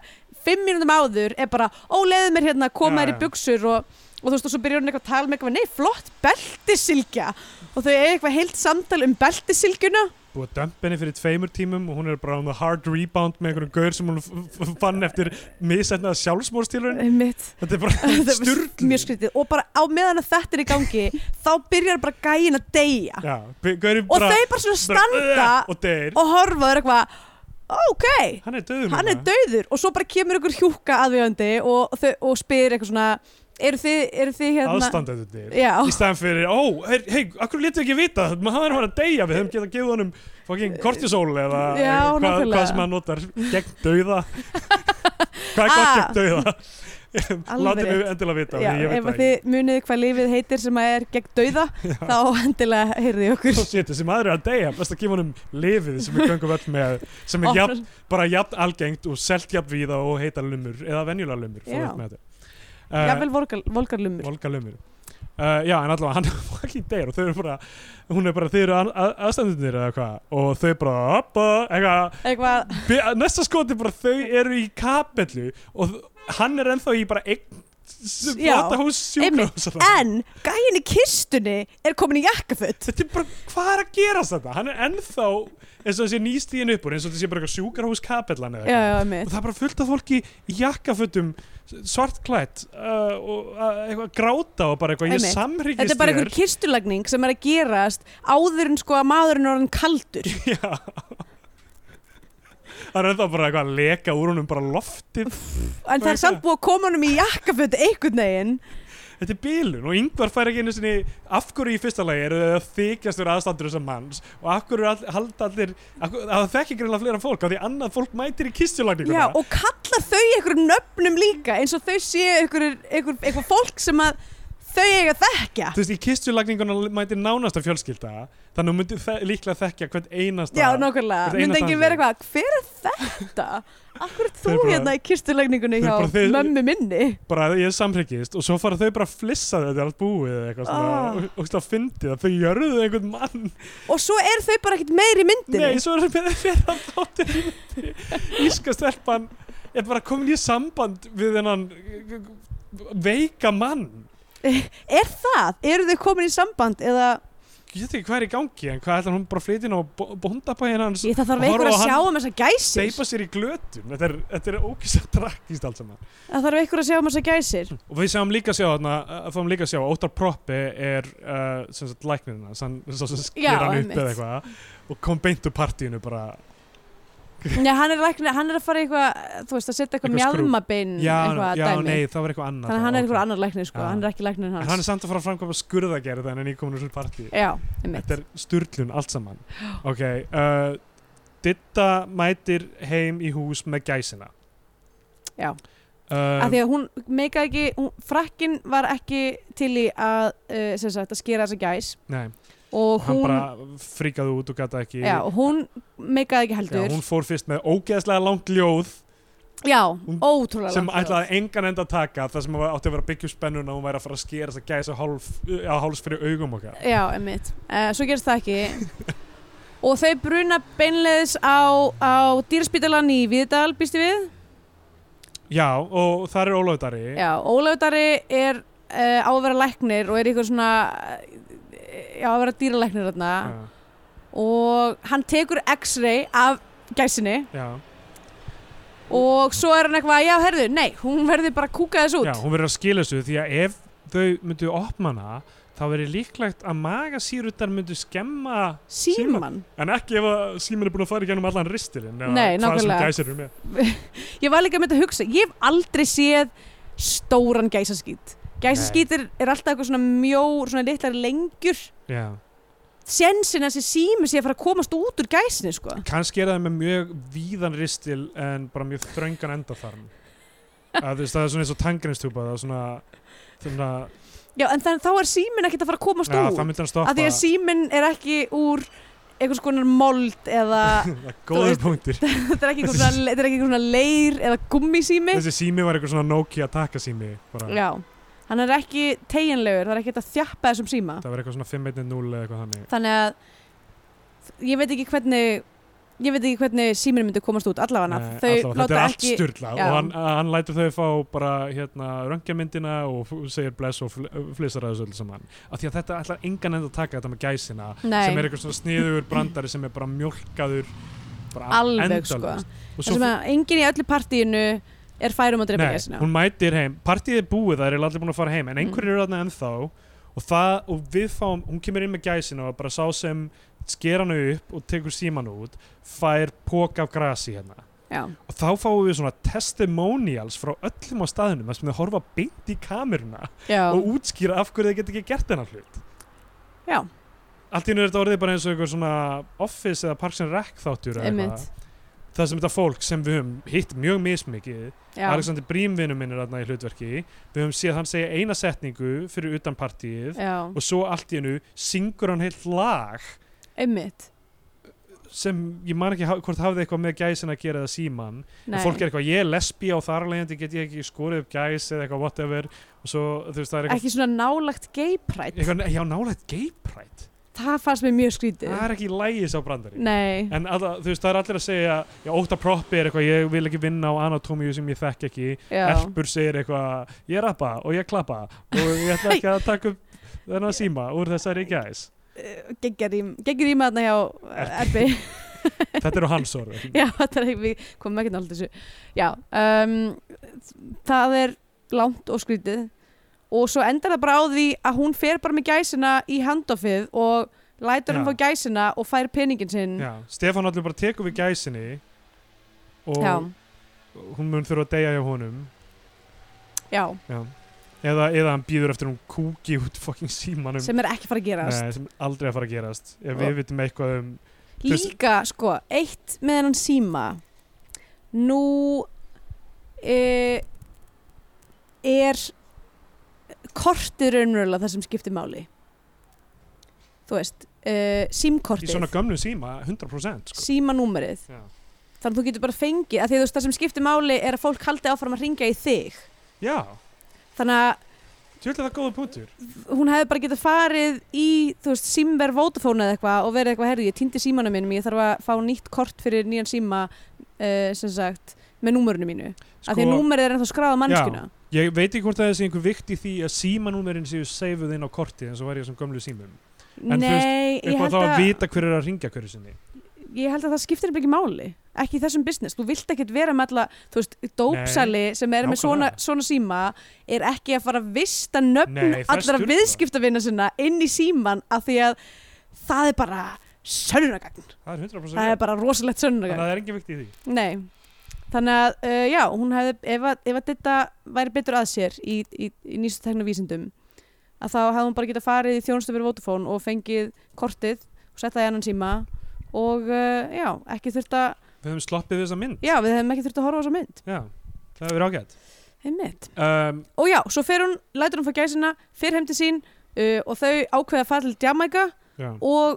[SPEAKER 3] fimm mínútum áður er bara ó, leiðu mér hérna,
[SPEAKER 2] Já,
[SPEAKER 3] koma þér í
[SPEAKER 2] já.
[SPEAKER 3] buksur og, og þú veist, og svo byrjar hún eitthvað að tala með eitthvað nei, flott, beltisilgja og þau er eitthvað heilt samtal um beltisilgjuna
[SPEAKER 2] búið að dömpinni fyrir tveimur tímum og hún er bara on the hard rebound með einhverjum gaur sem hún f- f- fann eftir misetnað sjálfsmórstilurinn
[SPEAKER 3] mitt
[SPEAKER 2] Þetta er bara styrlu.
[SPEAKER 3] mjög skrítið og bara á meðan að þetta er í gangi þá byrjar bara gæin að deyja
[SPEAKER 2] Já, b- gaurinn
[SPEAKER 3] og
[SPEAKER 2] bara-
[SPEAKER 3] þeir bara svona
[SPEAKER 2] bara,
[SPEAKER 3] standa
[SPEAKER 2] "Ugh", og deyr.
[SPEAKER 3] og horfa og er eitthvað ok,
[SPEAKER 2] Hann er döður
[SPEAKER 3] hann er dauður og svo bara kemur ykkur hjúka aðvíðandi og, og, þau- og spyr eitthvað svona eru þið, eru þið hérna
[SPEAKER 2] Aðstandendur deyr.
[SPEAKER 3] Já,
[SPEAKER 2] Í staðan fyrir, ó, hei, hey, akkur letu ekki vita, maður hann er bara að deyja, við höfum getað að gefa honum fucking kortisól eða
[SPEAKER 3] Já,
[SPEAKER 2] eða hvað,
[SPEAKER 3] nákvæmlega.
[SPEAKER 2] hvað sem hann notar gegn dauða. hvað er gott
[SPEAKER 3] Ah.
[SPEAKER 2] gegn dauða?
[SPEAKER 3] Alveg
[SPEAKER 2] Látið mig endilega vita,
[SPEAKER 3] já
[SPEAKER 2] því ég veit
[SPEAKER 3] ef
[SPEAKER 2] það
[SPEAKER 3] að
[SPEAKER 2] ekki.
[SPEAKER 3] þið munið hvað lífið heitir sem að er gegn dauða þá endilega heyrðið okkur
[SPEAKER 2] Svo sétt, þessi maður er að deyja, best að gefa honum lifið sem við göngum öll með, sem er jafn,
[SPEAKER 3] Opnar-
[SPEAKER 2] bara jafn algengt og selt jafn víða og heita lumur, eða venjulega lumur, fór
[SPEAKER 3] Já.
[SPEAKER 2] upp með þetta. Eh,
[SPEAKER 3] jafnvel volgar- volgarlumur
[SPEAKER 2] Volga Lumur uh, Já, en allavega hann fucking deyr og þau eru bara, hún er bara, þau eru aðstandunir eða hvað og þau bara, oppa, eitthvað
[SPEAKER 3] eitthvað,
[SPEAKER 2] bi- næsta skoti bara, þau eru í kapellu og þ- hann er ennþá í bara einn
[SPEAKER 3] Já,
[SPEAKER 2] flotta hús
[SPEAKER 3] einmitt.
[SPEAKER 2] sjúkrahús
[SPEAKER 3] en gæin í kistunni er komin í jakkaföt
[SPEAKER 2] Þetta er bara, hvað er að gerast þetta? Hann er ennþá, eins og þessi nýstíðin upp úr, eins og þessi bara eitthvað sjúkrahús kapellan eða
[SPEAKER 3] já,
[SPEAKER 2] eitthvað
[SPEAKER 3] já,
[SPEAKER 2] og
[SPEAKER 3] mitt
[SPEAKER 2] það er bara fullt af fólki í jakkafötum svartklætt uh, og uh, eitthvað gráta og bara eitthvað, ég
[SPEAKER 3] Einmitt.
[SPEAKER 2] samhryggist
[SPEAKER 3] þetta er bara einhver kistulagning sem er að gerast áður en sko að maðurinn er hann kaldur
[SPEAKER 2] Já það er ennþá bara eitthvað að leka úr honum bara loftið
[SPEAKER 3] En það er samt búið að koma honum í jakkaföt einhvern veginn.
[SPEAKER 2] þetta er bílun og yngvar fær ekki einu sinni af hverju í fyrsta lagi eru þau að þykjast fyrir aðstandur þessum manns og af hverju all, halda allir af hverju- það þekki greinlega fleira fólk af því annað fólk mætir í kistjulagninguna
[SPEAKER 3] Já, og kalla þau einhverjum nöfnum líka eins og þau séu einhverjum, einhverjum, einhverjum fólk sem að þau eiga að þekkja.
[SPEAKER 2] þú veist, í kistjulagninguna mætir nánasta fjölskylda þannig að myndi þe líklega þekja hvern einasta
[SPEAKER 3] Já, nákvæmlega.
[SPEAKER 2] Þetta eina
[SPEAKER 3] Myndi enginn
[SPEAKER 2] dansi.
[SPEAKER 3] vera eitthvað, hver er þetta? Akkur er
[SPEAKER 2] Þau
[SPEAKER 3] þú
[SPEAKER 2] bara-
[SPEAKER 3] hérna í kirstulegningunni
[SPEAKER 2] Þau
[SPEAKER 3] hjá
[SPEAKER 2] bara þið-
[SPEAKER 3] mömmu minni?
[SPEAKER 2] bara ég samhryggist og svo fara þau bara að flissa þetta er allt búið eða eitthvað svona
[SPEAKER 3] Ah.
[SPEAKER 2] og, og það fyndið að þau jörðu einhvern mann
[SPEAKER 3] Og svo er þau bara ekkert meir í myndinni.
[SPEAKER 2] Nei, svo er það með fyrir að þáttir í myndi Íska stelpan er bara komin í samband við hennan veika mann
[SPEAKER 3] Er það? Eru þau komin í samband eða...
[SPEAKER 2] Ég veit ekki hvað er í gangi en hvað ætlar hún bara að flytja inn á bóndabæðin hans
[SPEAKER 3] Ég, það þarf
[SPEAKER 2] Horfa
[SPEAKER 3] einhver
[SPEAKER 2] á
[SPEAKER 3] að
[SPEAKER 2] hann-
[SPEAKER 3] sjá um þessa gæsir.
[SPEAKER 2] steipa sér í glötum Þetta er, þetta er ókísa traktist allt saman
[SPEAKER 3] Það þarf einhver að sjá um þessa gæsir.
[SPEAKER 2] og við sjáum líka sjá þarna að fáum líka sjá að Óttar Proppi er uh, sem sagt læknirinn hans hann svo sem
[SPEAKER 3] Já,
[SPEAKER 2] skýr hann upp
[SPEAKER 3] einmitt.
[SPEAKER 2] eða eitthvað og kom beint úr partíinu bara
[SPEAKER 3] Nei, hann er, læknir, hann er að fara í eitthvað, þú veist, að setja eitthvað
[SPEAKER 2] Eitthvað skrú.
[SPEAKER 3] mjálmabein,
[SPEAKER 2] já,
[SPEAKER 3] Mm, eitthvað
[SPEAKER 2] já
[SPEAKER 3] dæmi.
[SPEAKER 2] nei það var eitthvað annað
[SPEAKER 3] Þannig að
[SPEAKER 2] þá,
[SPEAKER 3] hann er einhver
[SPEAKER 2] ok.
[SPEAKER 3] annar læknir, sko.
[SPEAKER 2] Já.
[SPEAKER 3] Hann er ekki læknir
[SPEAKER 2] En
[SPEAKER 3] hans.
[SPEAKER 2] hann er samt að fara að framkvæma skurðagerð en hann er komin úr þessu partí
[SPEAKER 3] Já, einmitt.
[SPEAKER 2] þetta er sturlun allt saman ok uh, Ditta mætir heim í hús með gæsina
[SPEAKER 3] Já.
[SPEAKER 2] uh,
[SPEAKER 3] Af því að hún meikaði ekki, hún, frakkin var ekki til í að, uh, sem sagt, að skera þessa gæs
[SPEAKER 2] nei,
[SPEAKER 3] og
[SPEAKER 2] hann
[SPEAKER 3] hún,
[SPEAKER 2] bara fríkaði út og gata ekki
[SPEAKER 3] já, og hún meikaði ekki
[SPEAKER 2] Já,
[SPEAKER 3] heldur.
[SPEAKER 2] hún fór fyrst með ógeðslega langt ljóð
[SPEAKER 3] Já,
[SPEAKER 2] hún-
[SPEAKER 3] ótrúlega
[SPEAKER 2] sem
[SPEAKER 3] langt frá.
[SPEAKER 2] ætlaði engan enda að taka þar sem var- átti að vera byggjusspennun og hún væri að fara að skera þess að gæsa hálf, á háls fyrir augum okkar
[SPEAKER 3] Já, einmitt. Uh, svo gerist það ekki. og þau bruna beinleðis á, á dýrspítalan í Viðdal, býstu við?
[SPEAKER 2] já og þar er ólöfdari
[SPEAKER 3] Já, Ólafudari er uh, á að vera læknir og er ykkur svona, eh, já, á að vera dýralæknir þarna. og hann tekur x-ray af gæsinni
[SPEAKER 2] já,
[SPEAKER 3] og svo er hann eitthvað, já, herðu, nei, hún verður bara að kúka þess út.
[SPEAKER 2] já hún verið að skila þessu því að ef þau myndu opna hana þá verið líklegt að magasýrutar myndu skemma
[SPEAKER 3] Síman.
[SPEAKER 2] en ekki ef að síminn er búin að fara í gennum allan ristilinn eða hvað
[SPEAKER 3] Nei,
[SPEAKER 2] sem
[SPEAKER 3] nákvæmlega.
[SPEAKER 2] gæsir eru með
[SPEAKER 3] Ég var líka með þetta að hugsa, ég hef aldrei séð stóran gæsaskít. Gæsaskít er, er alltaf eitthvað svona mjór, svona litlar lengjur.
[SPEAKER 2] já.
[SPEAKER 3] Sensin að þessi sími sé að fara að komast út úr gæsinni, sko.
[SPEAKER 2] kannski er það með mjög víðan ristil en bara mjög þröngan endatharm að þú veist það er svona eins og tangreinstúpa það er svona, svona
[SPEAKER 3] Já, en þannig þá er símin ekkert að fara að komast
[SPEAKER 2] já, það
[SPEAKER 3] út.
[SPEAKER 2] myndi hann
[SPEAKER 3] Af því
[SPEAKER 2] stoppa
[SPEAKER 3] að símin er ekki úr einhvers konar mold eða þú
[SPEAKER 2] góður
[SPEAKER 3] veist-
[SPEAKER 2] punktir
[SPEAKER 3] þetta er ekki einhver svona, þetta er ekki einhver svona leir eða gummisími.
[SPEAKER 2] þessi sími var eitthvað svona Nokia takasími bara.
[SPEAKER 3] Já, hann er ekki teginlegur, það er ekki hægt að þjappa þessum síma.
[SPEAKER 2] það var eitthvað svona 510 eða eitthvað þannig
[SPEAKER 3] Þannig að ég veit ekki hvernig, ég veit ekki hvernig síminu myndi komast út allavega.
[SPEAKER 2] Nei,
[SPEAKER 3] Þau
[SPEAKER 2] Eh, allavega, þetta
[SPEAKER 3] láta
[SPEAKER 2] er allt
[SPEAKER 3] ekki,
[SPEAKER 2] styrlað
[SPEAKER 3] Já.
[SPEAKER 2] og hann, eh, hann lætur þau fá bara hérna röngjamyndina og f- segir bless og fl- eh, flissar að þessu öll saman af því að þetta ætlar engan enda að taka þetta með gæsina
[SPEAKER 3] Nei.
[SPEAKER 2] sem er eitthvað svona sniður brandari sem er bara mjólkaður bara
[SPEAKER 3] alveg sko.
[SPEAKER 2] endalaust. og
[SPEAKER 3] Þessum að enginn í öllu partíinu er færum að drepa
[SPEAKER 2] Nei,
[SPEAKER 3] gæsina.
[SPEAKER 2] hún mætir heim, partíið er búið það er allir búin að fara heim, en
[SPEAKER 3] Mm.
[SPEAKER 2] einhverjir eru þarna ennþá og, það, og við fáum, hún kemur inn með gæsina og bara sá sem sker hann upp og tekur síman út, fær pók af grasi hérna
[SPEAKER 3] Já,
[SPEAKER 2] og þá fáum við svona testimonials frá öllum á staðunum þar sem þau horfa beint í kameruna
[SPEAKER 3] já,
[SPEAKER 2] og útskýra af hverju þau get ekki gert þennan hlut
[SPEAKER 3] já,
[SPEAKER 2] allt í einu er þetta orðið bara eins og einhver svona Office eða Parks and Rec þáttur eða
[SPEAKER 3] Einmitt.
[SPEAKER 2] eitthvað. það sem þetta fólk sem við höfum hitt mjög mismikið
[SPEAKER 3] já.
[SPEAKER 2] Alexander Brímvinum minn er þarna í hlutverki við höfum séð hann segja eina setningu fyrir utan partíið
[SPEAKER 3] Já,
[SPEAKER 2] og svo allt í einu syngur hann heilt lag
[SPEAKER 3] einmitt.
[SPEAKER 2] sem ég man ekki ha- hvort hafði eitthvað með gæsin að gera eða síman
[SPEAKER 3] Nei.
[SPEAKER 2] og fólk er eitthvað, ég er lesbí á þarlegandi get ég ekki skorið upp gæs eða eitthvað whatever og svo þú veist það er eitthvað,
[SPEAKER 3] Ekki svona nálagt geiprætt.
[SPEAKER 2] eitthvað já nálega geiprætt
[SPEAKER 3] Það fannst mér mjög skrítið.
[SPEAKER 2] það er ekki lægis á brandari
[SPEAKER 3] Nei,
[SPEAKER 2] en alla, þú veist það er allir að segja já óta proppi er eitthvað, ég vil ekki vinna á anatómíu sem ég þekk ekki,
[SPEAKER 3] já.
[SPEAKER 2] Erpur segir eitthvað ég rappa og ég klappa og ég ætla ekki að taka upp þennan síma úr þessari gæs
[SPEAKER 3] Gengir í maðurna hjá Erbi.
[SPEAKER 2] þetta eru hans orð
[SPEAKER 3] Já, þetta er, við komum ekki náttúrulega þessu. Já, um, það er langt og skrítið og svo endar það bara á því að hún fer bara með gæsina í handoffið og lætur
[SPEAKER 2] Já.
[SPEAKER 3] hann fá gæsina og fær peningin sinn.
[SPEAKER 2] Já, Stefán allir bara tekur við gæsinni og
[SPEAKER 3] já,
[SPEAKER 2] hún mun þurfa að deyja hjá honum
[SPEAKER 3] já,
[SPEAKER 2] já. eða, eða hann býður eftir hún kúki út fucking símanum
[SPEAKER 3] sem er ekki fara að gerast
[SPEAKER 2] Nei, sem aldrei að fara að gerast ef
[SPEAKER 3] Og-
[SPEAKER 2] við vitum eitthvað um þess-
[SPEAKER 3] Líka, sko, eitt með hennan síma Nú e, er kortið raunverulega það sem skiptir máli Þú veist, e,
[SPEAKER 2] í
[SPEAKER 3] símkortið
[SPEAKER 2] svona gömlu síma 100% sko.
[SPEAKER 3] símanúmerið
[SPEAKER 2] Já.
[SPEAKER 3] Þannig að þú getur bara fengið, að því að þú veist það sem skiptir máli er að fólk haldi áfram að ringja í þig
[SPEAKER 2] já,
[SPEAKER 3] Þannig að
[SPEAKER 2] tjóðlega það er góða punktur
[SPEAKER 3] hún hefði bara getað farið í, þú veist, símver Vodafone eða eitthvað og verið eitthvað, herri, ég týndi símanum mínum, ég þarf að fá nýtt kort fyrir nýjan síma, uh, sem sagt, með númurinu mínu. Sko, að því að númerið er ennþá skráða mannskuna.
[SPEAKER 2] ég veit ekki hvort að það sé einhver vikt í því að símanúmerin séu seifuð inn á korti eins og væri þessum gömlu símum En þú
[SPEAKER 3] Nei, ég
[SPEAKER 2] eitthvað
[SPEAKER 3] held,
[SPEAKER 2] þá að
[SPEAKER 3] að,
[SPEAKER 2] vita hver er að ringja hverju sinni
[SPEAKER 3] ég held að það skiptir nefnilega ekki máli. Ekki í þessum business. Þú vilt ekkert vera með alla, þú veist, dópsali sem er með svona,
[SPEAKER 2] nákvæmlega.
[SPEAKER 3] svona síma er ekki að fara að vista nöfn
[SPEAKER 2] Nei, það er
[SPEAKER 3] allra
[SPEAKER 2] sturlað.
[SPEAKER 3] viðskiptavina sinna inn í síman af því að það er bara sönnunagagn.
[SPEAKER 2] það er 100%
[SPEAKER 3] Það er bara rosalegt
[SPEAKER 2] þannig
[SPEAKER 3] sönnunagagn.
[SPEAKER 2] að það er engin vikt í því
[SPEAKER 3] Nei, þannig að uh, já, hún hefði, ef að, ef að þetta væri betur að sér í, í, í nýstu tekna vísindum að þá hefði hún bara getað farið í þjónustu fyrir Vodafone og fengið kortið og sett það í annan síma og uh, já, ekki þurft að
[SPEAKER 2] við höfum sloppið þessa mynd
[SPEAKER 3] já, við hefðum ekki þurft að horfa á þessa mynd
[SPEAKER 2] já, það hefur verið ágætt
[SPEAKER 3] einmitt.
[SPEAKER 2] um,
[SPEAKER 3] Og já, svo fer hún, lætur hún fá gæsina fyrir heim til sín uh, og þau ákveða að fara til Jamaica
[SPEAKER 2] já,
[SPEAKER 3] og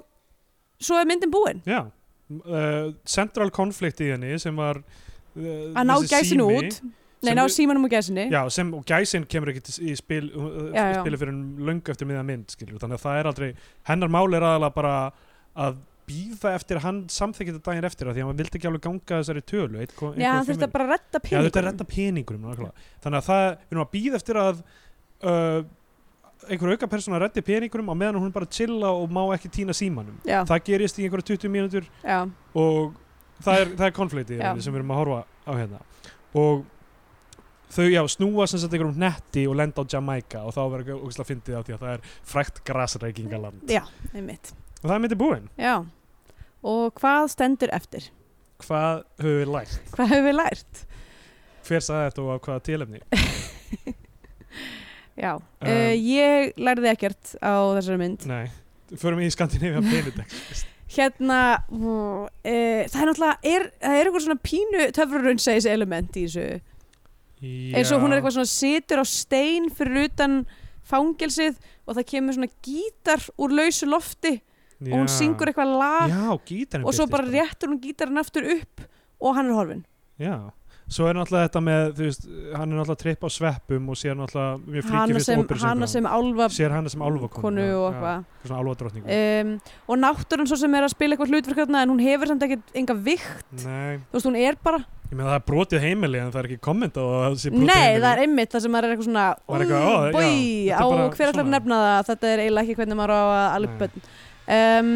[SPEAKER 3] svo er myndin búin
[SPEAKER 2] já. Uh, central konflikt í henni sem var uh,
[SPEAKER 3] að ná
[SPEAKER 2] þessi
[SPEAKER 3] gæsinu
[SPEAKER 2] sími-
[SPEAKER 3] út nei,
[SPEAKER 2] sem
[SPEAKER 3] ná
[SPEAKER 2] við-
[SPEAKER 3] símanum og gæsinu
[SPEAKER 2] Já, sem, og gæsin kemur ekki til- í spil, uh,
[SPEAKER 3] Já,
[SPEAKER 2] í
[SPEAKER 3] já.
[SPEAKER 2] spili fyrir löngu eftir miða mynd, skilur, þannig að það er aldrei hennar mál er aðalega bara að býða eftir að hann samþykja þetta daginn eftir af því að hann vildi ekki alveg ganga þessari tölu eitt,
[SPEAKER 3] já hann þurfti að bara redda
[SPEAKER 2] Já, þetta er
[SPEAKER 3] peningum
[SPEAKER 2] retta peningurum nákvæmlega. þannig að það, við erum að býða eftir að uh, einhver auka persóna retti peningurum á meðan hún er bara að chilla og má ekki týna símanum
[SPEAKER 3] já,
[SPEAKER 2] það gerist í einhverja 20 mínútur
[SPEAKER 3] já.
[SPEAKER 2] og það er, það er konfliktið í
[SPEAKER 3] Já.
[SPEAKER 2] rauninni sem við erum að horfa á hérna og þau já, snúa sem sagt einhverjum netti og lenda á Jamaica og þá verður ekki ógæslega fyndið á því að það er frækt grasreikingaland
[SPEAKER 3] Já, einmitt.
[SPEAKER 2] og það er myndið búin
[SPEAKER 3] Já. Og hvað stendur eftir?
[SPEAKER 2] hvað höfum við lært,
[SPEAKER 3] Hvað hefur við lært?
[SPEAKER 2] hver sagði þetta og af hvaða tilefni
[SPEAKER 3] Já.
[SPEAKER 2] Um,
[SPEAKER 3] Uh, ég lærði ekkert á þessari mynd.
[SPEAKER 2] nei, förum í Skandinavia Benedict
[SPEAKER 3] Hérna, uh, það er náttúrulega, er, það er eitthvað svona pínu töfrarunnsæðis element í þessu. Eins og hún er eitthvað svona situr á stein fyrir utan fangelsið og það kemur svona gítar úr lausu lofti og hún syngur eitthvað lag
[SPEAKER 2] já, gítarinn
[SPEAKER 3] og svo
[SPEAKER 2] birtist
[SPEAKER 3] bara réttur hún gítarinn aftur upp og hann er horfin.
[SPEAKER 2] Já, svo er náttúrulega þetta með, þú veist, hann er náttúrulega tripp á sveppum og sér náttúrulega mjög fríkið
[SPEAKER 3] Hanna
[SPEAKER 2] fyrst
[SPEAKER 3] sem,
[SPEAKER 2] óperusöngur
[SPEAKER 3] hana sem álva
[SPEAKER 2] sér hana sem álfakonu
[SPEAKER 3] konu
[SPEAKER 2] já,
[SPEAKER 3] og
[SPEAKER 2] já,
[SPEAKER 3] eitthvað.
[SPEAKER 2] svona álfadrottningu
[SPEAKER 3] um, og náttúran svo sem er að spila eitthvað hlutverk hérna en hún hefur samt ekkert enga vikt
[SPEAKER 2] Nei,
[SPEAKER 3] þú veist hún er bara,
[SPEAKER 2] ég meina það er brotið heimili en það er ekki komment á að það sé brotið
[SPEAKER 3] nei
[SPEAKER 2] heimili
[SPEAKER 3] það er einmitt það sem maður er eitthvað svona
[SPEAKER 2] Og er eitthvað, ó, já,
[SPEAKER 3] bói,
[SPEAKER 2] þetta er
[SPEAKER 3] á
[SPEAKER 2] bara
[SPEAKER 3] hver ætlar að
[SPEAKER 2] svona.
[SPEAKER 3] nefna það þetta er eiginlega ekki hvernig maður á að
[SPEAKER 2] Nei.
[SPEAKER 3] alveg bönn um,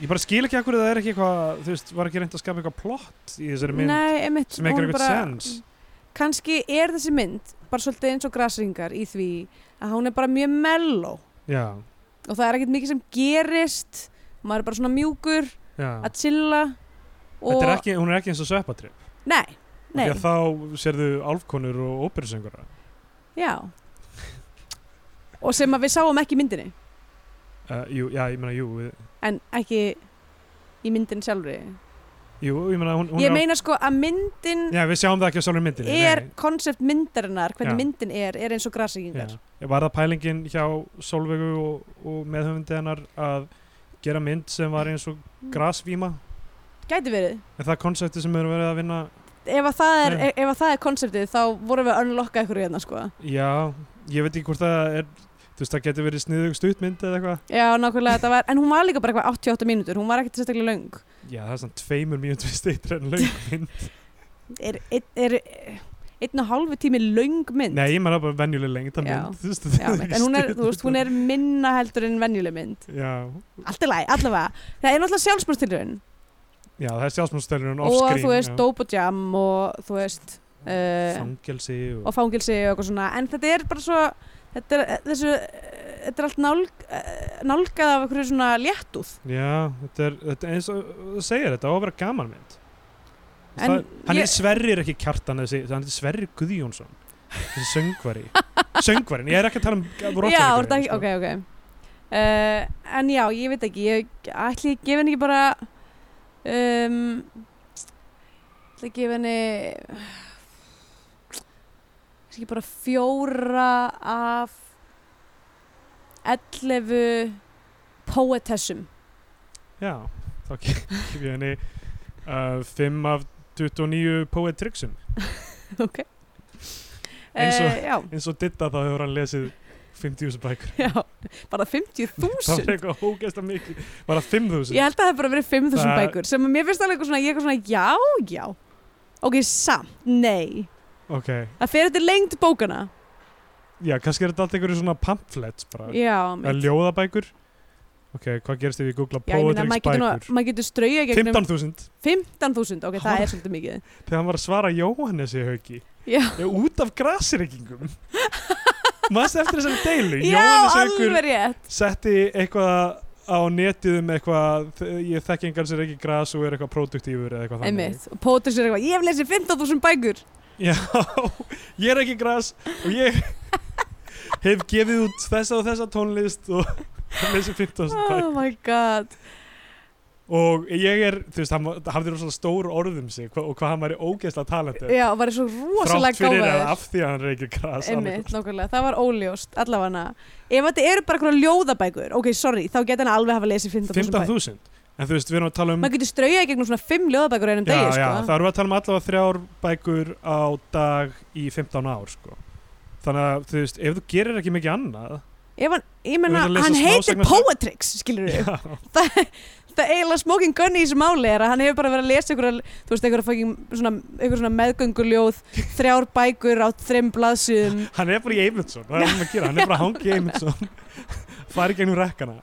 [SPEAKER 2] Ég bara skil ekki akkur það er ekki eitthvað, þú veist, var ekki reynd að skapa eitthvað plott í þessari mynd
[SPEAKER 3] nei einmitt
[SPEAKER 2] sem
[SPEAKER 3] hún
[SPEAKER 2] eitthvað eitthvað sens
[SPEAKER 3] kannski er þessi mynd bara svolítið eins og grasringar í því að hún er bara mjög mellow
[SPEAKER 2] Já,
[SPEAKER 3] og það er ekkert mikið sem gerist maður er bara svona mjúkur
[SPEAKER 2] já
[SPEAKER 3] að chilla og,
[SPEAKER 2] Þetta er ekki, hún er ekki eins og sveppatripp
[SPEAKER 3] nei, nei
[SPEAKER 2] Því að þá sérðu álfkonur og óperusöngura
[SPEAKER 3] já og sem að við sáum ekki í myndinni
[SPEAKER 2] uh, Jú, já, ég meina, jú, við,
[SPEAKER 3] en ekki í myndin sjálfri
[SPEAKER 2] jú, ég meina hún, hún
[SPEAKER 3] ég
[SPEAKER 2] er á-
[SPEAKER 3] meina sko að myndin
[SPEAKER 2] Já, við sjáum það ekki á sjálfum myndinni
[SPEAKER 3] er
[SPEAKER 2] nei.
[SPEAKER 3] konsept myndarinnar, hvernig
[SPEAKER 2] Já.
[SPEAKER 3] myndin er er eins og grasingingar
[SPEAKER 2] Já. Var það pælingin hjá Solveigu og, og meðhöfundi hennar að gera mynd sem var eins og
[SPEAKER 3] Mm.
[SPEAKER 2] grasvíma?
[SPEAKER 3] gæti verið,
[SPEAKER 2] Er það konsepti sem við erum verið að vinna?
[SPEAKER 3] ef að það er,
[SPEAKER 2] Nei.
[SPEAKER 3] ef að það er konseptið þá vorum við að unlocka ykkur hérna sko
[SPEAKER 2] Já, ég veit ekki hvort það er, þú veist, það getur verið sniðug stuttmynd eða eitthvað.
[SPEAKER 3] já nákvæmlega þetta var, en hún var líka bara eitthvað 88 mínútur, hún var ekkert sérstaklega löng
[SPEAKER 2] Já, það er svona tveimur mínútur steytri en löngmynd.
[SPEAKER 3] er, er, er einn og hálfu tími löng mynd
[SPEAKER 2] Nei, ég meina bara venjuleg lengta
[SPEAKER 3] Já.
[SPEAKER 2] mynd, þú veist.
[SPEAKER 3] já, en hún er, þú veist, hún er minna heldur en venjuleg mynd
[SPEAKER 2] Já,
[SPEAKER 3] allt er læg, allavega, það er náttúrulega sjálfsmörtilurinn
[SPEAKER 2] já, það er sjálfsmúlstælun
[SPEAKER 3] og
[SPEAKER 2] off-screen.
[SPEAKER 3] þú veist,
[SPEAKER 2] já.
[SPEAKER 3] dóp og jam og þú veist uh,
[SPEAKER 2] Fangelsi og...
[SPEAKER 3] og fangilsi og eitthvað svona en þetta er bara svo þetta er, þessu, þetta er allt nálg, eh, nálgað af einhverju svona léttúð
[SPEAKER 2] Já, þetta er, þetta er eins og þú segir, þetta á að vera gaman mynd. Það,
[SPEAKER 3] En
[SPEAKER 2] hann
[SPEAKER 3] ég-
[SPEAKER 2] er sverrir ekki kjartan þessi, hann er sverrir Guðjónsson þessi söngvari söngvarin, ég er ekki að tala um sko. rockarakteri,
[SPEAKER 3] Já, orða ekki, ok, ok uh, En já, ég veit ekki Ég ætli að gefa henni ekki bara um, ætli að gefa henni kannski bara fjóra af 11 poetessum
[SPEAKER 2] Já, þá kemur ég henni uh, 5 af 29 poetrixum
[SPEAKER 3] Ok
[SPEAKER 2] Eins og-
[SPEAKER 3] Eh, já,
[SPEAKER 2] eins og ditta þá hefur hann lesið 50.000 bækur
[SPEAKER 3] já, bara
[SPEAKER 2] það var
[SPEAKER 3] 50.000
[SPEAKER 2] eitthvað ógeðslega mikið bara 5.000
[SPEAKER 3] Ég held að það hef bara verið 5.000
[SPEAKER 2] Það-
[SPEAKER 3] bækur sem að mér finnst alveg eitthvað svona, ég er eitthvað svona, já, já Ok, samt, nei
[SPEAKER 2] ok,
[SPEAKER 3] Það fer eftir lengt bókana
[SPEAKER 2] já, kannski er þetta allt einhverju svona pamflets bara,
[SPEAKER 3] Já,
[SPEAKER 2] yeah,
[SPEAKER 3] mitt.
[SPEAKER 2] ljóðabækur ok, hvað gerst ef ég googla
[SPEAKER 3] já ég meina,
[SPEAKER 2] poetrix
[SPEAKER 3] maður getur,
[SPEAKER 2] bækur
[SPEAKER 3] nú- maður getur strauja gegnum
[SPEAKER 2] 15.000
[SPEAKER 3] 15.000, ok, það
[SPEAKER 2] Há.
[SPEAKER 3] er svolítið mikið
[SPEAKER 2] þegar hann var að svara Jóhannesi hauki
[SPEAKER 3] Já.
[SPEAKER 2] Ég, út af grasireikingum maður eftir þessari deilu
[SPEAKER 3] Já,
[SPEAKER 2] Jóhannes haukur
[SPEAKER 3] alveg rétt
[SPEAKER 2] setti eitthvað á netið um eitthvað þ- ég þekki engan sem er ekki gras og er eitthvað produktífur eða eitthvað
[SPEAKER 3] Einmitt, og Pótur sér eitthvað, ég hef lesið 15.000 bækur
[SPEAKER 2] já, ég er ekki gras og ég hef gefið út þessa og þessa tónlist og þessi 15.
[SPEAKER 3] Oh
[SPEAKER 2] bæk
[SPEAKER 3] my god
[SPEAKER 2] og ég er, þú veist, hann var- hafði rosalega stór orðum sig hva, og hvað hann væri ógeðslega talandi
[SPEAKER 3] Já, og var svo rosalega
[SPEAKER 2] þrátt fyrir eða
[SPEAKER 3] gáfaður
[SPEAKER 2] af því að hann er ekki gras
[SPEAKER 3] Einmitt, nokkulega, það var óljóst, allavega Ef þetta eru bara eitthvað ljóðabækur, ok, sorry, þá geta hann alveg hafa lesið 15.000 bækur
[SPEAKER 2] 15.000 en þú veist, við erum að tala um
[SPEAKER 3] Maður getur strauja gegnum svona 5 ljóðabækur á einum degi,
[SPEAKER 2] já,
[SPEAKER 3] sko
[SPEAKER 2] þá erum við að tala um allavega þrjár bækur á dag í 15 ár sko. þannig að þú veist, ef þú gerir ekki mikið annað
[SPEAKER 3] Ef hann, ég
[SPEAKER 2] Þú
[SPEAKER 3] menna,
[SPEAKER 2] ert að lesa
[SPEAKER 3] hann heitir
[SPEAKER 2] smásagnasög-
[SPEAKER 3] Poetrix, skilur við
[SPEAKER 2] já,
[SPEAKER 3] það eiginlega smoking gun í þessu máli er að hann hefur bara verið að lesa ykkur, þú veist, ykkur, fucking, svona, ykkur svona meðgönguljóð þrjár bækur á þreim blaðsum
[SPEAKER 2] hann er bara í Eymundsson það er það sem að gera, hann er bara að hangi í Eymundsson farið gegnum rekkana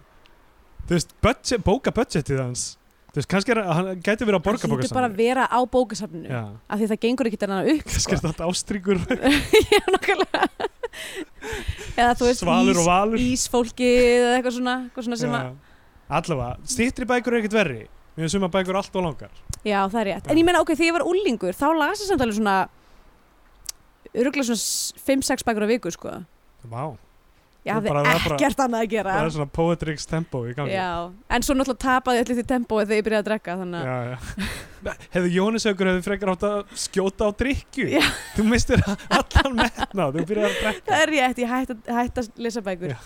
[SPEAKER 2] þú veist, budget, bóka budgetið hans þú veist, kannski er, hann gæti verið að borga
[SPEAKER 3] hann
[SPEAKER 2] bóka
[SPEAKER 3] hýtur bara að vera á bókasafninu
[SPEAKER 2] já,
[SPEAKER 3] af því það gengur ekki þarna upp
[SPEAKER 2] kannski er þetta ástríkur
[SPEAKER 3] Já, nokkulega eða þú veist,
[SPEAKER 2] svalur og valur
[SPEAKER 3] ís, ísfólkið eða eitthvað svona, eitthvað svona sem
[SPEAKER 2] Já.
[SPEAKER 3] að
[SPEAKER 2] allavega, stýttri bækur er ekkert verri við erum suma bækur allt og langar
[SPEAKER 3] já, það er rétt,
[SPEAKER 2] Já.
[SPEAKER 3] en ég menna, ok, þegar ég var úlingur þá las ég samt alveg svona öruglega svona s- 5-6 bækur á viku, sko
[SPEAKER 2] Vá,
[SPEAKER 3] ég
[SPEAKER 2] Það
[SPEAKER 3] hafði
[SPEAKER 2] bara- það bara-
[SPEAKER 3] ekkert annað að gera
[SPEAKER 2] það er svona poetrix tempo í gangi
[SPEAKER 3] Já, en svo náttúrulega tapaði allir því tempói þegar ég byrjaði að drekka þannig að
[SPEAKER 2] já, já. hefðu Jónisaukur hefði frekar átt að skjóta á drikju
[SPEAKER 3] Já.
[SPEAKER 2] þú mistir allan metna þú byrjar að drekka
[SPEAKER 3] það er rétt, ég hætti að, hætti að lesa bækur.
[SPEAKER 2] Já.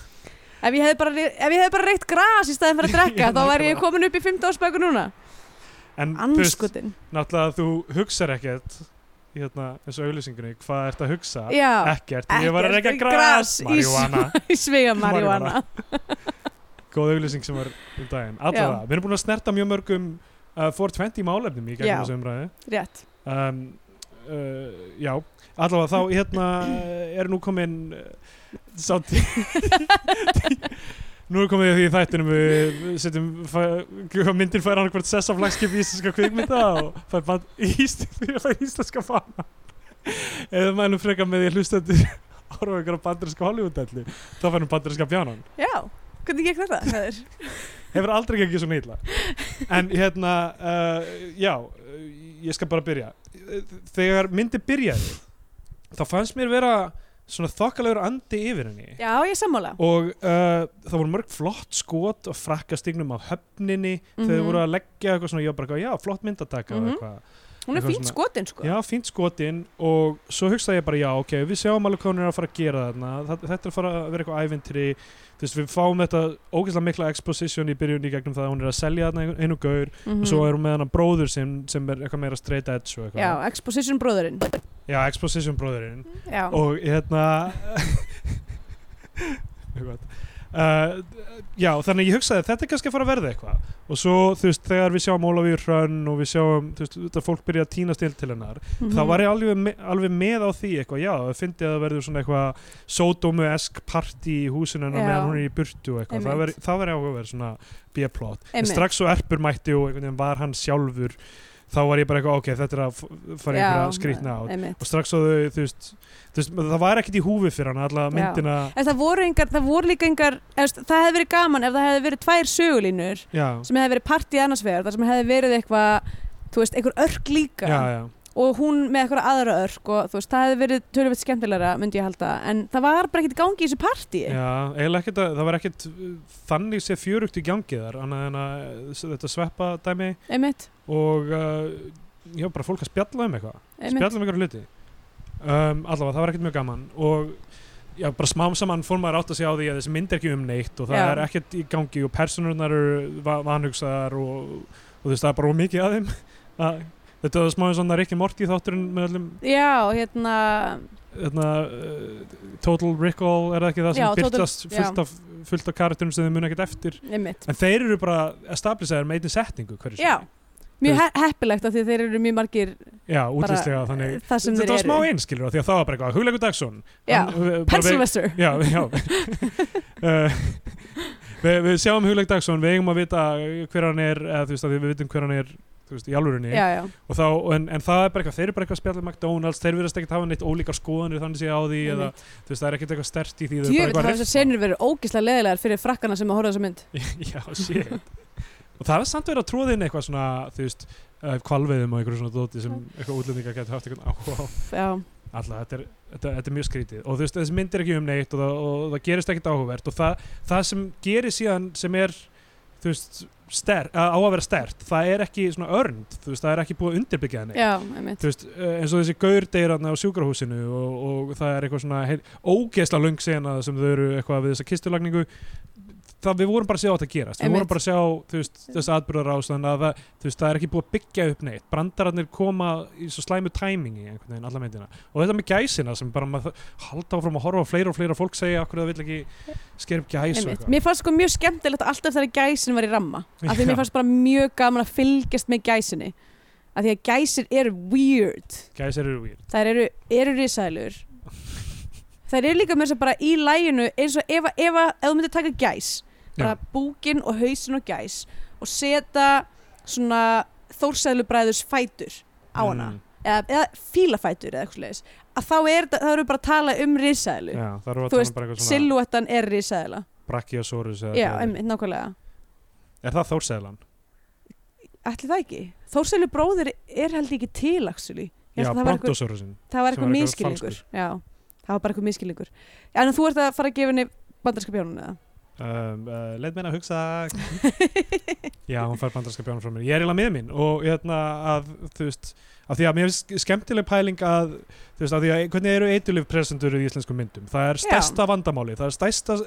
[SPEAKER 3] Ef ég hefði bara, re- ef ég hefði bara reykt gras í staðin fyrir að drekka
[SPEAKER 2] Já,
[SPEAKER 3] þá væri
[SPEAKER 2] nákvæmlega.
[SPEAKER 3] ég komin upp í 15 ársbækur núna.
[SPEAKER 2] en þú veist,
[SPEAKER 3] Anskutin.
[SPEAKER 2] náttúrulega þú hugsar ekkert í hérna, þessu auglýsingunni hvað ert að hugsa,
[SPEAKER 3] Já,
[SPEAKER 2] ekkert ég var að
[SPEAKER 3] Ekkert,
[SPEAKER 2] reyka gras,
[SPEAKER 3] gras í
[SPEAKER 2] marihuana
[SPEAKER 3] í svega
[SPEAKER 2] Marihuana.
[SPEAKER 3] marihuana.
[SPEAKER 2] góð auglýsing sem var um daginn allavega,
[SPEAKER 3] Já.
[SPEAKER 2] við erum búin að snerta mjög mörgum uh, 420 málefnum í
[SPEAKER 3] Já.
[SPEAKER 2] gegnum þessu umræði
[SPEAKER 3] Rétt.
[SPEAKER 2] um, uh, já, allavega þá hérna eh, er nú komin uh, sá tí nú er komið að því í þættinum við setjum fæ, myndin fær hann hvert sess af lagskip í íslenska kvikmynda og fær band íst, fær íslenska fana eða mælum frekar með því hlustandi horfa á einhverja bandarinska Hollywood-dellu þá fær hann bandarinska bjánan
[SPEAKER 3] Já, hvernig gekk þetta? Hreiður?
[SPEAKER 2] hefur aldrei gengið svona illa en hérna uh, já, uh, ég skal bara byrja þegar myndi byrjaði þá fannst mér vera svona þokkalegur andi yfir henni
[SPEAKER 3] Já, ég er sammála.
[SPEAKER 2] og uh, það voru mörg flott skot og frakkastignum á höfninni þegar þau
[SPEAKER 3] Mhm.
[SPEAKER 2] voru að leggja eitthvað svona, ég var bara eitthvað, já, flott myndataka mm
[SPEAKER 3] Mhm.
[SPEAKER 2] eitthvað
[SPEAKER 3] Hún er
[SPEAKER 2] Eitthvað
[SPEAKER 3] fínt
[SPEAKER 2] svona-
[SPEAKER 3] skotin sko.
[SPEAKER 2] Já, fínt skotinn og svo hugsaði ég bara já, ok, við sjáum alveg hvað hún er að fara að gera þarna Þa- þetta er að fara að vera eitthvað ævintri þú veist, við fáum þetta ógeðslega mikla exposition í byrjun í gegnum það að hún er að selja þarna einu- einu gaur
[SPEAKER 3] Mhm.
[SPEAKER 2] og svo er hún með hana bróður sem, sem er eitthvað meira straight edge og eitthvað
[SPEAKER 3] Já, Exposition bróðurinn.
[SPEAKER 2] já exposition bróðurinn
[SPEAKER 3] Já,
[SPEAKER 2] og hérna mjög gott Uh, já, þannig að ég hugsaði þetta er kannski að fara að verða eitthvað og svo, þú veist, þegar við sjáum Ólafíur Hrönn og við sjáum, þú veist, þetta fólk byrja að týna stil til hennar
[SPEAKER 3] Mhm.
[SPEAKER 2] þá var ég alveg, me- alveg með á því eitthvað, já, það fyndi að það verður svona eitthvað sódómu-esk party í húsinu hennar
[SPEAKER 3] Já.
[SPEAKER 2] meðan hún er í burtu og eitthvað, það
[SPEAKER 3] Einmitt.
[SPEAKER 2] væri- það verður áhugaverð svona B-plot, en
[SPEAKER 3] Einmitt.
[SPEAKER 2] strax svo erpur mætti og einhvern veginn var hann sjálfur þá var ég bara eitthvað, ok, þetta er að f- fara í einhverja
[SPEAKER 3] Já,
[SPEAKER 2] skrýtna át
[SPEAKER 3] Mhm. einmitt.
[SPEAKER 2] og strax svo þau, þú veist, þú veist það var ekkit í húfi fyrir hann, alla
[SPEAKER 3] Já.
[SPEAKER 2] myndina
[SPEAKER 3] En það voru, engar, það voru líka engar, efst, það hefði verið gaman ef það hefði verið tvær sögulínur
[SPEAKER 2] já,
[SPEAKER 3] sem hefði verið partí annars vegar, þar sem hefði verið eitthvað þú veist, einhver örk líka
[SPEAKER 2] já, já.
[SPEAKER 3] og hún með eitthvað aðra örk og þú veist, það hefði verið tölvöld skemmtilegra myndi ég halda, en það var bara ekkert í gangi í þessu partí
[SPEAKER 2] Já, eiginlega ekkert að það var ekkert uh, þannig sé fjörugt í gangi þar annað en að uh, þetta sveppa dæmi
[SPEAKER 3] einmitt,
[SPEAKER 2] og uh, já, bara fólk að spjalla um eitthvað
[SPEAKER 3] einmitt,
[SPEAKER 2] spjalla um eitthvað hluti um, allavega, það var ekkert mjög gaman og já, bara smám saman fór maður átt að segja á því að þessi mynd er ekki um neitt og það
[SPEAKER 3] Já.
[SPEAKER 2] er ekkert í gangi og personurnar eru va- vanhugsaðar og, og þú veist, það er bara ómikið að þeim að, þetta var smá eins og þannig að Ricky Morty þátturinn með öllum,
[SPEAKER 3] já, hérna
[SPEAKER 2] þarna uh, Total Recall er það ekki það sem
[SPEAKER 3] Já, Total-
[SPEAKER 2] byrtast fullt af, fullt af karakterum sem þau muna ekkert eftir
[SPEAKER 3] einmitt,
[SPEAKER 2] en þeir eru bara establisaðir með einni setningu hverju sinni.
[SPEAKER 3] já mjög
[SPEAKER 2] Þú
[SPEAKER 3] he- heppilegt af því að þeir eru mjög margir
[SPEAKER 2] já, útlýslega þannig
[SPEAKER 3] það sem
[SPEAKER 2] þetta
[SPEAKER 3] þeir
[SPEAKER 2] var smá
[SPEAKER 3] eru
[SPEAKER 2] einn skilur af því að það var bara eitthvað Hugleikur Dagsson
[SPEAKER 3] já,
[SPEAKER 2] Hann, uh, bara við-
[SPEAKER 3] Pensilvester
[SPEAKER 2] já, já. uh, við, við sjáum Hugleik Dagsson við eigum að vita hver hann er eða, þú veist að við vitum hver hann er þú veist, í alvörunni
[SPEAKER 3] já, já,
[SPEAKER 2] og þá, en, en það er bara eitthvað þeir eru bara eitthvað að spjalla um McDonalds þeir verðast ekkert hafa neitt ólíkar skoðanir þannig sé á því eða,
[SPEAKER 3] einmitt
[SPEAKER 2] þú veist það er ekkert eitthvað stert í því þau bara
[SPEAKER 3] djöfitt
[SPEAKER 2] eitthvað
[SPEAKER 3] hafa
[SPEAKER 2] að
[SPEAKER 3] þessar
[SPEAKER 2] riffa.
[SPEAKER 3] senur verið ógislega leðilegar fyrir frakkarna sem að horfa á þessa mynd
[SPEAKER 2] Já, shit Og það er samt verið að tróða inn eitthvað svona þú veist, uh, kvalveiðum og einhverju svona dóti sem eitthvað útlendingar getur haft eitthvað áhuga á
[SPEAKER 3] já,
[SPEAKER 2] Alla, þetta er, þetta, þetta er mjög skrítið og þú veist, þessi mynd er ekki um neitt og það, og það gerist ekkert áhugavert og það, það sem gerir síðan sem er þú veist, ster, á að vera stert það er ekki svona örnd, þú veist, það er ekki búið að undirbyggja henni
[SPEAKER 3] já, einmitt
[SPEAKER 2] þú veist, eh, eins og þessi gaur deyr hann á sjúkrahúsinu og, og það er eitthvað svona heil, ógeðsla löng sena sem þau eru eitthvað við þessa kistulagningu það við vorum bara að sjá þetta gerast við
[SPEAKER 3] Einmitt.
[SPEAKER 2] vorum bara að sjá þú veist, þessa atbyrðarás þannig að það, þú veist, það er ekki búið að byggja upp neitt brandararnir koma í svo slæmu tæmingi einhvern veginn alla myndina og þetta með gæsina sem bara maður halda áfram að horfa á fleira og fleira fólk segja okkur það vill ekki sker upp gæs og
[SPEAKER 3] Einmitt.
[SPEAKER 2] eitthvað
[SPEAKER 3] Mér fannst sko mjög skemmtilegt alltaf þegar gæsin var í ramma af
[SPEAKER 2] Já.
[SPEAKER 3] því mér fannst bara mjög gaman að fylgjast með gæsinni af því að gæsir eru weird
[SPEAKER 2] gæs eru weird
[SPEAKER 3] þær eru, eru risælur þær eru líka með þess að segja bara í læginu eins og ef, að- ef, að- ef þú myndir taka gæs bara
[SPEAKER 2] Já.
[SPEAKER 3] búkin og hausin og gæs og setja svona þórsælubræðus fætur á hana
[SPEAKER 2] Mm,
[SPEAKER 3] eða, eða fílafætur eða eitthvað leis að þá er, það eru bara að tala um risælu
[SPEAKER 2] já, það eru
[SPEAKER 3] Þú
[SPEAKER 2] að tala
[SPEAKER 3] veist,
[SPEAKER 2] um bara eitthvað svona
[SPEAKER 3] silhúettan er risæla
[SPEAKER 2] brachiosaurus eða
[SPEAKER 3] já,
[SPEAKER 2] eitthvað.
[SPEAKER 3] einmitt, nákvæmlega
[SPEAKER 2] er það þórsæðlan?
[SPEAKER 3] Ætli það ekki? Þórsælu bróðir er held ég ekki til actually. Ég
[SPEAKER 2] Já,
[SPEAKER 3] held að það var eitthvað,
[SPEAKER 2] brontosaurusin
[SPEAKER 3] það var
[SPEAKER 2] sem var eitthvað
[SPEAKER 3] eitthvað miskilingur Já, það var bara eitthvað miskilingur En þú ert að fara að gefa henni bandarska bjónun eða?
[SPEAKER 2] um, uh, leið mér að hugsa já, hún fær bandarska bjánum frá mér ég er eiginlega með minn og hérna að þú veist, af því að mér finnst skemmtileg pæling að, þú veist, af því að hvernig eru eitulif presentur í íslenskum myndum það er
[SPEAKER 3] Já.
[SPEAKER 2] stærsta vandamáli, það er stærsta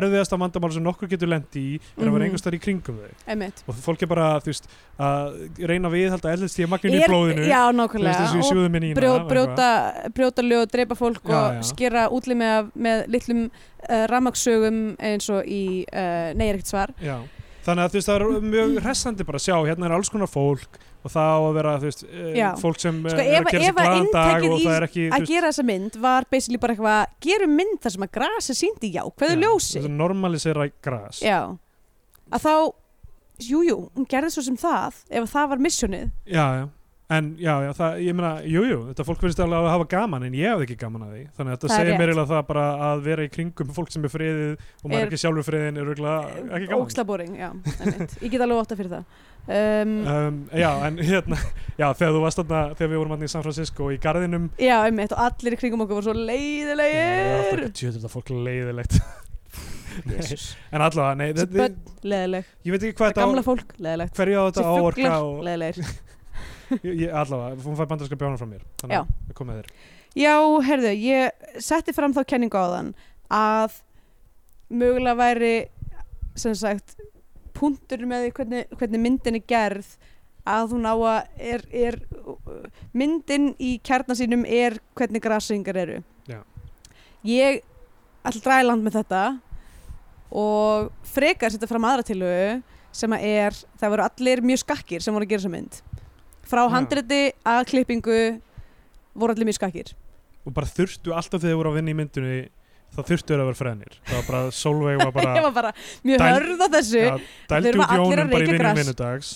[SPEAKER 2] erfiðasta vandamáli sem nokkur getur lendi í er að
[SPEAKER 3] Mhm.
[SPEAKER 2] vera einhvers þar í kringum þau
[SPEAKER 3] Einmitt
[SPEAKER 2] og fólk er bara, þú veist, að reyna að viðhalda ellenstíða magninu í
[SPEAKER 3] Er-
[SPEAKER 2] blóðinu
[SPEAKER 3] Já,
[SPEAKER 2] þú veist,
[SPEAKER 3] nákvæmlega
[SPEAKER 2] þessu í
[SPEAKER 3] Og
[SPEAKER 2] sjúðum minni í
[SPEAKER 3] brjó, brjóta, brjóta lög, dreipa fólk
[SPEAKER 2] Já,
[SPEAKER 3] og
[SPEAKER 2] já.
[SPEAKER 3] skera útlimi af, með litlum uh, rammaksögum eins og í uh, Nei er ekkert svar
[SPEAKER 2] Já, þannig að þú veist það er
[SPEAKER 3] Mm.
[SPEAKER 2] mjög hressandi bara að sjá, hérna er alls konar fólk og það á að vera, þú veist,
[SPEAKER 3] Já.
[SPEAKER 2] Já. fólk sem eh,
[SPEAKER 3] Sko,
[SPEAKER 2] er
[SPEAKER 3] ef-
[SPEAKER 2] að gera sér
[SPEAKER 3] ef að
[SPEAKER 2] glaðan dag
[SPEAKER 3] inntakið
[SPEAKER 2] og
[SPEAKER 3] í-
[SPEAKER 2] það er ekki,
[SPEAKER 3] Að gera þessa mynd var basically bara eitthvað gerum mynd þar sem að grasi síndi já hverðu ljósi
[SPEAKER 2] Það er normalisera gras.
[SPEAKER 3] Já, að þá, jújú, jú, hún gerði svo sem það, ef það var missjónið.
[SPEAKER 2] Já, já. En já, já, það, ég meina, jú, jú, þetta fólk verðist alveg að hafa gaman en ég hafði ekki gaman að því. Þannig að þetta
[SPEAKER 3] Það er
[SPEAKER 2] segir mér
[SPEAKER 3] rétt.
[SPEAKER 2] eiginlega það bara að vera í kringum fólk sem er friðið og maður
[SPEAKER 3] Er-
[SPEAKER 2] er ekki sjálfur friðin er eiginlega ekki gaman.
[SPEAKER 3] Óksla boring, já, einmitt. Ég get alveg óta fyrir það. Um,
[SPEAKER 2] Um, já, en hérna, já, þegar þú varst þarna, þegar við vorum hann í San Francisco í garðinum,
[SPEAKER 3] já, einmitt, og allir í kringum okkur voru svo leiðilegir.
[SPEAKER 2] tjöður þetta um fólk leiðilegt.
[SPEAKER 3] Jésús,
[SPEAKER 2] en allavega, nei,
[SPEAKER 3] Þessi
[SPEAKER 2] þetta,
[SPEAKER 3] börn, leiðileg.
[SPEAKER 2] ég veit ekki hvað
[SPEAKER 3] Það
[SPEAKER 2] þetta á-
[SPEAKER 3] gamla fólk, leiðilegt.
[SPEAKER 2] hverju á þetta
[SPEAKER 3] Þessi
[SPEAKER 2] áorka
[SPEAKER 3] fuglar,
[SPEAKER 2] og
[SPEAKER 3] leiðilegir.
[SPEAKER 2] ég, ég- allavega, hún fær bandarska bjánum frá mér þannig
[SPEAKER 3] Já.
[SPEAKER 2] að það kom með þér
[SPEAKER 3] Já, herðu, ég setti fram þá kenningu á þann að mögulega væri, sem sagt, punktur með því hvernig, hvernig myndin er gerð að hún á að er, er, myndin í kjarnar sínum er hvernig grasingar eru.
[SPEAKER 2] Já.
[SPEAKER 3] Ég ætla að dræla land með þetta og frekar setja fram aðra tilögu sem að er, það voru allir mjög skakkir sem voru að gera þessa mynd. Frá
[SPEAKER 2] Já.
[SPEAKER 3] handriti að klippingu voru allir mjög skakkir.
[SPEAKER 2] og bara þurftu alltaf þegar þau voru að vinna í myndunni þá þurftu þeir að vera fræðinir það var bara, Solveig var
[SPEAKER 3] ég
[SPEAKER 2] bara
[SPEAKER 3] var bara mjög
[SPEAKER 2] Dæl-
[SPEAKER 3] hörð á þessu
[SPEAKER 2] ja, dældu út
[SPEAKER 3] Þurfa allir að
[SPEAKER 2] jónum bara í
[SPEAKER 3] reykja
[SPEAKER 2] vinnum
[SPEAKER 3] gras.
[SPEAKER 2] vinnudags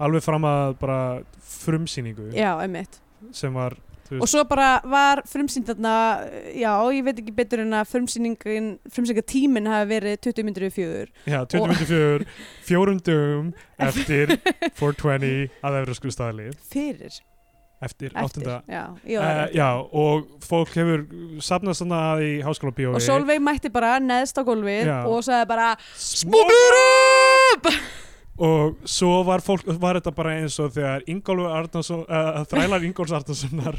[SPEAKER 2] alveg fram að bara frumsýningu
[SPEAKER 3] já, einmitt
[SPEAKER 2] sem var Þú
[SPEAKER 3] og
[SPEAKER 2] veist,
[SPEAKER 3] svo bara var frumsýnd þarna já, ég veit ekki betur en að frumsýningin frumsýningatíminn hafi verið 20 myndir við fjögur
[SPEAKER 2] já, 2024, fjórum dögum eftir 420 að Evrosku staðli,
[SPEAKER 3] fyrir,
[SPEAKER 2] eftir
[SPEAKER 3] eftir
[SPEAKER 2] 8.
[SPEAKER 3] já,
[SPEAKER 2] Uh,
[SPEAKER 3] já, já.
[SPEAKER 2] já, og fólk hefur safnast svona í háskóla bíói
[SPEAKER 3] og Solveig mætti bara neðst á gólfið
[SPEAKER 2] Já.
[SPEAKER 3] og sagði bara
[SPEAKER 2] Smúður Og svo var, fólk, var þetta bara eins og þegar Ingólfur Arnason, uh, þrælar Ingólfs Arnasonar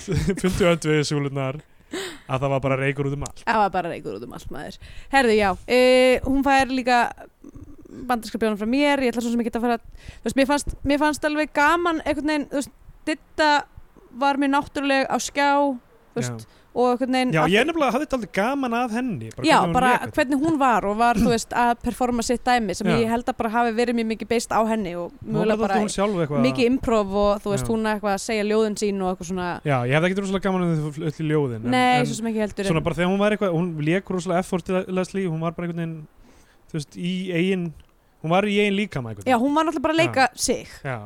[SPEAKER 2] fundu öndvið súlunar að það var bara reykur út um allt
[SPEAKER 3] Það var bara reykur út um allt maður. Herðu, já, e, hún fær líka bandarska bjónum frá mér, ég ætla svo sem ég geta að fara, þú veist, mér fannst, mér fannst alveg gaman einhvern veginn, þú veist, Ditta var mér náttúrulega á skjá, þú
[SPEAKER 2] Já,
[SPEAKER 3] veist, og einhvern veginn...
[SPEAKER 2] já ég nefnilega hafði þetta aldrei gaman að henni bara
[SPEAKER 3] Já,
[SPEAKER 2] hvernig hún
[SPEAKER 3] bara
[SPEAKER 2] lék þetta.
[SPEAKER 3] hvernig hún var og var, þú veist, að performa sitt dæmi sem
[SPEAKER 2] Já.
[SPEAKER 3] ég held að bara hafi verið mjög mikið beist á henni og
[SPEAKER 2] Hún var
[SPEAKER 3] mjögulega
[SPEAKER 2] bara
[SPEAKER 3] bara
[SPEAKER 2] hún sjálf eitthvað
[SPEAKER 3] mikið improv og þú veist,
[SPEAKER 2] Já.
[SPEAKER 3] hún eitthvað að segja ljóðin sín og eitthvað svona...
[SPEAKER 2] Já, ég hefði ekki rosalega gaman að þau öll í ljóðin
[SPEAKER 3] Nei,
[SPEAKER 2] en,
[SPEAKER 3] svo sem ekki heldur.
[SPEAKER 2] Svona
[SPEAKER 3] en-
[SPEAKER 2] bara þegar hún var eitthvað, hún lék rosalega effortlessly, hún var bara einhvern veginn þú veist, í eigin hún var í eigin líkama einhvern veginn.
[SPEAKER 3] Já, hún var náttúrulega bara að leika sig.
[SPEAKER 2] Já.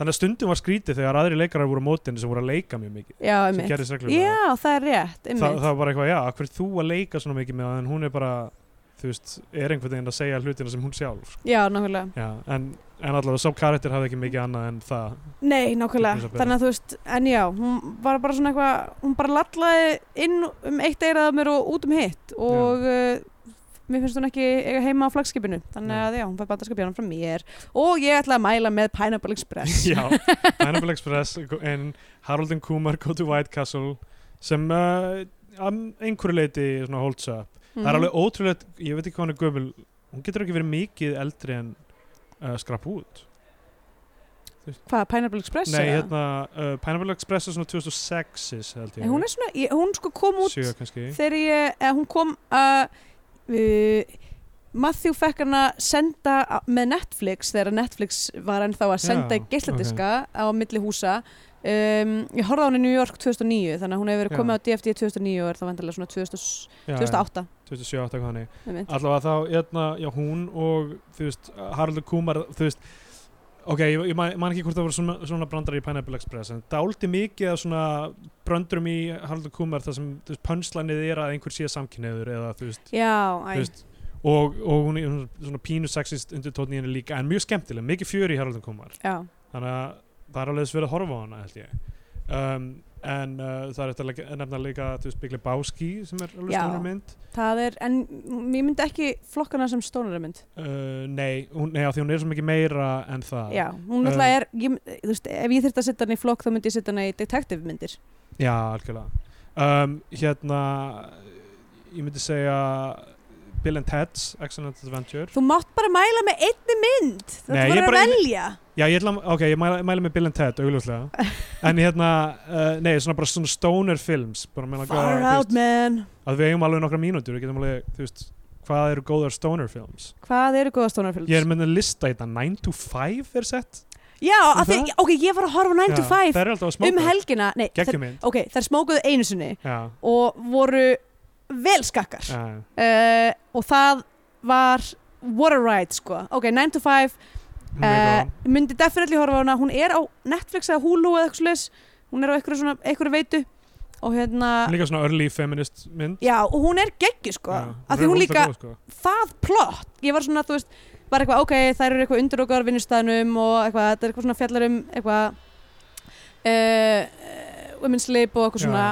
[SPEAKER 2] Þannig að stundum var skrítið þegar aðri leikarar voru á mótinu sem voru að leika mjög mikið
[SPEAKER 3] Já,
[SPEAKER 2] sem
[SPEAKER 3] einmitt.
[SPEAKER 2] gerðist reglulega
[SPEAKER 3] Já, það er rétt,
[SPEAKER 2] Þa,
[SPEAKER 3] einmitt.
[SPEAKER 2] það var bara eitthvað, já, af hverju ert þú að leika svona mikið með það en hún er bara, þú veist, er einhvern veginn að segja hlutina sem hún sjálf sko.
[SPEAKER 3] Já, nákvæmlega.
[SPEAKER 2] já, en, en allavega, sá karakter hafði ekki mikið annað en það
[SPEAKER 3] Nei,
[SPEAKER 2] Til
[SPEAKER 3] nákvæmlega.
[SPEAKER 2] þess að bera.
[SPEAKER 3] Þannig að þú veist, en já, hún var bara svona eitthvað, hún bara lallaði inn um eitt eirað á mér og út um hitt og uh, mér finnst hún ekki eiga heima á flagskipinu. Þannig
[SPEAKER 2] Nei.
[SPEAKER 3] að já, hún fær bandarskapjánum frá mér og ég ætla að mæla með Pineapple Express.
[SPEAKER 2] Já, Pineapple Express en Harold and Kumar go to White Castle sem uh, að einhverju leiti svona holds up
[SPEAKER 3] Mhm.
[SPEAKER 2] það er alveg ótrúlegt, ég veit ekki hvað hann er gömul hún getur ekki verið mikið eldri en uh, skrapút
[SPEAKER 3] Hvað, Pineapple Express?
[SPEAKER 2] Nei,
[SPEAKER 3] eða?
[SPEAKER 2] hérna, uh, Pineapple Express er svona 2006 held ég
[SPEAKER 3] En hún er svona, ég, hún sko kom út
[SPEAKER 2] Sjö kannski
[SPEAKER 3] þegar ég, eða hún kom að uh, Matthew fekk hann að senda á- með Netflix þegar Netflix var ennþá að
[SPEAKER 2] Já,
[SPEAKER 3] senda í geisladiska á milli húsa um, ég horfði á hann í New York 2009 þannig að hún hefur verið
[SPEAKER 2] Já.
[SPEAKER 3] komið á DFD 2009 og er það vandarlega svona 2000,
[SPEAKER 2] Já,
[SPEAKER 3] 2008
[SPEAKER 2] já, 2007, eitthvað hannig
[SPEAKER 3] einmitt.
[SPEAKER 2] Allavega þá, hérna, já, hún og þú veist, Haraldur Kumar þú veist, ok, ég, ég man, man ekki hvort það voru svona, svona brandar í Pineapple Express en dáldi mikið af svona brandurum í Haraldur Kumar þar sem, þú veist, pönslanið er að einhver sé samkynniður eða, þú veist,
[SPEAKER 3] já, æ,
[SPEAKER 2] þú veist og, og hún er hún er svona pínu sexist undir tónni henni líka, en mjög skemmtileg, mikið fjör í Haraldur Kumar
[SPEAKER 3] já,
[SPEAKER 2] þannig að það er alveg þess verið að horfa á hana held ég um, en uh, það er eftir að leggja- nefna líka þú veist byggli Báski sem er alveg
[SPEAKER 3] Já.
[SPEAKER 2] stóra mynd
[SPEAKER 3] það er en ég myndi ekki flokkana sem stónarmynd
[SPEAKER 2] uh, nei, hún, nei, af því hún er svo mikið meira en það
[SPEAKER 3] já, hún
[SPEAKER 2] Um,
[SPEAKER 3] náttúrulega er ég, þú veist, ef ég þyrfti að setja hann í flokk þá myndi ég setja hann í detektiv myndir
[SPEAKER 2] Já, algjörlega um, hérna ég myndi segja Bill and Ted's Excellent Adventure
[SPEAKER 3] þú mátt bara mæla með einni mynd þú
[SPEAKER 2] Nei,
[SPEAKER 3] ert
[SPEAKER 2] ég
[SPEAKER 3] bara
[SPEAKER 2] bara-
[SPEAKER 3] að velja
[SPEAKER 2] Já, ég ætla, ok, ég mæla, mæla með Bill and Ted, augljóslega en hérna, uh, nei, svona bara svona stoner films bara meina
[SPEAKER 3] Far
[SPEAKER 2] þú
[SPEAKER 3] out
[SPEAKER 2] veist,
[SPEAKER 3] man
[SPEAKER 2] að við eigum alveg nokkra mínútur við getum alveg, þú veist, hvað eru góðar stoner films
[SPEAKER 3] Hvað eru góða stónarfilms?
[SPEAKER 2] Ég er með að lista þetta, 9 to 5 er sett
[SPEAKER 3] Já, af því,
[SPEAKER 2] það?
[SPEAKER 3] ok, ég var að horfa á 9 to
[SPEAKER 2] Já,
[SPEAKER 3] 5
[SPEAKER 2] Það er alltaf að
[SPEAKER 3] um
[SPEAKER 2] smáka
[SPEAKER 3] helgina Nei, þær,
[SPEAKER 2] Geggjum mynd
[SPEAKER 3] ok, þær smókuðu einu sinni
[SPEAKER 2] Já,
[SPEAKER 3] og voru vel skakkar
[SPEAKER 2] já,
[SPEAKER 3] uh, og það var what a ride, sko Ok, 9 to 5
[SPEAKER 2] hún er
[SPEAKER 3] uh,
[SPEAKER 2] góð
[SPEAKER 3] myndi definitely horfa á hana hún er á Netflix eða Hulu eða eitthvað slags hún er á einhverju svona, einhverju veitu og hérna,
[SPEAKER 2] Hún er Líka svona early feminist mynd
[SPEAKER 3] já, og hún er geggju, sko
[SPEAKER 2] Já,
[SPEAKER 3] af því hún
[SPEAKER 2] rosalega
[SPEAKER 3] líka,
[SPEAKER 2] góð, sko.
[SPEAKER 3] það plott ég var svona, þú veist, var eitthvað, ok, þær eru eitthvað undir okkar vinnustæðnum og eitthvað þetta er eitthvað svona fjallar um eitthvað uh, women's lib og eitthvað
[SPEAKER 2] Já.
[SPEAKER 3] svona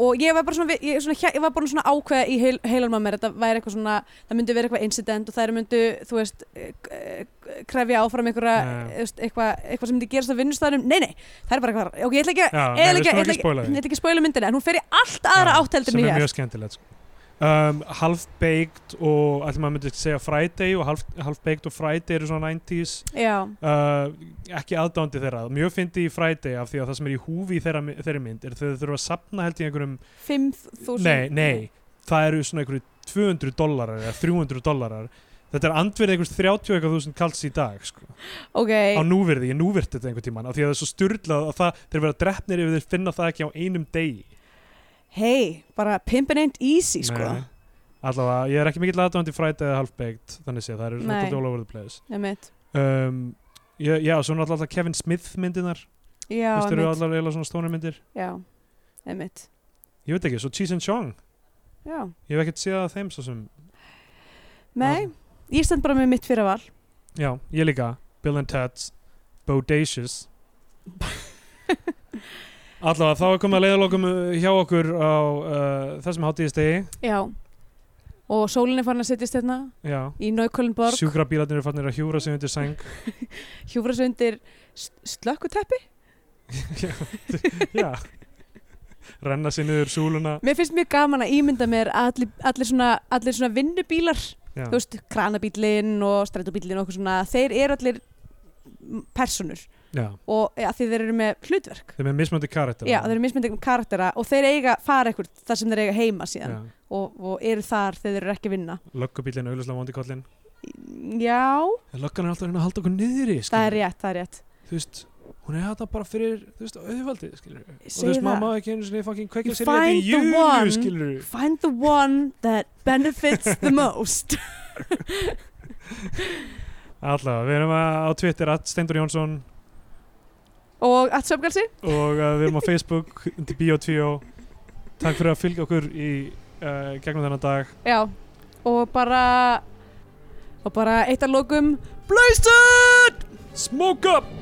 [SPEAKER 3] og ég var bara svona, ég, svona, hjá- ég var bara svona ákveða í heil, heilan maður mér, þetta væri eitthvað svona það myndi vera eitthvað incident og þær myndu þú veist, eh, eh, krefja áfram einhverja, eh,
[SPEAKER 2] Já.
[SPEAKER 3] þú veist, eitthvað, eitthvað sem myndi gerast á vinnustæðnum, nei, nei, það er bara eitthvað ok, ég ætla ekki að
[SPEAKER 2] Já, nei,
[SPEAKER 3] Ég
[SPEAKER 2] við
[SPEAKER 3] ætla
[SPEAKER 2] skulum
[SPEAKER 3] Eh,
[SPEAKER 2] ekki spóla því
[SPEAKER 3] ekki- ég ætla ekki að spóla myndina en hún fer í allt aðra
[SPEAKER 2] Já,
[SPEAKER 3] átt heldur
[SPEAKER 2] Sem
[SPEAKER 3] mér
[SPEAKER 2] er mjög skemmtilegt sko. um, Half-baked og allir maður myndi segja Friday og half- Half-baked og Friday eru svona 90s
[SPEAKER 3] já,
[SPEAKER 2] uh, ekki aðdándi þeirra Mjög fyndi í Friday af því að það sem er í húfi í þeirra, þeirri mynd er þau þurfa að sapna held í einhverjum
[SPEAKER 3] 5.000
[SPEAKER 2] Nei, nei, það eru svona einhverju 200 dollarar eða 300 dollarar Þetta er andverið einhvers 30 eitthvað þúsund kalls í dag sko.
[SPEAKER 3] ok,
[SPEAKER 2] á núverði, ég núvirt þetta einhvern tímann af því að það er svo styrlað að það, þeir vera drefnir ef þeir finna það ekki á einum degi
[SPEAKER 3] hei, bara pimpin ain't easy sko
[SPEAKER 2] Nei. Allavega, ég er ekki mikill aðdóndi fræta eða halfbeikt, þannig sé, það eru
[SPEAKER 3] Nei.
[SPEAKER 2] náttúrulega all over the place
[SPEAKER 3] Einmitt.
[SPEAKER 2] um, ég, Já, svo er náttúrulega alltaf Kevin Smith myndinar
[SPEAKER 3] já,
[SPEAKER 2] Fyrst eru
[SPEAKER 3] einmitt,
[SPEAKER 2] allar eiginlega svona stónumyndir
[SPEAKER 3] já, einmitt
[SPEAKER 2] Ég veit ekki, svo Cheese and Chong
[SPEAKER 3] já,
[SPEAKER 2] Ég hef ekkert séð að þeim svo sem
[SPEAKER 3] nei ég stend bara með mitt fyrir val
[SPEAKER 2] Já, ég líka Bill and Ted's Bodacious Allavega, þá er komið að leiðalokum uh, hjá okkur á uh, þessum hátíðistegi
[SPEAKER 3] já, og sólin er farin að setjast hérna
[SPEAKER 2] Já,
[SPEAKER 3] í Naukölunnborg, Sjú...
[SPEAKER 2] sjúkrabílarnir eru fannir að hjúra sig undir sæng
[SPEAKER 3] hjúfra sig undir slökkuteppi,
[SPEAKER 2] Já Renna sér niður súluna
[SPEAKER 3] mér finnst mjög gaman að ímynda mér að allir, allir svona allir svona vinnubílar
[SPEAKER 2] Já,
[SPEAKER 3] þú veist, kranabílinn og strætóbílinn og okkur svona, þeir eru allir m, persónur
[SPEAKER 2] já.
[SPEAKER 3] og ja, því þeir eru með hlutverk
[SPEAKER 2] þeim er mismöndi karakter
[SPEAKER 3] já, þeir eru mismyndið um karaktera og þeir eiga fara ekkur þar sem þeir eiga heima síðan
[SPEAKER 2] Já.
[SPEAKER 3] og, og eru þar þegar þeir eru ekki að vinna
[SPEAKER 2] Löggubílinn, auðvitað vondikollinn
[SPEAKER 3] já,
[SPEAKER 2] Löggan er alltaf að reyna að halda okkur niður í
[SPEAKER 3] það er rétt, það er rétt
[SPEAKER 2] Þú veist, hún er þetta bara fyrir Þú veist, auðvaldi, skilur Og þú
[SPEAKER 3] Ég
[SPEAKER 2] veist,
[SPEAKER 3] segi það.
[SPEAKER 2] mamma ekki einu sinni fucking kveikja
[SPEAKER 3] You
[SPEAKER 2] sér í
[SPEAKER 3] find the one.
[SPEAKER 2] júlu, skilur
[SPEAKER 3] find the one that benefits the most
[SPEAKER 2] Alltaf, við erum að- á Twitter at Steindur Jónsson
[SPEAKER 3] og að söfgalsi
[SPEAKER 2] og uh, við erum á Facebook undir Bio2 Takk fyrir að fylgja okkur í uh, gegnum þennan dag
[SPEAKER 3] já, og bara og bara eitt að lokum Blausut!
[SPEAKER 2] Smoke up!